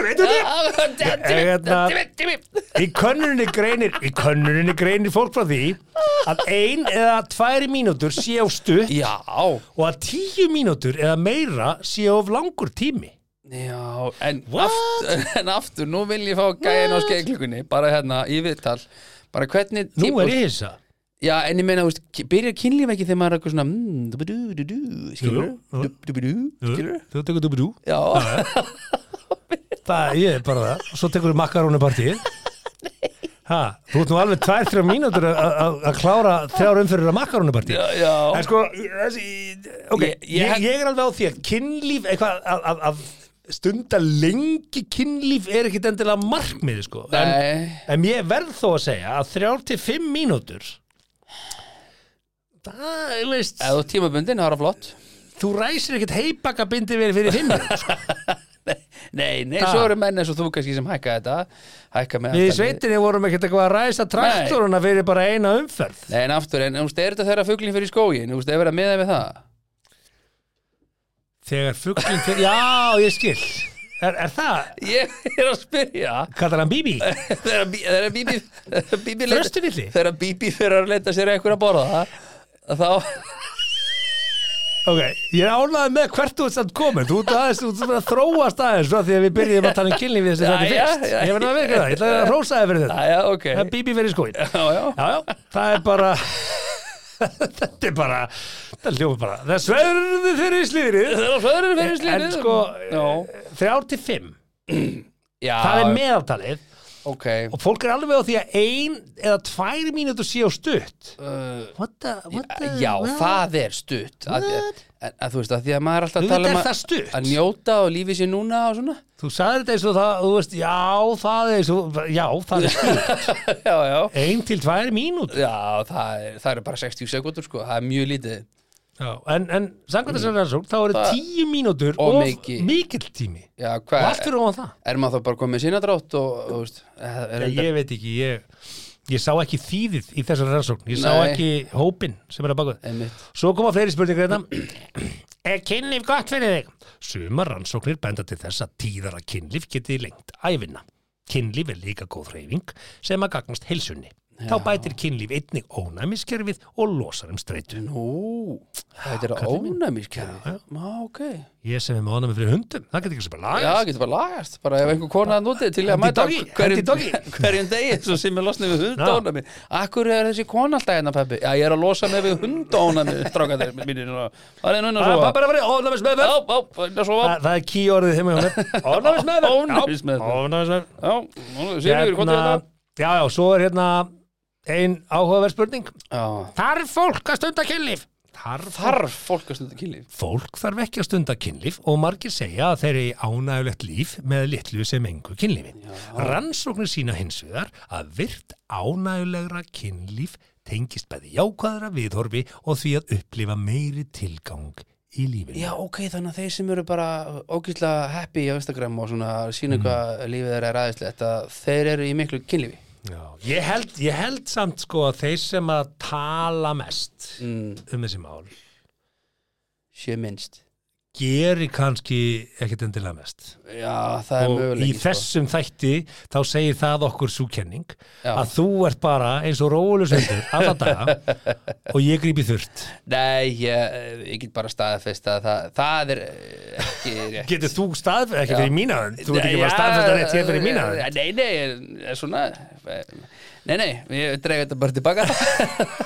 D: þetta er hérna- Í könnuninni greinir, í könnuninni greinir fólk frá því að ein eða tvær mínútur sé á stutt
C: Já,
D: og að tíu mínútur eða meira sé á langur tími.
C: já, en
D: What?
C: aftur, en aftur, nú vil ég fá gæðin á
D: What?
C: skeiklugunni, bara hérna, í viðtal, bara hvernig
D: Nú
C: típur-
D: er ég hissa.
C: Já, en ég meina, þú veist, ki- byrjar kynlíf ekki þegar maður er eitthvað svona, mm, dubu-du-du-du, skilur
D: Jú, jú.
C: Dubu-du, skilur
D: Þú tekur dubu dú.
C: Já,
D: Það, ég er bara það. Svo tekur þú makarónupartíð. Ha, þú ert nú alveg tvær, þrjá mínútur að- að að klára þrjár umfyrir að makarónupartíð.
C: já, já
D: En sko, þessi- ok,
C: Ég-
D: ég,
C: ég hef-
D: ég er alveg á því að kynlíf, eitthvað að, að, að stunda lengi kynlíf er ekkit endilega markmiði, sko. En,
C: Nei,
D: en ég verð þó að segja að þrjár til fimm mínútur, það, þú veist,
C: eða þú ert tímabundin, það er flott
D: þú ræsir ekkit heipaka bindi verið fyrir fimm mínútur, sko.
C: Nei, nei,
D: Ha.
C: svo eru menn eins og þú kannski sem hækka þetta Hækka með
D: Við í
C: aftalið.
D: sveitinni vorum ekkit eitthvað að ræsa traktoruna fyrir bara eina umferð.
C: Nei, en aftur, en úst, er þetta þeirra fuglin fyrir skógin? Úst, er verið að miða við það?
D: Þegar fuglinn fyrir, já, ég skil. Er, er það,
C: Ég er að spyrja
D: kallar hann Bíbí?
C: Þeirra bí- þeirra bíbí þeirra bíbí leita-
D: Þröstunilli?
C: Þeirra bíbí fyrir að leita sér eitthvað að borða Þá,
D: Ok, ég er ánægði með hvert þú ert samt komin Þú ert aðeins, þú ert svona að þróast aðeins frá því að við byrjum að tala um kynlíf við þessi
C: Já,
D: þetta
C: já,
D: fyrst
C: já.
D: Ég verður að virka það, ég ætla að rósa þér fyrir þetta
C: aðja, ok
D: Það er bíbí fyrir skóin Já,
C: Já, já,
D: já, það er bara Þetta er bara, þetta er hljóma bara Það er sverði fyrir slíðrið
C: þeirra flöðurinn fyrir slíðið
D: En sko,
C: Já,
D: þrjár til fimm
C: já
D: Það er meðaltalið
C: ok
D: og fólk er alveg á því að ein eða tvær mínútur sé á stutt what the, what the,
C: Uh, Já,
D: what?
C: það er stutt að,
D: What?
C: að, að þú veist, að því að maður er alltaf
D: Þú
C: að tala
D: veit, er
C: um
D: það
C: að,
D: stutt?
C: að njóta og lífi sér núna og svona
D: þú sagði þetta eins og það, þú veist, já það er, svo, já, það er stutt
C: Já, já
D: ein til tvær mínútur
C: Já, það, er, það eru bara 60 sekundur sko, það er mjög lítið
D: já. en, en samkvæmt þessar rannsókn þá eru
C: Það-
D: tíu mínútur
C: Og
D: og
C: mikið.
D: mikill tími
C: Já,
D: og
C: hvað,
D: allt fyrir ofan það
C: er maður þá bara komið sínadrátt og, þú veist, er, er,
D: ég veit ekki, ég, ég sá ekki þýðið í þessar rannsókn, ég sá
C: Nei.
D: ekki hópin sem er að baka það
C: einmitt
D: Svo koma fleiri spurningar þetta. Er kynlíf gott fyrir þig? Sumar rannsóknir benda til þess að tíðara kynlíf geti lengt æfinna. Kynlíf er líka góð reyfing sem að gagnast heilsunni. Þá bætir kynlíf einnig ónæmiskerfið og losar um streitu.
C: Nú, þetta er
D: kallinn minn.
C: ónæmiskerfi Já, ok
D: Ég sem er með ónæmi fyrir hundum, það getur ekki sem bara
C: Já,
D: lagast.
C: getur bara lagast, bara ef einhver kona að núti til að
D: Hendi
C: mæta
D: doggy, hendi doggy.
C: hverjum, hverjum degi svo sem er losnið við hundónami Akkur er þessi kona alltaf hérna, peppi? Já, ég er að losa með við hundónami strákaðir mínir hérna. og það er núna
D: Það
C: svo
D: er bara verið ónæmismeðverð.
C: Já,
D: Það það er ký orðið heima hjá mér. Ónæmismeðverð.
C: Ónæmismeðferð.
D: Ónæmismeðverð.
C: já, sérur, hvað er þetta?
D: Hérna- Já, já, svo er hérna ein áhugaverð spurning.
C: Já,
D: Þarf fólk að stunda kynlíf? Þarf
C: þarf fólk að stunda kynlíf
D: Fólk þarf ekki að stunda kynlíf og margir segja að þeir eru í ánægulegt líf með litlu sem engu kynlífi. Rannsóknir sína hins vegar að virt ánægulegra kynlíf tengist bæði jákvæðra viðhorfi og því að upplifa meiri tilgang í lífinu.
C: Já, ok, þannig að þeir sem eru bara ógíslega happy á Instagram og svona sína hvað lífið þeirra er aðeinslegt að þeir eru í miklu kynlífi
D: Já. Ég, held, ég held samt sko að þeir sem að tala mest
C: mm,
D: um þessi mál
C: Sjö minnst
D: gerir kannski ekkert endilega mest.
C: Já, það er sko.
D: og í
C: möguleik
D: þessum þætti þá segir það okkur svo kenning
C: Já.
D: að þú ert bara eins og rólusendur alla daga og ég grípi þurft
C: Nei, ég, eh, ég get bara staðfest að það, það er eh, ekki rétt
D: getur þú staðfæð, ekki fyrir mína hönd, þú ert ekki bara
C: Já,
D: staðfæð rétt hér fyrir mína
C: eh,
D: hönd.
C: Nei, nei, ég er svona eh, Nei, nei, ég dreig þetta bara tilbaka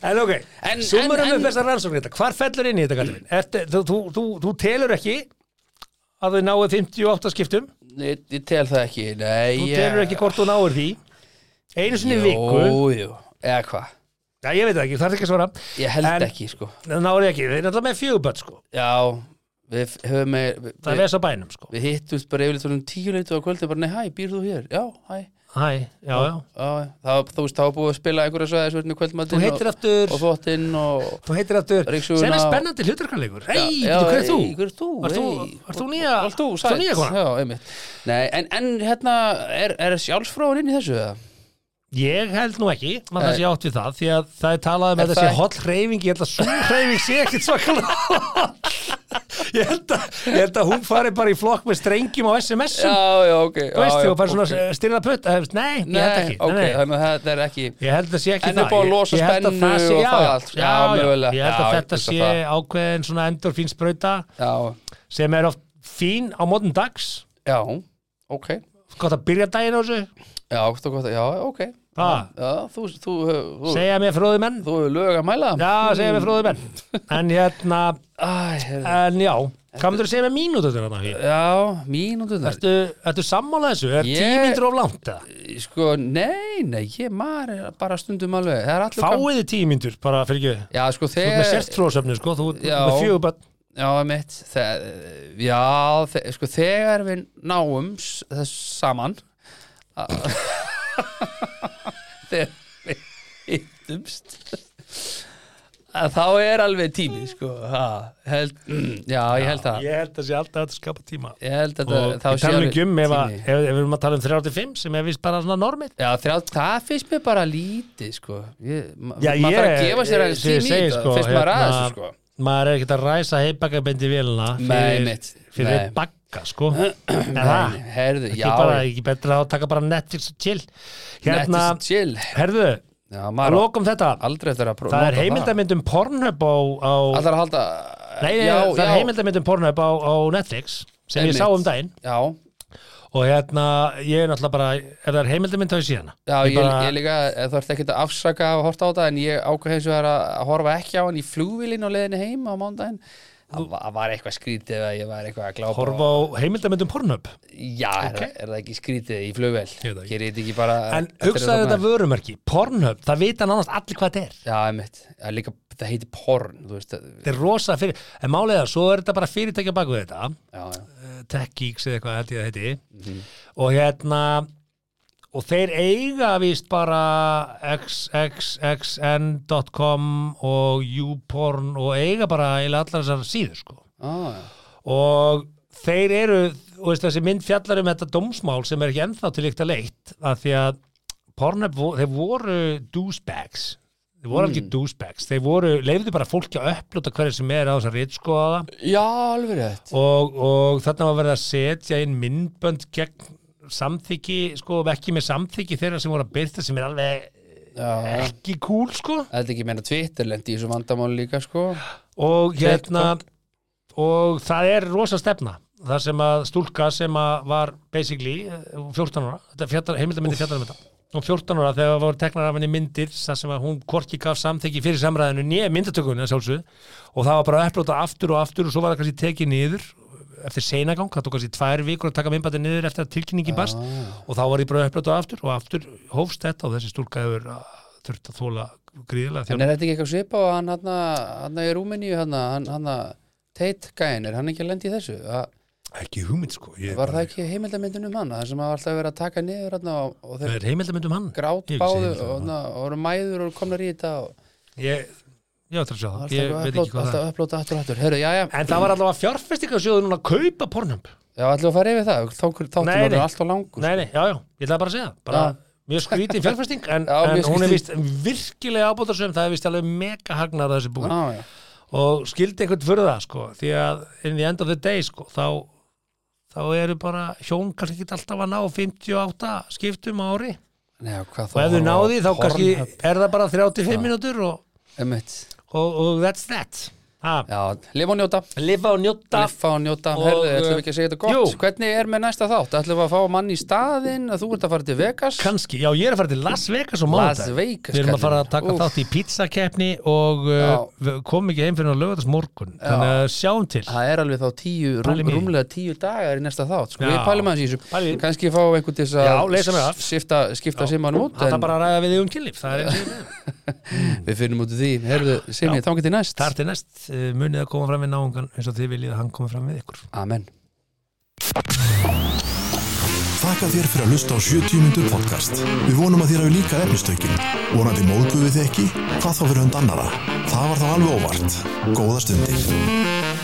D: en ok,
C: En-
D: sumarum
C: en-
D: við
C: en-
D: þessar rannsóknir þetta, hvar fellur inn í þetta kallum Ertu, þú, þú, þú, þú telur ekki að þau náu 58 skiptum þú
C: ég, ég tel það ekki Nei, ég
D: telur ekki hvort þú náur því einu sinni í viku,
C: Jú, jú, eða hvað
D: já ég veit það ekki, það er ekki að svara
C: Ég held
D: En-
C: ekki, sko
D: náur ekki, þeir er alltaf með fjöguböld sko,
C: Já, við f- höfum með, við,
D: það er
C: við,
D: ves á bænum sko
C: við hittumst bara yfirleitt um tíu leitu á kvöldi bara, nei, hæ, býr þú hér? Já, hæ,
D: hæ, já já
C: já, það, þú veist, þá er búið að spila einhverja svæðis verðin í
D: Þú
C: kvöldmatinn
D: heitir
C: og,
D: aftur
C: og þvottinn og
D: Þú heitir aftur
C: Ryksugun
D: Sem er
C: á-
D: spennandi hlutarkanleikur Hei,
C: Já,
D: bíddu,
C: já,
D: hver er þú?
C: ey, Hver er þú?
D: Varst þú-
C: ey?
D: varst þú nýja-
C: Varst þú,
D: varst þú
C: sæt?
D: nýja konan?
C: Já, einmitt Nei, en, en hérna, er, er sjálfsfróðan inn í þessu? eða?
D: Ég held nú ekki, maður
C: Nei.
D: það sé átt við það Því að það er talað um
C: Er
D: að
C: það
D: þessi
C: ekki-
D: holl hreyfing Ég held að svo hreyfing sé ekkit svakalega ég, held að, ég held að hún fari bara í flokk með strengjum á SMS-um
C: Já, já, ok
D: Þú veist
C: já,
D: því og bara svona
C: ok.
D: okay. styrða putt eh, Nei, ég held
C: Nei,
D: ekki
C: ok,
D: nei, nei.
C: þannig að þetta er ekki
D: Ég held að það sé ekki
C: En
D: það
C: upp á að
D: Ég-
C: losa
D: ég held að
C: spennu
D: það sé-
C: og
D: já,
C: það
D: já,
C: allt.
D: já,
C: Já,
D: já.
C: mögulega.
D: Ég held
C: Já,
D: að
C: ég
D: þetta
C: hugsa
D: sé
C: það.
D: ákveðin svona endorfín sprauta
C: Já,
D: sem er oft fín á mótum dags
C: já, ok
D: gott að byrja daginn á þessu
C: Já, þú gott, já, ok
D: ha,
C: Já, þú, þú, þú, þú,
D: segja mér fróði menn
C: þú hefur lög að mæla
D: já, segja mér fróði menn en hérna,
C: Æ, heyrðu.
D: en já hvað myndir að segja með mínútu til þarna Hugi?
C: Já, mínúturnar
D: ertu, ertu sammála þessu, er
C: Eh, Ég-
D: ég... tímyndur of langt eða?
C: Sko, nei, nei, ég maður er bara stundum alveg Það er allir gaman.
D: fáið þið tímyndur, bara fyrir ekki
C: Já, sko,
D: þú ert með
C: þegar
D: sérstróðsöfnu, sko, þú ert
C: Já.
D: með fjögur bara,
C: Já, mitt Já, þe sko þegar við náum s- þess saman a- þegar við hittumst að þá er alveg tími sko, ha, held, já, ég held það
D: ég held að sé alltaf að þetta skapa tíma
C: ég held að
D: og
C: það
D: við talum ekki um ef, að, ef, ef við erum að tala um 35 sem er vist bara svona normið
C: Já, þrjá, það finnst mér bara lítið sko. ég, ma-
D: Já,
C: maður þarf að
D: ég-
C: gefa sér
D: ég-
C: aðeins
D: ég
C: tími í
D: segi,
C: þetta,
D: sko,
C: finnst maður
D: hérna,
C: aðeins sko.
D: maður er ekkert að ræsa heipakabindi vélina
C: Nei,
D: fyrir,
C: mitt.
D: fyrir
C: Nei.
D: bagga sko en það,
C: Nei, herðu,
D: ekki
C: já,
D: bara, ekki betra að taka bara Netflix og chill hérna,
C: Netflix chill
D: herðu,
C: já,
D: að
C: maður á
D: lokum þetta
C: aldrei eftir að prófa
D: það er heimildamyndum Pornhub á, á
C: Það er að halda
D: nei, nei,
C: já,
D: það er
C: já,
D: heimildamyndum Pornhub á, á Netflix sem ég
C: Einmitt.
D: sá um daginn
C: Já,
D: og hérna, ég er náttúrulega bara ef það er heimildamynd þá ég sé hana
C: já
D: ég
C: ég,
D: bara,
C: ég líka eh, þú ert ekkert að afsaka og horta á það en ég ákveð hins vegar að að horfa ekki á hann í flugvilin á leiðinni heim á mándaginn það var, var eitthvað skrítið að ég var eitthvað að glápa
D: horfa á heimildamöndum Pornhub
C: já, er, það- er það ekki skrítið í flugvel
D: Ég veit það ekki.
C: gerir þetta ekki bara
D: en
C: eftir að
D: hugsaðu
C: sofna?
D: þetta vörumerki, Pornhub það vita nánast allir hvað þetta er
C: já, einmitt, það, er líka, það heitir porn þú veist, það-
D: þetta er rosa fyrir, en málega svo er þetta bara fyrirtækja bak við þetta
C: já, já,
D: eh, Tech Geeks eða eitthvað held ég að heiti og hérna og þeir eiga vist bara xxxn.com og uporn og eiga bara eiginlega allar þessar síður sko
C: ah, já.
D: og þeir eru og veist, þessi mynd fjallar um þetta dómsmál sem er ekki ennþá til líkt að leitt að því að Pornhub, vo- þeir voru douchebags, þeir voru alveg douchebags þeir voru, leifðu bara fólki að upplota hverju sem er á þess að ritskoða
C: já, alveg rétt
D: og, og þarna var verið að setja inn myndbönd gegn samþykki, sko, og ekki með samþykki þeirra sem voru að byrta sem er alveg
C: já, já.
D: ekki cool, sko
C: Þetta ekki meina Twitter lendi í þessu vandamáli líka sko
D: og hérna og það er rosa stefna þar sem að stúlka sem að var basically eh, 14 ára þetta er fjallar, heimildamindi fjallar um þetta og 14 ára þegar voru teknar af henni myndir þar sem að hún korki gaf samþykki fyrir samræðinu nýja myndatökunni að sjálfsögðu og það var bara að upplota aftur og aftur og svo var það kannski tekið niður eftir seinagang, það tók kannski tvær vikur að taka myndbæti niður eftir að tilkynningin barst og þá var ég bara að upplota aftur og aftur hófst þetta og þessi stúlka hefur ah, þurft að þóla gríðilega
C: En er þetta ekki eitthvað svipa og hann hann hann í Rúmeníu hann hann Tate gæin, er hann ekki að lendi í þessu? Að-
D: ekki hugmynd sko ég
C: Var
D: bara-
C: það ekki heimildamyndin um hann? Það sem að var alltaf verið að taka niður hann og, og
D: Það
C: þeir
D: er heimildamönd um hann
C: grát
D: Ég hef ekki séð
C: báðu
D: heimildamynd um
C: og,
D: hann.
C: na, og voru mæður og komnar í þetta og
D: Ég, ég ætla að sjá það
C: alltaf
D: Ég
C: að
D: veit ekki
C: upplóta,
D: hvað það
C: alltaf upplóta aftur og aftur Herru, já, já,
D: er En það var allavega fjárfestingasjóður núna að kaupa pornhump
C: já, ætlum við að fara yfir það Þá þáttum
D: Nei,
C: við
D: nei.
C: alltaf langur sko.
D: Nei, nei, já, já, ég ætla bara að segja það bara,
C: Já.
D: Mjög skrítið fjárfesting En,
C: Já, mjög
D: en hún er
C: skrýtin.
D: vist virkilega ábótasöm Það er vist alveg mega hagnar þessi búin
C: Já, já,
D: Og skildi einhvern fyrir það sko Því að in the end of the day sko Þá, þá eru bara hjón kannski ekki alltaf að ná 58 skiptum á ári
C: Nei, já, hvað þá
D: Og ef þau
C: horfa á
D: náði þá kannski
C: Pornhub?
D: er það bara 35 mínútur og,
C: Einmitt.
D: og, og that's that ha,
C: Já, lifa og njóta
D: lifa og njóta
C: Liffa og njóta,
D: Og,
C: herðu, ætlum við
D: eh,
C: ekki að segja þetta gott
D: jú.
C: Hvernig er með næsta þátt? Ætlum við að fá mann í staðinn að þú ert að fara til Vegas
D: kannski, já ég er að fara til Las Vegas og
C: Las
D: mánudag
C: Vegas,
D: við erum
C: kallinn.
D: að fara að taka
C: Úff.
D: þátt í pizzakeppni og uh, við komum ekki heim fyrir að lögðast morgun þannig að sjáum til
C: Það er alveg þá tíu, rúm,
D: Pælum í.
C: rúmlega tíu dagar í næsta þátt, sko,
D: Já.
C: við pælum aðeins í þessu
D: Pælum í.
C: kannski fá einhvern til þess
D: Já, leysa mig
C: að
D: af.
C: skipta, skipta simanum út,
D: það
C: en
D: er bara að ræða við þig um kynlíf það er,
C: við finnum út úr því Herðu, Simmi, þá getur næst
D: það er til næst uh, munið að koma fram við náungan eins og þið viljið að hann koma fram við ykkur
C: Amen
B: Þakka þér fyrir að hlusta á 70 mínútur podcast. Við vonum að þér hafi líka efnistökin. Vonandi móðguðu þið ekki? Hvað þá fyrir hund annara? Það var þá alveg óvart. Góða stundir.